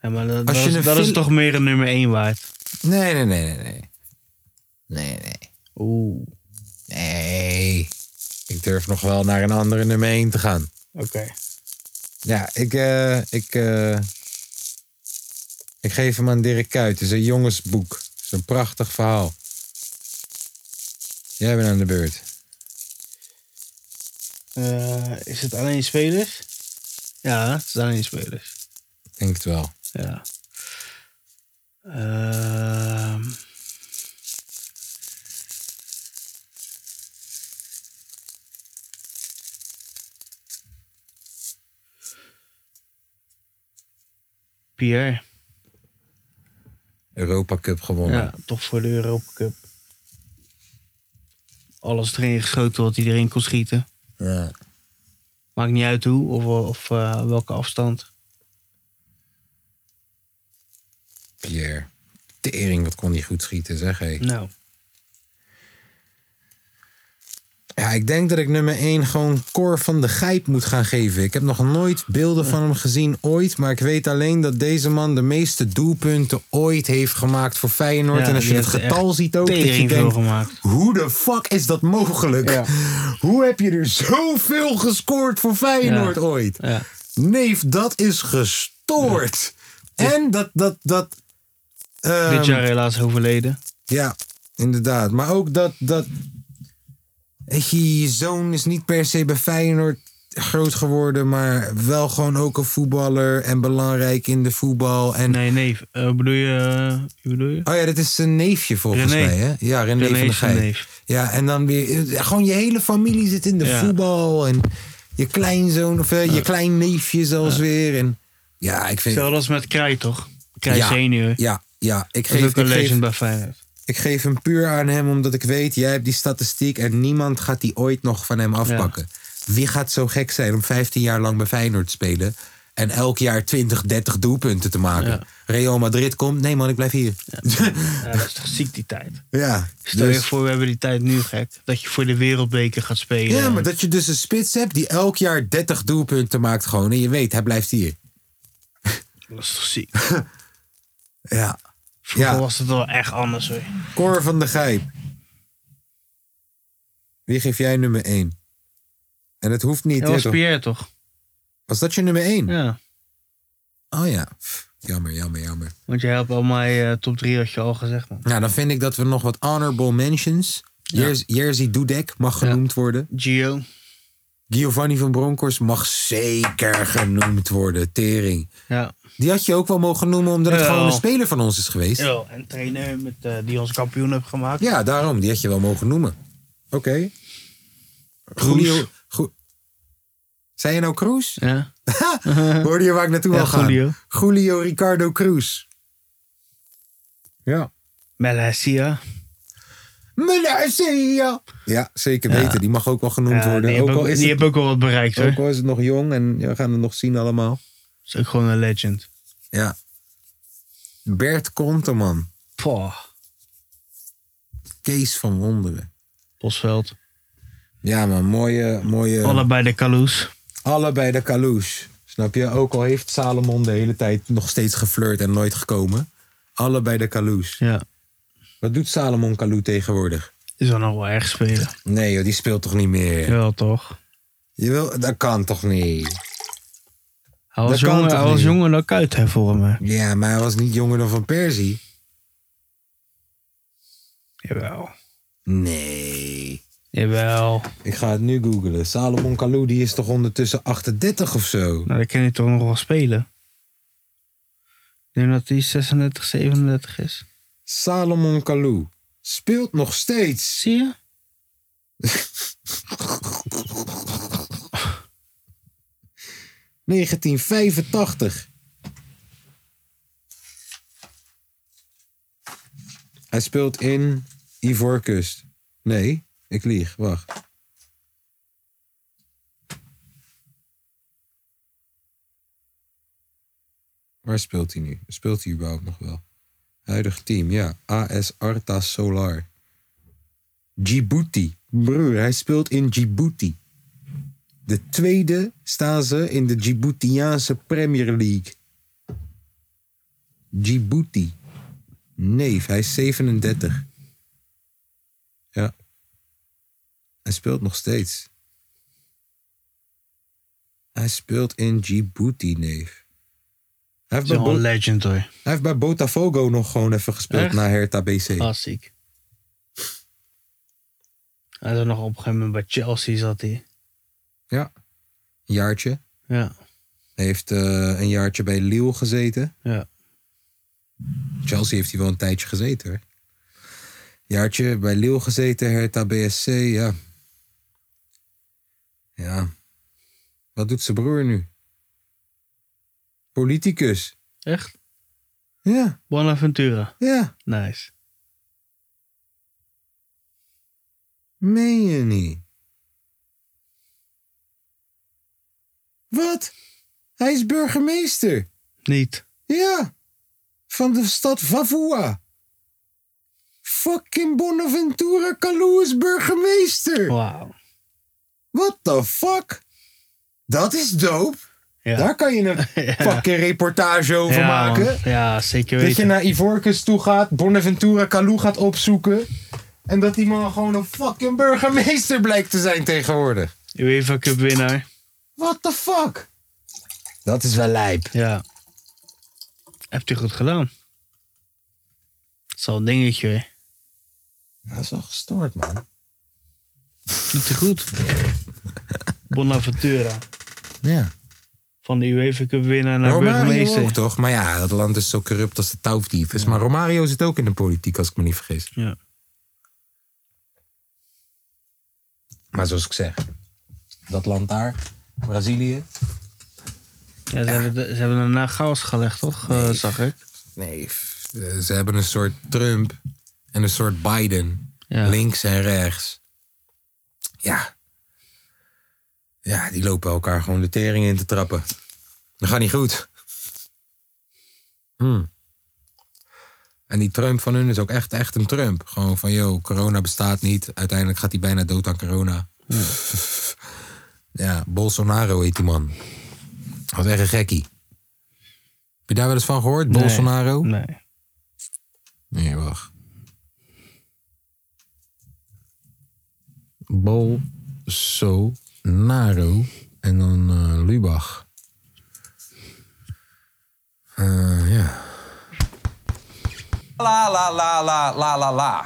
Speaker 3: Ja, maar dat,
Speaker 2: Als
Speaker 3: dat
Speaker 2: je
Speaker 3: is,
Speaker 2: een
Speaker 3: dat is
Speaker 2: fil-
Speaker 3: toch meer een nummer één waard.
Speaker 2: Nee, nee, nee, nee. Nee, nee. nee.
Speaker 3: Oeh.
Speaker 2: Nee. Ik durf nog wel naar een andere nummer één te gaan.
Speaker 3: Oké.
Speaker 2: Ja, ik, eh, ik, eh, ik geef hem aan Dirk Kuyt. Het is een jongensboek. Het is een prachtig verhaal. Jij bent aan de beurt.
Speaker 3: Eh, is het alleen spelers? Ja, het is alleen spelers.
Speaker 2: Ik denk het wel.
Speaker 3: Ja. Ehm. Pierre.
Speaker 2: Europa Cup gewonnen.
Speaker 3: Ja, toch voor de Europa Cup. Alles erin geschoten wat hij erin kon schieten.
Speaker 2: Ja.
Speaker 3: Maakt niet uit hoe of, of eh, welke afstand.
Speaker 2: Pierre. Tering, wat kon hij goed schieten, zeg hé.
Speaker 3: Nou,
Speaker 2: Ja, ik denk dat ik nummer 1 gewoon Cor van de Gijp moet gaan geven. Ik heb nog nooit beelden van hem gezien, ooit. Maar ik weet alleen dat deze man de meeste doelpunten ooit heeft gemaakt voor Feyenoord.
Speaker 3: Ja,
Speaker 2: en als je
Speaker 3: die
Speaker 2: het
Speaker 3: heeft
Speaker 2: getal
Speaker 3: echt
Speaker 2: ziet ook, dat je
Speaker 3: tering veel
Speaker 2: denkt...
Speaker 3: gemaakt.
Speaker 2: Hoe de fuck is dat mogelijk? Hoe heb je er zoveel gescoord voor Feyenoord
Speaker 3: Ja.
Speaker 2: ooit?
Speaker 3: ja.
Speaker 2: Neef, dat is gestoord. En dat... dat, dat
Speaker 3: dit
Speaker 2: ehm,
Speaker 3: jaar helaas overleden.
Speaker 2: ja, inderdaad. Maar ook dat, dat weet je, je zoon is niet per se bij Feyenoord groot geworden, maar wel gewoon ook een voetballer en belangrijk in de voetbal. En...
Speaker 3: Nee, nee, eh, bedoel je, wie bedoel je?
Speaker 2: Oh ja, dat is zijn neefje volgens
Speaker 3: René.
Speaker 2: mij, hè? Ja, René,
Speaker 3: René
Speaker 2: van de
Speaker 3: is zijn
Speaker 2: Gijp.
Speaker 3: neef.
Speaker 2: Ja, en dan weer, gewoon je hele familie zit in de
Speaker 3: Ja.
Speaker 2: voetbal en je kleinzoon of eh, je
Speaker 3: Ja.
Speaker 2: kleinneefje zelfs weer. En, ja, ik vind...
Speaker 3: Hetzelfde als met Krij, toch? Krij
Speaker 2: Ja,
Speaker 3: senior.
Speaker 2: Ja, ja. Ik
Speaker 3: Dat is
Speaker 2: geef,
Speaker 3: ook een
Speaker 2: ik
Speaker 3: legend
Speaker 2: geef,
Speaker 3: bij Feyenoord.
Speaker 2: Ik geef hem puur aan hem, omdat ik weet, jij hebt die statistiek en niemand gaat die ooit nog van hem afpakken. Wie gaat zo gek zijn om 15 jaar lang bij Feyenoord te spelen en elk jaar 20, 30 doelpunten te maken?
Speaker 3: Ja.
Speaker 2: Real Madrid komt, nee man, ik blijf hier. Ja,
Speaker 3: Ja, dat is toch ziek die tijd. Stel je
Speaker 2: dus-
Speaker 3: voor, we hebben die tijd nu gek. Dat je voor de wereldbeker gaat spelen.
Speaker 2: ja, maar dat je dus een spits hebt die elk jaar 30 doelpunten maakt gewoon en je weet, hij blijft hier.
Speaker 3: Dat is toch ziek.
Speaker 2: Ja.
Speaker 3: Vroeger
Speaker 2: Ja.
Speaker 3: was het wel echt anders hoor.
Speaker 2: Cor van de Gijp. Wie geef jij nummer 1? En het hoeft niet.
Speaker 3: Dat
Speaker 2: hè,
Speaker 3: was
Speaker 2: toch?
Speaker 3: Pierre toch?
Speaker 2: Was dat je nummer 1?
Speaker 3: Ja.
Speaker 2: Oh ja. Pff, Jammer, jammer, jammer.
Speaker 3: Want jij hebt al mijn eh, top 3 had je al gezegd man.
Speaker 2: Nou, dan vind ik dat we nog wat honorable mentions. Jer- Jerzy Dudek mag genoemd worden.
Speaker 3: Gio.
Speaker 2: Giovanni van Bronckhorst mag zeker genoemd worden. Tering.
Speaker 3: Ja.
Speaker 2: Die had je ook wel mogen noemen omdat het
Speaker 3: Ja.
Speaker 2: gewoon een speler van ons is geweest.
Speaker 3: Ja, en trainer met, eh, die ons kampioen heeft gemaakt.
Speaker 2: Ja, daarom. Die had je wel mogen noemen. Oké. Julio. Ju- Zei je nou Cruz?
Speaker 3: Ja.
Speaker 2: Hoorde je waar ik naartoe
Speaker 3: Ja,
Speaker 2: wil gaan?
Speaker 3: Julio.
Speaker 2: Julio Ricardo Cruz. Ja.
Speaker 3: Malasia.
Speaker 2: Malasia. Ja, zeker weten. Die mag ook wel genoemd
Speaker 3: Ja,
Speaker 2: worden.
Speaker 3: Die hebben ook,
Speaker 2: is
Speaker 3: die
Speaker 2: het-
Speaker 3: hebben ook al wat bereikt hoor.
Speaker 2: ook al is het nog jong en we gaan het nog zien allemaal.
Speaker 3: Is ook gewoon een legend.
Speaker 2: Ja. Bert Konteman.
Speaker 3: Poh.
Speaker 2: Kees van Wonderen.
Speaker 3: Bosveld.
Speaker 2: Ja, man. Mooie, mooie...
Speaker 3: Allebei de Kaloes.
Speaker 2: Allebei de Kalouche. Snap je? Ook al heeft Salomon de hele tijd nog steeds geflirt en nooit gekomen. Allebei de Kalouche.
Speaker 3: Ja.
Speaker 2: Wat doet Salomon Kalou tegenwoordig?
Speaker 3: Is wel nog wel erg spelen.
Speaker 2: Nee joh, die speelt toch niet meer?
Speaker 3: Ja, toch.
Speaker 2: Je wil, dat kan toch niet?
Speaker 3: Hij was,
Speaker 2: Dat kan
Speaker 3: jonger,
Speaker 2: toch
Speaker 3: hij was
Speaker 2: niet?
Speaker 3: jonger dan Kuit hè, voor me.
Speaker 2: Ja, maar hij was niet jonger dan Van Persie.
Speaker 3: Jawel.
Speaker 2: Nee.
Speaker 3: Jawel.
Speaker 2: Ik ga het nu googlen. Salomon Kalou, die is toch ondertussen 38 of zo?
Speaker 3: Nou, dan kan hij toch nog wel spelen. Ik denk dat hij 36, 37 is.
Speaker 2: Salomon Kalou speelt nog steeds.
Speaker 3: Zie je?
Speaker 2: je? 1985. Hij speelt in Ivoorkust. Nee, ik lieg. Wacht. Waar speelt hij nu? Speelt hij überhaupt nog wel? Huidig team, ja. AS Arta Solar. Djibouti. Broer, hij speelt in Djibouti. De tweede staan ze in de Djiboutiaanse Premier League. Djibouti. Neef, hij is 37. Ja. Hij speelt nog steeds. Hij speelt in Djibouti, neef. Hij
Speaker 3: Dat is
Speaker 2: heeft
Speaker 3: wel
Speaker 2: bij
Speaker 3: een
Speaker 2: Bo-
Speaker 3: legend hoor.
Speaker 2: hij heeft bij Botafogo nog gewoon even gespeeld
Speaker 3: Echt? Ah.
Speaker 2: na Hertha BC.
Speaker 3: Klassiek. Hij had nog op een gegeven moment bij Chelsea zat hij.
Speaker 2: Ja. Een jaartje.
Speaker 3: Ja.
Speaker 2: Hij heeft eh, een jaartje bij Lille gezeten.
Speaker 3: Ja.
Speaker 2: Chelsea heeft hij wel een tijdje gezeten hoor. Jaartje bij Lille gezeten, Hertha BSC, ja. Ja. Wat doet zijn broer nu? Politicus.
Speaker 3: Echt?
Speaker 2: Ja,
Speaker 3: Bonaventura.
Speaker 2: ja.
Speaker 3: Nice.
Speaker 2: Meen je niet? Wat? Hij is burgemeester.
Speaker 3: Niet.
Speaker 2: Ja, van de stad Vavua. Fucking Bonaventura Calou is burgemeester.
Speaker 3: Wauw.
Speaker 2: What the fuck? Dat is dope.
Speaker 3: Ja.
Speaker 2: Daar kan je een fucking reportage over
Speaker 3: Ja,
Speaker 2: maken.
Speaker 3: man. Ja, zeker
Speaker 2: Dat je
Speaker 3: weten.
Speaker 2: naar Ivorcus toe gaat, Bonaventura Calou gaat opzoeken. En dat die man gewoon een fucking burgemeester blijkt te zijn tegenwoordig.
Speaker 3: UEFA Cup winnaar.
Speaker 2: What the fuck? Dat is wel lijp.
Speaker 3: Ja. Hebt u goed gedaan. Dat is al een dingetje hoor.
Speaker 2: Dat is wel gestoord, man.
Speaker 3: Doet hij goed. Bonaventura.
Speaker 2: Ja.
Speaker 3: Van de UEFA Cup winnaar naar
Speaker 2: Romario
Speaker 3: burgemeester.
Speaker 2: ook, toch? Maar ja, dat land is zo corrupt als de touwdief is. Maar Romario zit ook in de politiek, als ik me niet vergis.
Speaker 3: Ja.
Speaker 2: Maar zoals ik zeg, dat land daar, Brazilië.
Speaker 3: Ja, ze, Hebben, de- ze hebben daarna chaos gelegd, toch? Eh, zag ik.
Speaker 2: Nee, f- eh, ze hebben een soort Trump en een soort Biden. Links en rechts. Ja. Ja, die lopen elkaar gewoon de tering in te trappen. Dat gaat niet goed. Hm. En die Trump van hun is ook echt, echt een Trump. Gewoon van, yo, corona bestaat niet. Uiteindelijk gaat hij bijna dood aan corona. Ja, Bolsonaro heet die man. Dat was echt een gekkie. Heb je daar wel eens van gehoord,
Speaker 3: Nee,
Speaker 2: Bolsonaro?
Speaker 3: Nee.
Speaker 2: Nee, wacht. Bolsonaro en dan eh, Lubach. Eh, ja.
Speaker 11: La la la la la la la.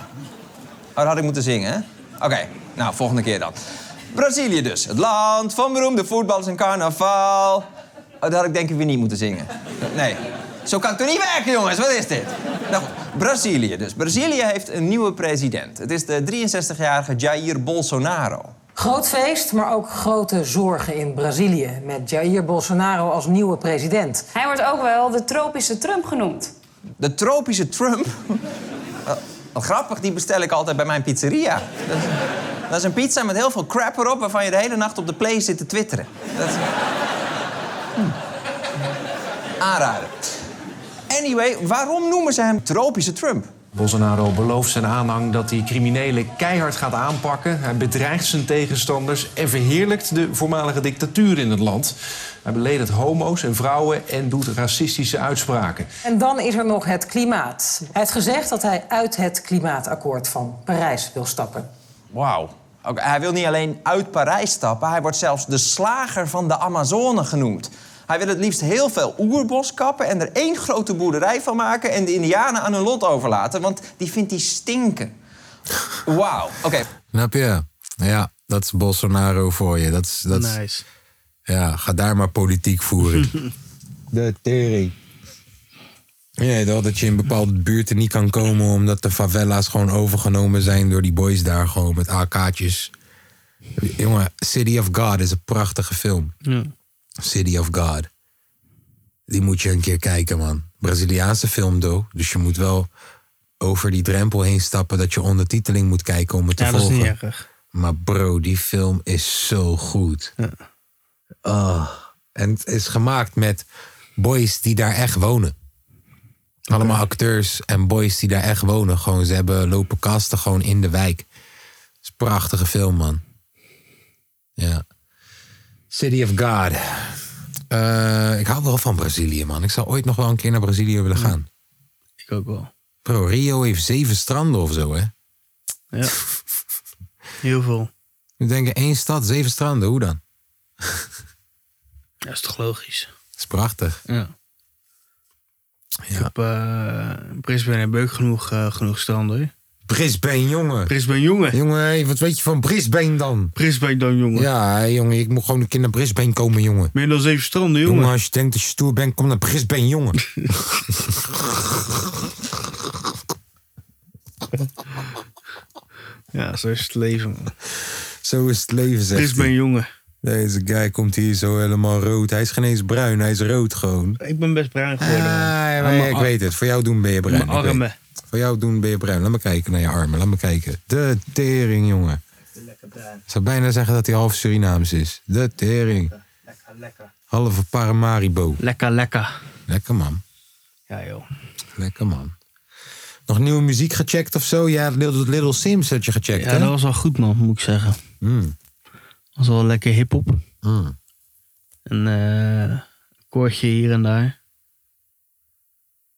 Speaker 11: Oh, dat had ik moeten zingen, hè? Oké, nou, volgende keer dan. Brazilië dus, het land van beroemde voetballers en carnaval. Oh, dat had ik denk ik weer niet moeten zingen. Nee, zo kan het toch niet werken, jongens? Wat is dit? Nou goed, Brazilië dus. Brazilië heeft een nieuwe president. Het is de 63-jarige Jair Bolsonaro.
Speaker 12: Groot feest, maar ook grote zorgen in Brazilië. Met Jair Bolsonaro als nieuwe president.
Speaker 13: Hij wordt ook wel de tropische Trump genoemd.
Speaker 11: De tropische Trump. Wat- Wat grappig, die bestel ik altijd bij mijn pizzeria. Dat, dat is een pizza met heel veel crap erop... waarvan je de hele nacht op de play zit te twitteren. Dat, hm. Aanraden. Anyway, waarom noemen ze hem tropische Trump?
Speaker 14: Bolsonaro belooft zijn aanhang dat hij criminelen keihard gaat aanpakken. Hij bedreigt zijn tegenstanders en verheerlijkt de voormalige dictatuur in het land. Hij beledigt homo's en vrouwen en doet racistische uitspraken.
Speaker 12: En dan is er nog het klimaat. Hij heeft gezegd dat hij uit het klimaatakkoord van Parijs wil stappen.
Speaker 11: Wauw. Ook, hij wil niet alleen uit Parijs stappen, hij wordt zelfs de slager van de Amazone genoemd. Hij wil het liefst heel veel oerbos kappen en er één grote boerderij van maken en de Indianen aan hun lot overlaten, want die vindt hij stinken. Wauw. Oké,
Speaker 2: Snap je? Ja, dat is Bolsonaro voor je. Dat is, dat is-
Speaker 3: Nice.
Speaker 2: Ja, ga daar maar politiek voeren. De tering. Ja, dat- dat je in bepaalde buurten niet kan komen omdat de favela's gewoon overgenomen zijn door die boys daar gewoon met AK'tjes. Jongen, City of God is een prachtige film.
Speaker 3: Ja.
Speaker 2: City of God. Die moet je een keer kijken, man. Braziliaanse film, do. Dus je moet wel over die drempel heen stappen dat je ondertiteling moet kijken om het te
Speaker 3: Ja, dat is
Speaker 2: volgen.
Speaker 3: niet erg.
Speaker 2: Maar bro, die film is zo goed. Ah. En het is gemaakt met boys die daar echt wonen. Allemaal acteurs en boys die daar echt wonen. Gewoon, ze hebben lopen kasten gewoon in de wijk. Het is een prachtige film, man. Ja. City of God. Eh, ik hou wel van Brazilië, man. Ik zou ooit nog wel een keer naar Brazilië willen gaan.
Speaker 3: Ik ook wel.
Speaker 2: Bro, Rio heeft zeven stranden of zo, hè?
Speaker 3: Ja. Heel veel.
Speaker 2: Nu denken één stad, zeven stranden, hoe dan?
Speaker 3: Dat is toch logisch?
Speaker 2: Dat is prachtig.
Speaker 3: Ja. Ik heb eh, in Brisbane heb ik ook genoeg, eh, genoeg stranden. hoor.
Speaker 2: Brisbane, jongen.
Speaker 3: Brisbane, jongen.
Speaker 2: Jongen, hé, wat weet je van Brisbane dan?
Speaker 3: Brisbane dan, jongen.
Speaker 2: Ja, hé, jongen, ik moet gewoon een keer naar Brisbane komen, jongen.
Speaker 3: Meer dan zeven stranden, jongen.
Speaker 2: Jongen, als je denkt dat je stoer bent, kom naar Brisbane, jongen.
Speaker 3: Ja, zo is het leven, man.
Speaker 2: Zo is het leven, zegt
Speaker 3: Brisbane, jongen.
Speaker 2: Deze guy komt hier zo helemaal rood. Hij is geen eens bruin, hij is rood gewoon.
Speaker 3: Ik ben best bruin geworden. man.
Speaker 2: Ah,
Speaker 3: Aan
Speaker 2: maar
Speaker 3: mijn
Speaker 2: ik
Speaker 3: ar-
Speaker 2: weet het. Voor jou doen ben je bruin.
Speaker 3: Mijn
Speaker 2: ik weet
Speaker 3: armen.
Speaker 2: het. Voor jou doen ben je bruin. Laat me kijken naar je armen. Laat me kijken. De tering, jongen. Ik zou bijna zeggen dat hij half Surinaams is. De tering. Lekker, lekker. Halve Paramaribo.
Speaker 3: Lekker, lekker.
Speaker 2: Lekker, man.
Speaker 3: Ja, joh.
Speaker 2: Lekker, man. Nog nieuwe muziek gecheckt of zo? Ja, Little, Little Sims had je gecheckt,
Speaker 3: Ja,
Speaker 2: hè? Hmm,
Speaker 3: dat was wel goed, man, moet ik zeggen. Dat was wel lekker hip-hop.
Speaker 2: Mm.
Speaker 3: Een eh, koortje hier en daar.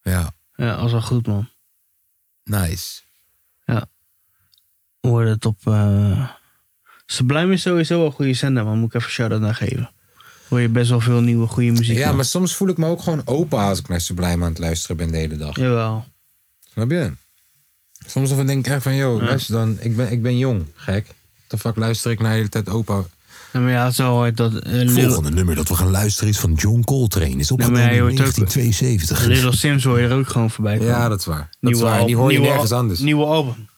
Speaker 2: Ja.
Speaker 3: Ja, dat was wel goed, man.
Speaker 2: Nice.
Speaker 3: Ja. Hoorde het op. eh Sublime is sowieso wel een goede zender, man. Moet ik even shout-out naar geven. Hoor je best wel veel nieuwe, goede muziek.
Speaker 2: Ja,
Speaker 3: man.
Speaker 2: maar soms voel ik me ook gewoon open als ik naar Sublime aan het luisteren ben de hele dag.
Speaker 3: Jawel.
Speaker 2: Snap je? Soms dan denk ik echt van, joh,
Speaker 3: Ja.
Speaker 2: luister dan, ik ben, ik ben jong, gek. What The fuck luister ik naar de hele tijd opa
Speaker 3: Ja, maar ja, het is wel hard dat... eh, Lil-
Speaker 2: volgende nummer dat we gaan luisteren is van John Coltrane. Is opgenomen
Speaker 3: maar hij
Speaker 2: in
Speaker 3: hoort ook-
Speaker 2: 1972.
Speaker 3: Little Sims hoor je er ook gewoon voorbij komen.
Speaker 2: Ja, dat is waar. Dat is waar.
Speaker 3: al-
Speaker 2: Die hoor je
Speaker 3: nieuwe
Speaker 2: nergens
Speaker 3: al-
Speaker 2: anders.
Speaker 3: Nieuwe album.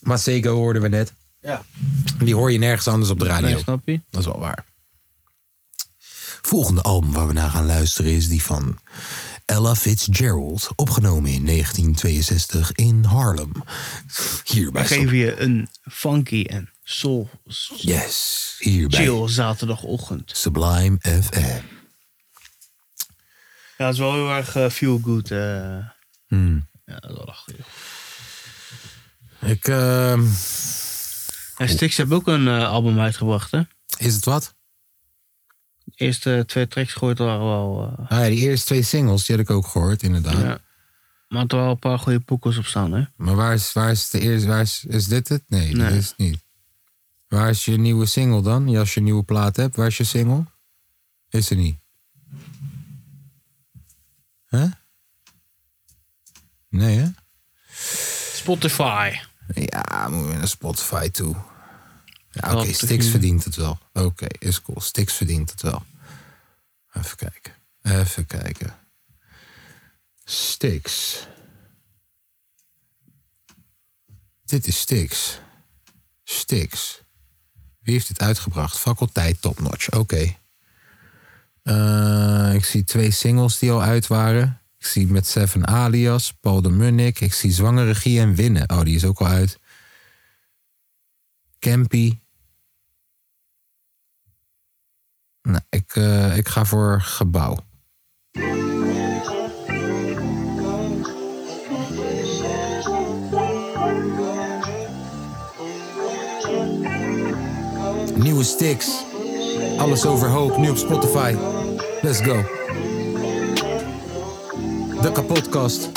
Speaker 2: Maar Sego hoorden we net.
Speaker 3: Ja.
Speaker 2: Die hoor je nergens anders op de radio.
Speaker 3: Nee, snap je?
Speaker 2: Dat is wel waar. Volgende album waar we naar gaan luisteren is die van Ella Fitzgerald. Opgenomen in 1962 in Harlem. Hier bij
Speaker 3: We geven je een funky en soul.
Speaker 2: Yes, hier bij-
Speaker 3: Chill zaterdagochtend.
Speaker 2: Sublime FM.
Speaker 3: Ja, het is wel heel erg eh, feel good. eh.
Speaker 2: Hmm.
Speaker 3: Ja, dat is wel lachen, joh.
Speaker 2: Ik, ehm,
Speaker 3: En Stix heeft ook een eh, album uitgebracht, hè?
Speaker 2: Is het wat?
Speaker 3: De eerste eh, twee tracks gooit waren wel... eh,
Speaker 2: ah ja, die eerste twee singles die had ik ook gehoord, inderdaad.
Speaker 3: ja. Maar er wel een paar goede poekels op staan, hè?
Speaker 2: Maar waar is, waar is de eerste? Waar is, is dit het? Nee,
Speaker 3: Nee.
Speaker 2: dit is het niet. Waar is je nieuwe single dan? Ja, Als je een nieuwe plaat hebt, waar is je single? Is er niet. Hè? Nee, hè?
Speaker 3: Spotify.
Speaker 2: Ja, moeten we naar Spotify toe. Ja,
Speaker 3: Dat
Speaker 2: oké,
Speaker 3: te
Speaker 2: Stix
Speaker 3: vinden.
Speaker 2: verdient het wel. Oké, is cool. Stix verdient het wel. Even kijken. Even kijken. Stix. Dit is Stix. Stix. Wie heeft dit uitgebracht? Faculteit Top Notch. Oké. Eh, ik zie twee singles die al uit waren. Ik zie met Seven Alias, Paul de Munnik. Ik zie Zwangere Regie en Winnen. Oh, die is ook al uit. Campy. Nou, ik, eh, ik ga voor Gebouw. Nieuwe sticks. Alles overhoop, nu op Spotify. Let's go. De kapotkast.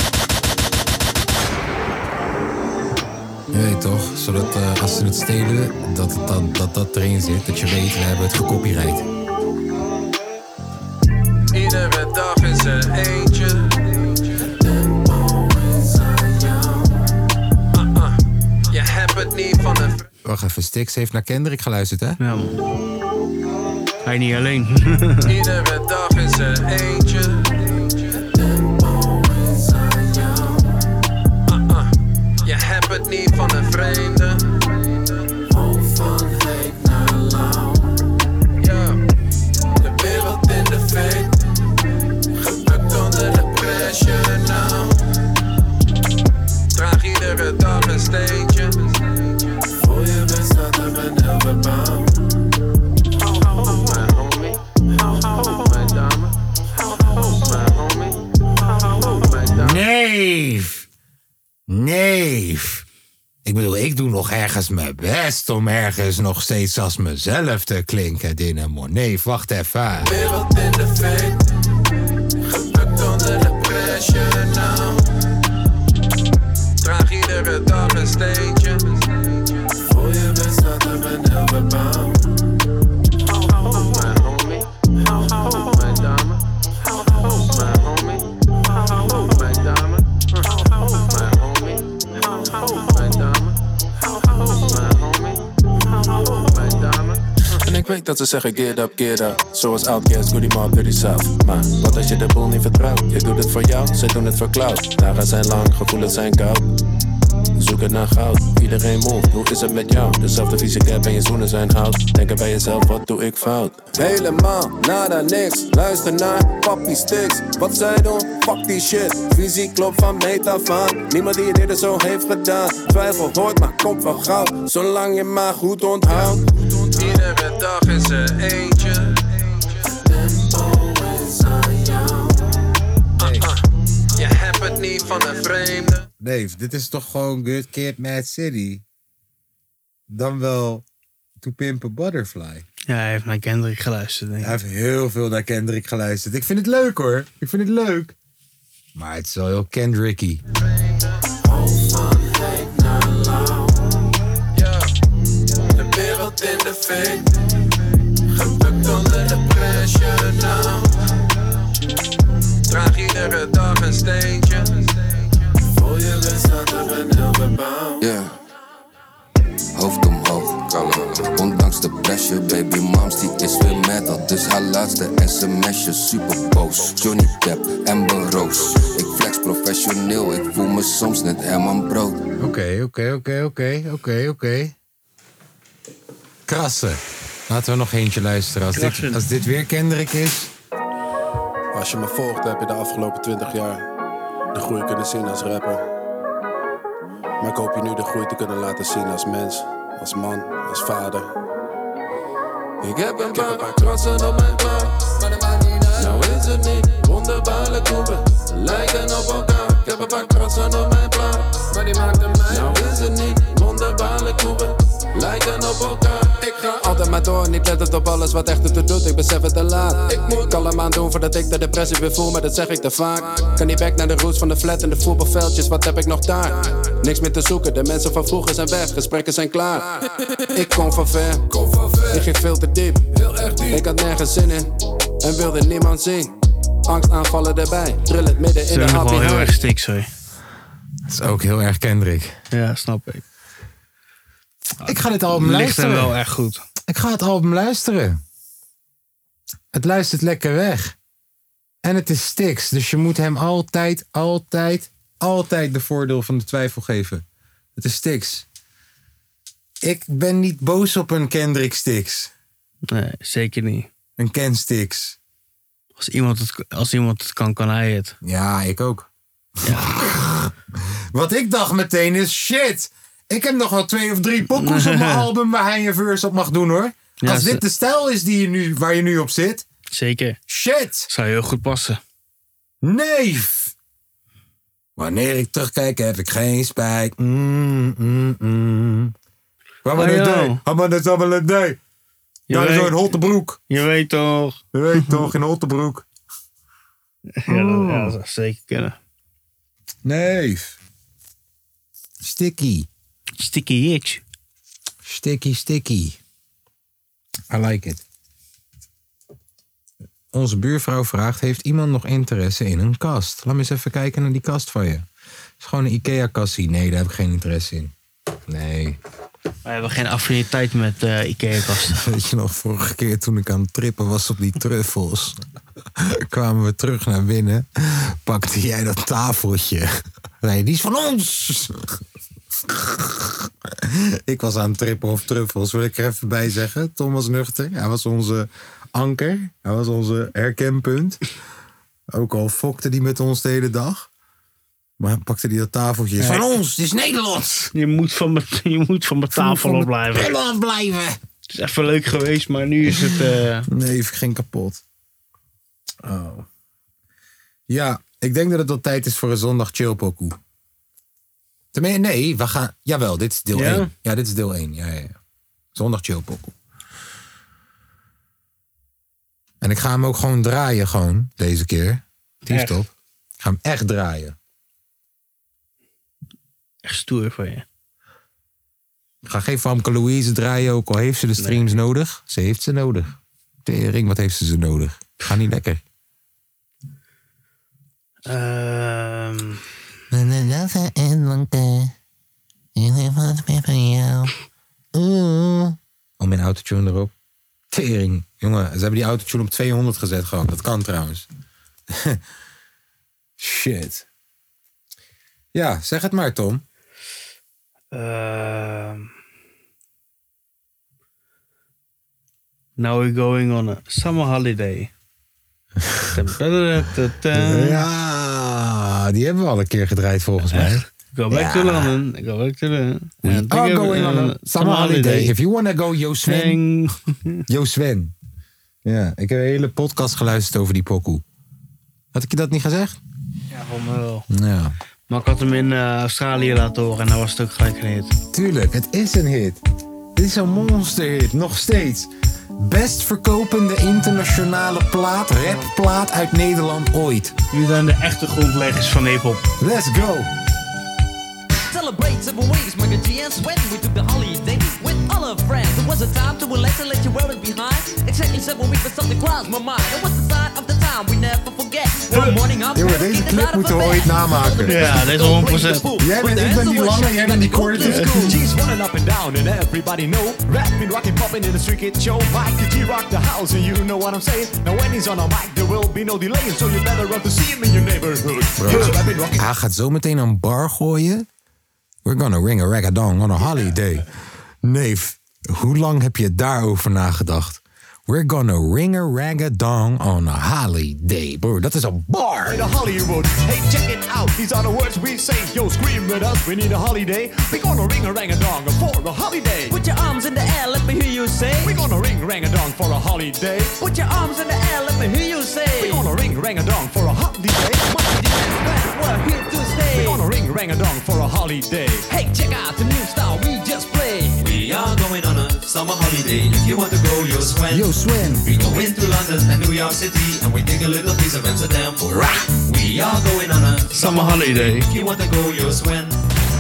Speaker 2: Je weet toch, zodat eh, als ze het stelen, dat, het dan, dat dat erin zit. Dat je weet, we hebben het gecopyright.
Speaker 8: Iedere dag is er eentje. Uh, Ah, ah. Je hebt het niet van een
Speaker 2: Wacht even, Stix heeft naar Kendrick geluisterd, hè?
Speaker 3: Ja, Hij niet alleen.
Speaker 8: Iedere dag is er eentje. Ah, ah. Je hebt het niet van een vreemde. van naar Ja, de wereld in de veet. Gebukt onder de pressure nou. Draag iedere dag een steentje. Voor je bent staat er een helder bouw. Mijn homie. Mijn dame. Mijn homie. Mijn dame.
Speaker 2: Neef! Neef! Ik bedoel, ik doe nog ergens mijn best om ergens nog steeds als mezelf te klinken, Dynamo. Neef, wacht even.
Speaker 8: Wereld in de feit. Gebukt onder de pressure nou. Draag iedere dag een steentje. Voor je bent staat er een helder bouw. Mijn homie. Mijn dame. Mijn homie. Mijn dame. Mijn homie. Mijn dame. Mijn homie. Mijn dame.
Speaker 15: En ik weet dat ze zeggen get up, get up Zoals Outkast, Goody Mob, Dirty South Maar wat als je de boel niet vertrouwt? Je doet het voor jou, zij doen het voor Cloud Dagen zijn lang, gevoelens zijn koud Zoek het naar goud, iedereen move, hoe is het met jou? Dezelfde vieze cap en je zoenen zijn hout Denken bij jezelf, wat doe ik fout?
Speaker 16: Helemaal, nada, niks. Luister naar papi sticks. Wat zij doen, fuck die shit. Visie klopt van meet af aan. Niemand die dit er zo heeft gedaan. Twijfel hoort, maar komt van goud. Zolang je maar goed onthoudt.
Speaker 8: Iedere dag is er eentje. Ah, ah. Je hebt het niet van een vreemde.
Speaker 2: Neef, dit is toch gewoon Good Kid, Mad City? Dan wel To Pimp a Butterfly.
Speaker 3: Ja, hij heeft naar Kendrick geluisterd, denk ik.
Speaker 2: Hij heeft heel veel naar Kendrick geluisterd. Ik vind het leuk hoor. Ik vind het leuk. Maar het is wel heel Kendricky.
Speaker 8: De wereld in de fik. Gebukt onder de pressure nou. Draag iedere dag een steentje. Voor je bent staat er een heel bebouw.
Speaker 16: Ja. Hoofd omhoog.
Speaker 17: kalm Ondanks de pressure, baby moms die is weer mad Dat is haar laatste sms'je, super boos Johnny Depp, Amber Rose Ik flex professioneel, ik voel me soms net Herman Brood
Speaker 2: Oké, oké, oké, oké, oké, oké. Krassen. Laten we nog eentje luisteren. Als dit, als dit weer Kendrick is.
Speaker 15: Als je me volgt, heb je de afgelopen 20 jaar de groei kunnen zien als rapper. Maar ik hoop je nu de groei te kunnen laten zien als mens, als man, als vader. Ik heb een paar, krassen op mijn plaat. Maar dat maakt niet uit. Nou is het niet, wonderbaarlijk hoe we lijken op elkaar. Ik heb een paar krassen op mijn plaat. Maar die maakt mij. Nou is het niet, wonderbaarlijk hoe we lijken op elkaar. Ik ga
Speaker 16: Altijd maar door, niet lettend op alles wat echt ertoe doet. Ik besef het te laat. Ik moet kalm aan doen voordat ik de depressie weer voel, maar dat zeg ik te vaak. Kan niet back naar de roots van de flat en de voetbalveldjes, wat heb ik nog daar? Niks meer te zoeken, de mensen van vroeger zijn weg, gesprekken zijn klaar. Ik kom van ver, ik ging veel te diep. Ik had nergens zin in en wilde niemand zien. Angstaanvallen erbij, trillen midden in
Speaker 3: Ze
Speaker 16: de
Speaker 3: nog wel
Speaker 16: happy
Speaker 3: heel
Speaker 16: high.
Speaker 3: erg stik, sorry.
Speaker 2: Dat is ook heel erg Kendrick.
Speaker 3: Ja, snap ik.
Speaker 2: Ik ga dit album
Speaker 3: Ligt
Speaker 2: luisteren.
Speaker 3: hem wel echt goed.
Speaker 2: Ik ga het album luisteren. Het luistert lekker weg. En het is Stix, dus je moet hem altijd, altijd, altijd de voordeel van de twijfel geven. Het is Stix. Ik ben niet boos op een Kendrick Stix.
Speaker 3: Nee, zeker niet.
Speaker 2: Een Ken Stix.
Speaker 3: Als iemand het, als iemand het kan, kan hij het.
Speaker 2: Ja, ik ook. Wat ik dacht meteen is, shit, ik heb nog wel twee of drie pokoes op mijn album waar hij een verse op mag doen hoor.
Speaker 3: Ja,
Speaker 2: Als
Speaker 3: ze-
Speaker 2: dit de stijl is die je nu, waar je nu op zit,
Speaker 3: Zeker.
Speaker 2: Shit!
Speaker 3: Zou heel goed passen.
Speaker 2: Neef! Wanneer ik terugkijk heb ik geen spijt. Mm, mm, mm. Wat
Speaker 3: Oh,
Speaker 2: maar
Speaker 3: joh.
Speaker 2: dat is allemaal een day.
Speaker 3: Je
Speaker 2: Ja,
Speaker 3: weet-
Speaker 2: zo'n hotte broek.
Speaker 3: Je weet toch.
Speaker 2: Je weet toch, in hotte broek.
Speaker 3: Ja, dat, ja, dat zou zeker kunnen.
Speaker 2: Neef. Sticky.
Speaker 3: Sticky itch.
Speaker 2: Sticky, sticky. I like it. Onze buurvrouw vraagt: Heeft iemand nog interesse in een kast? Laat me eens even kijken naar die kast van je. Het is gewoon een IKEA-kastie. Nee, daar heb ik geen interesse in. Nee.
Speaker 3: We hebben geen affiniteit met eh, IKEA-kasten.
Speaker 2: Weet je nog, vorige keer toen ik aan het trippen was op die truffels, kwamen we terug naar binnen, pakte jij dat tafeltje. Nee, die is van ons! Ik was aan het trippen of truffels, wil ik er even bij zeggen. Tom was nuchter, hij was onze anker, hij was onze herkenpunt. Ook al fokte die met ons de hele dag. Maar pakte die dat tafeltje. Is van ons! het is Nederlands.
Speaker 3: Je moet van mijn, je moet van mijn tafel
Speaker 2: van
Speaker 3: op
Speaker 2: mijn
Speaker 3: blijven.
Speaker 2: pillen afblijven.
Speaker 3: Het is even leuk geweest, maar nu is het... eh,
Speaker 2: Nee, ik ging kapot. Oh. Ja, ik denk dat het al tijd is voor een zondag chillpokoe. Tenminste, nee, we gaan... Jawel, dit is deel
Speaker 3: Ja?
Speaker 2: 1. Ja, dit is deel 1. Ja, ja, ja. Zondag chillpokoe. En ik ga hem ook gewoon draaien, gewoon, deze keer.
Speaker 3: Echt?
Speaker 2: Tieftop. Ik ga hem echt draaien.
Speaker 3: echt stoer van je.
Speaker 2: Ik ga geen Famke Louise draaien, ook al heeft ze de streams nodig. Ze heeft ze nodig. Tering, wat heeft ze ze nodig? Ga niet lekker.
Speaker 3: Ehm,
Speaker 2: Om mijn autotune erop. Tering. Jongen, ze hebben die autotune op 200 gezet gewoon. Dat kan trouwens. Shit. Ja, zeg het maar, Tom.
Speaker 3: ehm. now we're going on a summer holiday.
Speaker 2: Ja, die hebben we al een keer gedraaid volgens mij.
Speaker 3: Go back to
Speaker 2: Ja.
Speaker 3: London. Go back to London.
Speaker 2: We
Speaker 3: And
Speaker 2: are
Speaker 3: think of,
Speaker 2: going on
Speaker 3: eh,
Speaker 2: a summer holiday. If you wanna go, yo Sven. Yo Sven. Ja, ik heb een hele podcast geluisterd over die pokoe. Had ik je dat niet gezegd?
Speaker 3: Ja, voor mij wel.
Speaker 2: Ja.
Speaker 3: Maar ik had hem in eh, Australië laten horen en dat was het ook gelijk een hit.
Speaker 2: Tuurlijk, het is een hit. Dit is een monsterhit, nog steeds. Best verkopende internationale plaat, rapplaat uit Nederland ooit.
Speaker 3: Nu zijn de echte grondleggers van hip-hop.
Speaker 2: Let's go!
Speaker 6: Celebrate several ways, my G and sweat. We took the holiday with all our friends. It was a time to relax and let you wear it behind. Exactly seven weeks for something crossed my mind. It was the sign of the time. time we never forget. One morning I'm
Speaker 2: Jongen, deze clip moeten we ooit namaken.
Speaker 3: Ja, dit is 100%.
Speaker 2: Jij bent, ik ben die lange, jij bent die korte.
Speaker 18: G's running up and down, and everybody know. Rapping, rocking, popping in the street kid show. Mike the G rock the house, and Oh, you know what I'm saying. Now when he's on a mic, there will be no delay, so you better run to see him in your neighborhood.
Speaker 2: Bro, hij gaat zo meteen een bar gooien. We're gonna ring a rag-a-dong on a holiday. Neef, hoe lang heb je daarover nagedacht? We're gonna ring a rag-a-dong on a holiday. Bro, dat is een bar.
Speaker 18: Hey, to Hollywood. Hey, check it out. These are the words we say. Yo, scream with us. We need a holiday. We're gonna ring a rang a dong for a holiday.
Speaker 6: Put your arms in the air, let me hear you say.
Speaker 18: We're gonna ring rang a dong for a holiday.
Speaker 6: Put your arms in the air, let me hear you say.
Speaker 18: We're gonna ring rang a dong for a holiday. Mighty and best, we're here to stay. We're gonna ring rang a dong for a holiday.
Speaker 6: Hey, check out the new style we just played.
Speaker 19: We are going on a summer holiday. If you want to go, you'll swim.
Speaker 2: Yo, Swen.
Speaker 19: We go into London and New York City, and we take a little piece of Amsterdam for a ride. We are going on a
Speaker 3: Summer holiday.
Speaker 19: If you want to go, you'll swim.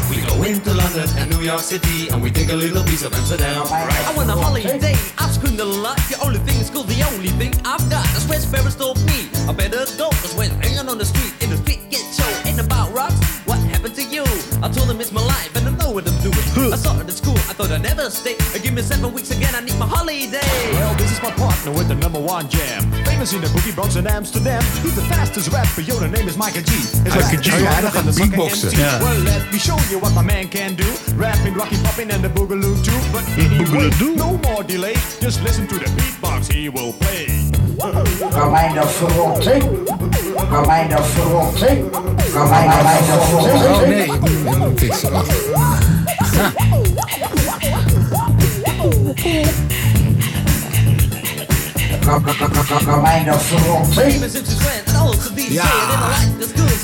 Speaker 19: We go into London and New York City, and we take a little piece of Amsterdam for a ride.
Speaker 6: I want a holiday. I've screamed a lot. The only thing is cool. The only thing I've got. That's where Sparrows told me. I better go. Cause when hanging on the street, in the street get show. Ain't about rocks. What happened to you? I told them it's my life and I know what I'm doing. I saw it at school. I thought I'd never stay. Give me seven weeks again. I need my holiday.
Speaker 18: Well, this is my partner with the number one jam. Famous in the boogie Bronx and Amsterdam. He's the fastest rapper. Yo, the name is Micah G. His rap is
Speaker 2: Oh ja, hij
Speaker 18: harder
Speaker 2: gaat
Speaker 18: than the fucking
Speaker 2: beatboxen.
Speaker 18: MC.
Speaker 2: Ja.
Speaker 18: Well, let me show you what my man can do. Rapping, rocking, popping and the boogaloo too. But anyway, no more delay. Just listen to the beatbox he will play.
Speaker 20: Kan mij dat verrotten? Kan mij dat verrotten? Kan mij dat verrotten?
Speaker 2: Oh nee, ik moet- ik moet fixen. Wacht.
Speaker 20: Kan- kan- kan- kan- kan- Kan mij dat verrotten?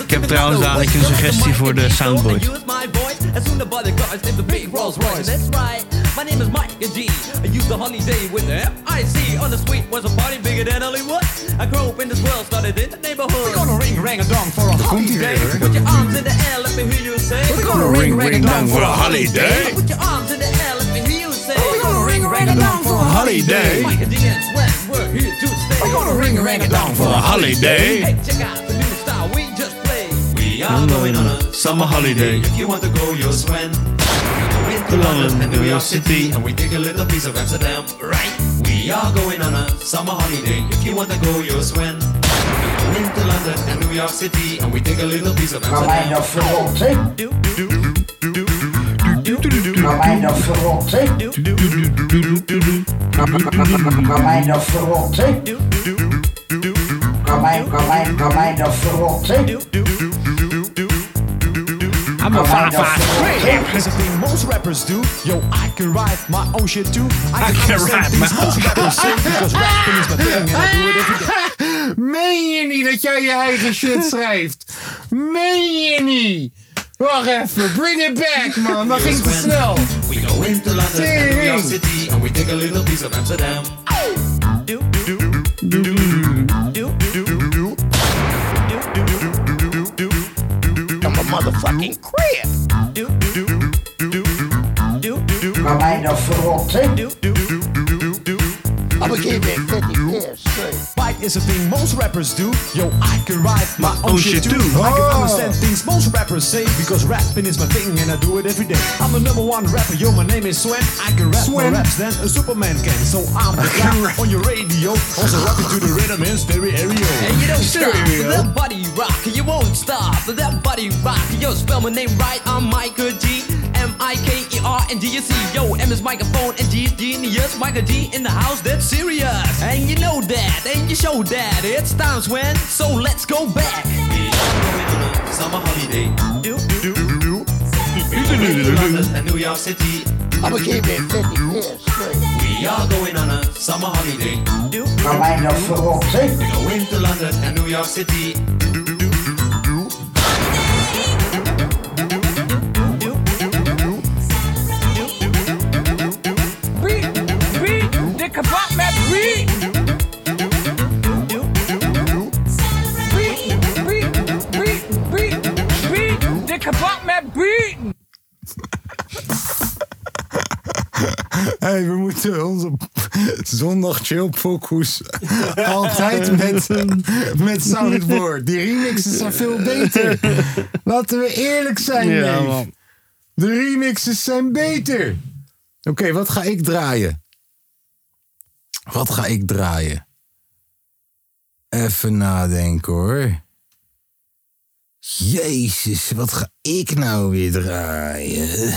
Speaker 3: Ik heb trouwens dadelijk een suggestie voor de soundboard.
Speaker 6: my voice as soon as by the cars in the big Rolls Royce. That's right. My name is Mike G. I use the holiday with the M-I-C. On the street was a party bigger than Hollywood. I grew up in this world, started in the neighborhood. We're gonna ring rang a dong for a holiday. Put your arms in the air, let me hear you say. We're
Speaker 3: gonna ring rang-a-dong for a holiday.
Speaker 6: Put your arms in the air, let me hear you say. We're gonna ring rang a dong for a
Speaker 3: holiday.
Speaker 6: Mike D and Sweat, we're here to stay. We're gonna ring rang a dong
Speaker 3: for a holiday.
Speaker 6: Hey, check out the new style we just played.
Speaker 19: We are going on a
Speaker 3: Summer holiday.
Speaker 19: If you want to go, you'll swim. We go into London and New York City, and we take a little piece of Amsterdam, right? We are going on a summer holiday. If you want to go, you'll swim. We go into London and New York City, and we take a little piece of
Speaker 20: Kan mij
Speaker 19: Amsterdam.
Speaker 20: dat verrotten? Kan mij dat verrotten? Kan- kan- kan- Kan mij dat verrotten? Kan mij, kan mij, kan mij dat verrotten?
Speaker 21: I'm a
Speaker 20: Kan mij dat
Speaker 21: firefighter.
Speaker 20: verrotten?
Speaker 18: Is the thing most rappers do? Yo, I can write my own shit too.
Speaker 21: I
Speaker 18: I can,
Speaker 21: can
Speaker 18: understand
Speaker 21: write
Speaker 18: things
Speaker 21: my
Speaker 18: most
Speaker 21: own-
Speaker 18: rappers say because rapping is my thing and I do it every day.
Speaker 2: Meen je niet dat jij je eigen shit schrijft? Meen je niet? Wacht even, bring it back man, dat ging te snel.
Speaker 19: We go into London and New York
Speaker 2: Tering.
Speaker 19: City, and we take a little piece of Amsterdam.
Speaker 21: I'm a motherfucking crib.
Speaker 20: Kan mij dat verrotten?
Speaker 21: I'm a kid that 50 years straight.
Speaker 18: Bite is a thing most rappers do. Yo, I can write my own shit too. I
Speaker 21: Oh.
Speaker 18: can understand things most rappers say because rapping is my thing and I do it every day. I'm the number one rapper. Yo, my name is Swen. I can rap
Speaker 21: Swen.
Speaker 18: more raps than a Superman can. So I'm the guy on your radio. Also rapping to the rhythm in stereo.
Speaker 6: And you don't stop. That body rock, you won't stop. That body rock, yo, spell my name right. I'm Michael G. M I K E R and D U C. Yo, M is microphone and G is genius. Michael G in the house, that's serious. And you know that, and you show that. It's times when, so let's go back.
Speaker 19: Summer holiday. We go into London and New York City.
Speaker 21: I'm a kid that 50 years straight.
Speaker 19: We are going on a summer holiday.
Speaker 20: Kan mij dat verrotten?
Speaker 19: We go into London and New York City.
Speaker 21: Read, read, the kabot map, read. Read, read, read, read, read, the kabot map, read.
Speaker 2: Hé, we moeten onze, Zondag chill focus. Altijd met, met Soundboard. Die remixes zijn veel beter. Laten we eerlijk zijn,
Speaker 3: Ja,
Speaker 2: neef.
Speaker 3: man.
Speaker 2: De remixes zijn beter. Oké, wat ga ik draaien? Wat ga ik draaien? Even nadenken hoor. Jezus, wat ga ik nou weer draaien?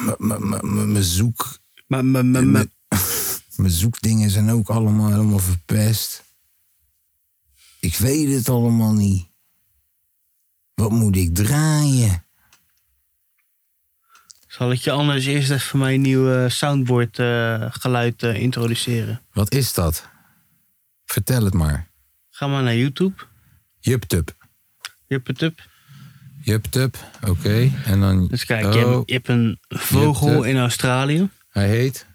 Speaker 2: M- m- m- m- Mijn zoek. Mijn mijn zoekdingen zijn ook allemaal helemaal verpest. Ik weet het allemaal niet. Wat moet ik draaien?
Speaker 3: Zal ik je anders eerst even mijn nieuwe soundboard eh, geluid eh, introduceren?
Speaker 2: Wat is dat? Vertel het maar.
Speaker 3: Ga maar naar YouTube.
Speaker 2: Juptup.
Speaker 3: Juppetup.
Speaker 2: Juptup, oké. En dan. Dus
Speaker 3: Kijk, je, hebt, je hebt een vogel
Speaker 2: Juptup.
Speaker 3: in Australië.
Speaker 2: Hij heet?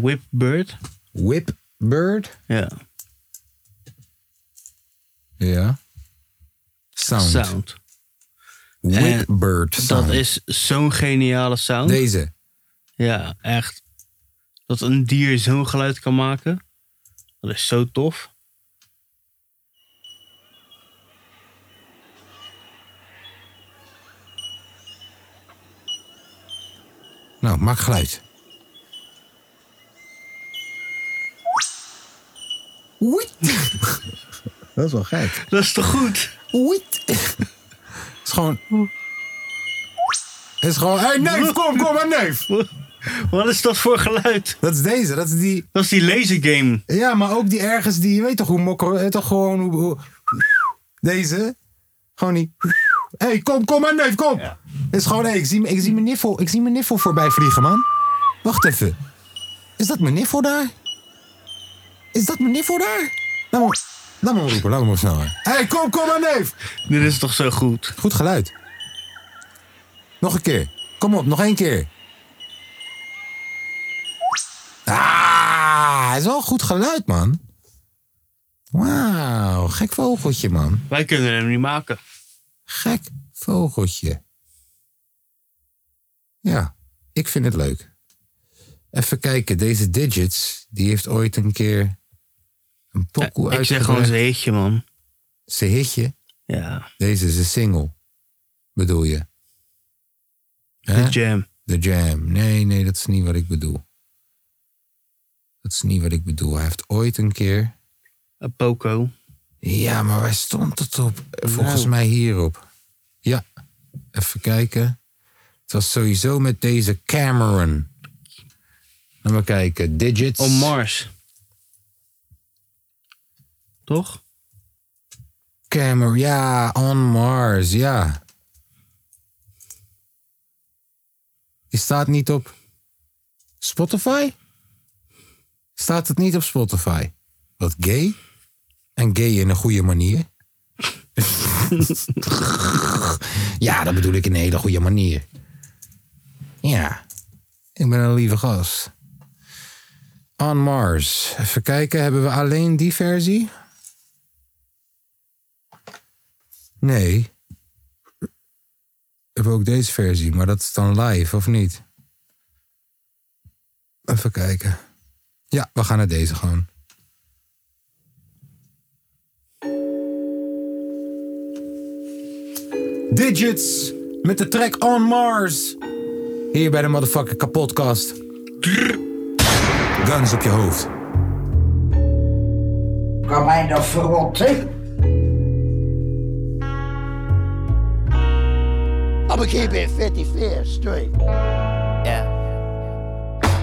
Speaker 3: Whipbird.
Speaker 2: Whipbird?
Speaker 3: Ja.
Speaker 2: Ja. Sound.
Speaker 3: Sound.
Speaker 2: Whipbird
Speaker 3: En
Speaker 2: sound.
Speaker 3: Dat is zo'n geniale sound.
Speaker 2: Deze.
Speaker 3: Ja, echt. Dat een dier zo'n geluid kan maken. Dat is zo tof.
Speaker 2: Nou, maak geluid. Dat is wel gek.
Speaker 3: Dat is toch goed?
Speaker 2: Oeit. Het is gewoon. Het is gewoon. Hé, hey, neef, kom, kom, maar neef.
Speaker 3: Wat is dat voor geluid?
Speaker 2: Dat is deze, dat is die.
Speaker 3: Dat is die laser game.
Speaker 2: Ja, maar ook die ergens die. Je weet toch hoe mokker. eh, Toch gewoon hoe. hoe- deze. Gewoon die. Hé, hey, kom, kom, maar neef, kom. Het is gewoon. hé, ik, zie, ik, zie mijn niffel, ik zie mijn niffel voorbij vliegen, man. Wacht even. Is dat mijn niffel daar? Is dat mijn niffel daar? Laat me, laat me hem roepen, laat me hem sneller. Hé, hey, kom, kom maar neef!
Speaker 3: Dit is toch zo goed?
Speaker 2: Goed geluid. Nog een keer. Kom op, nog één keer. Ah, het is wel een goed geluid, man. Wauw, gek vogeltje, man.
Speaker 3: Wij kunnen hem niet maken.
Speaker 2: Gek vogeltje. Ja, ik vind het leuk. Even kijken, deze Digits, die heeft ooit een keer een pokoe
Speaker 3: Eh, ik zeg gewoon zijn hitje, man.
Speaker 2: Zijn hitje?
Speaker 3: Ja.
Speaker 2: Deze is een single, bedoel je?
Speaker 3: De Jam.
Speaker 2: De Jam. Nee, nee, dat is niet wat ik bedoel. Dat is niet wat ik bedoel. Hij heeft ooit een keer...
Speaker 3: Een Eh, Poco.
Speaker 2: Ja, maar waar stond het op? Volgens
Speaker 3: Nou.
Speaker 2: mij hierop. Ja, even kijken. Het was sowieso met deze Cameron. Laten we kijken. Digits.
Speaker 3: On Oh, Mars. Toch?
Speaker 2: Cameron, ja, On Mars, ja. Die staat niet op Spotify? Staat het niet op Spotify? Wat gay? En gay in een goede manier? ja, dat bedoel ik in een hele goede manier. Ja, ik ben een lieve gast. On Mars. Even kijken, hebben we alleen die versie? Nee. We hebben ook deze versie, maar dat is dan live, of niet? Even kijken. Ja, we gaan naar deze gewoon. Digits met de track On Mars. Hier bij de motherfucking kapotkast. Guns op je hoofd.
Speaker 20: Kan mij dat verrotten?
Speaker 22: I'ma keep it 55 straight.
Speaker 5: Yeah.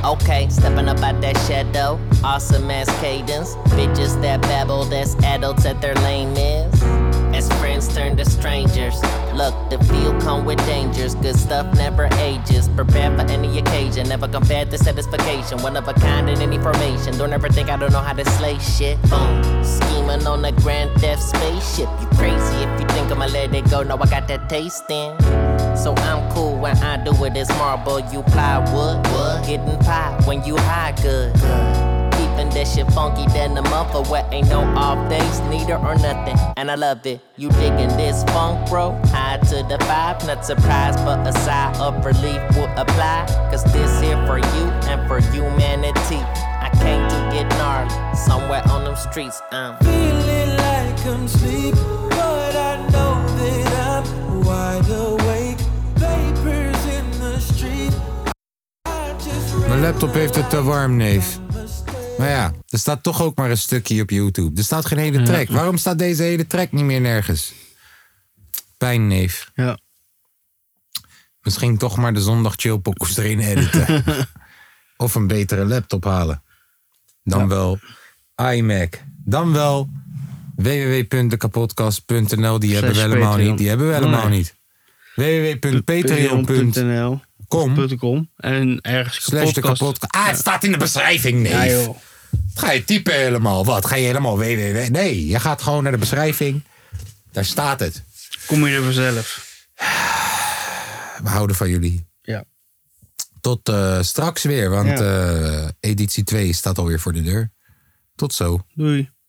Speaker 5: Okay, stepping up out that shadow. Awesome ass cadence. Bitches that babble, that's adults at their lame is. As friends turn to strangers. Look, the field come with dangers. Good stuff never ages. Prepare for any occasion. Never compared to satisfaction. One of a kind in any formation. Don't ever think I don't know how to slay shit. Boom. Scheming on a grand theft spaceship. You crazy if you think I'ma let it go. No, I got that taste in. So I'm cool when I do it. It's marble, you plywood. Getting pie when you high good. Keep loving this shit funky than the month for what ain't no off days, neither or nothing. And I love it. You digging this funk, bro? High to the vibe, not surprised, but a sigh of relief will apply. Cause this here for you and for humanity. I came to get gnarly somewhere on them streets. I'm
Speaker 1: feeling like I'm sleep, but I know that I'm wide awake. Vapors in the street.
Speaker 2: Mijn laptop heeft het te warm, neef. Maar ja, er staat toch ook maar een stukje op YouTube. Er staat geen hele track. Waarom staat deze hele track niet meer nergens? Pijn, neef.
Speaker 3: Ja.
Speaker 2: Misschien toch maar de zondag chillpokkels erin editen. of een betere laptop halen. Dan wel iMac. Dan wel www.dekapodcast.nl. Die hebben we
Speaker 3: Slash
Speaker 2: helemaal
Speaker 3: Patreon.
Speaker 2: niet. Die hebben we helemaal
Speaker 3: Nee.
Speaker 2: niet. www.patreon.nl
Speaker 3: Com. En ergens
Speaker 2: Slash de kapot. Ah, het staat in de beschrijving, nee.
Speaker 3: Ja, joh.
Speaker 2: Ga je typen helemaal? Wat? Ga je helemaal www? Nee, je gaat gewoon naar de beschrijving. Daar staat het.
Speaker 3: Kom je er vanzelf.
Speaker 2: We houden van jullie.
Speaker 3: Ja.
Speaker 2: Tot eh, straks weer,
Speaker 3: Ja.
Speaker 2: want eh, editie 2 staat alweer voor de deur. Tot zo.
Speaker 3: Doei.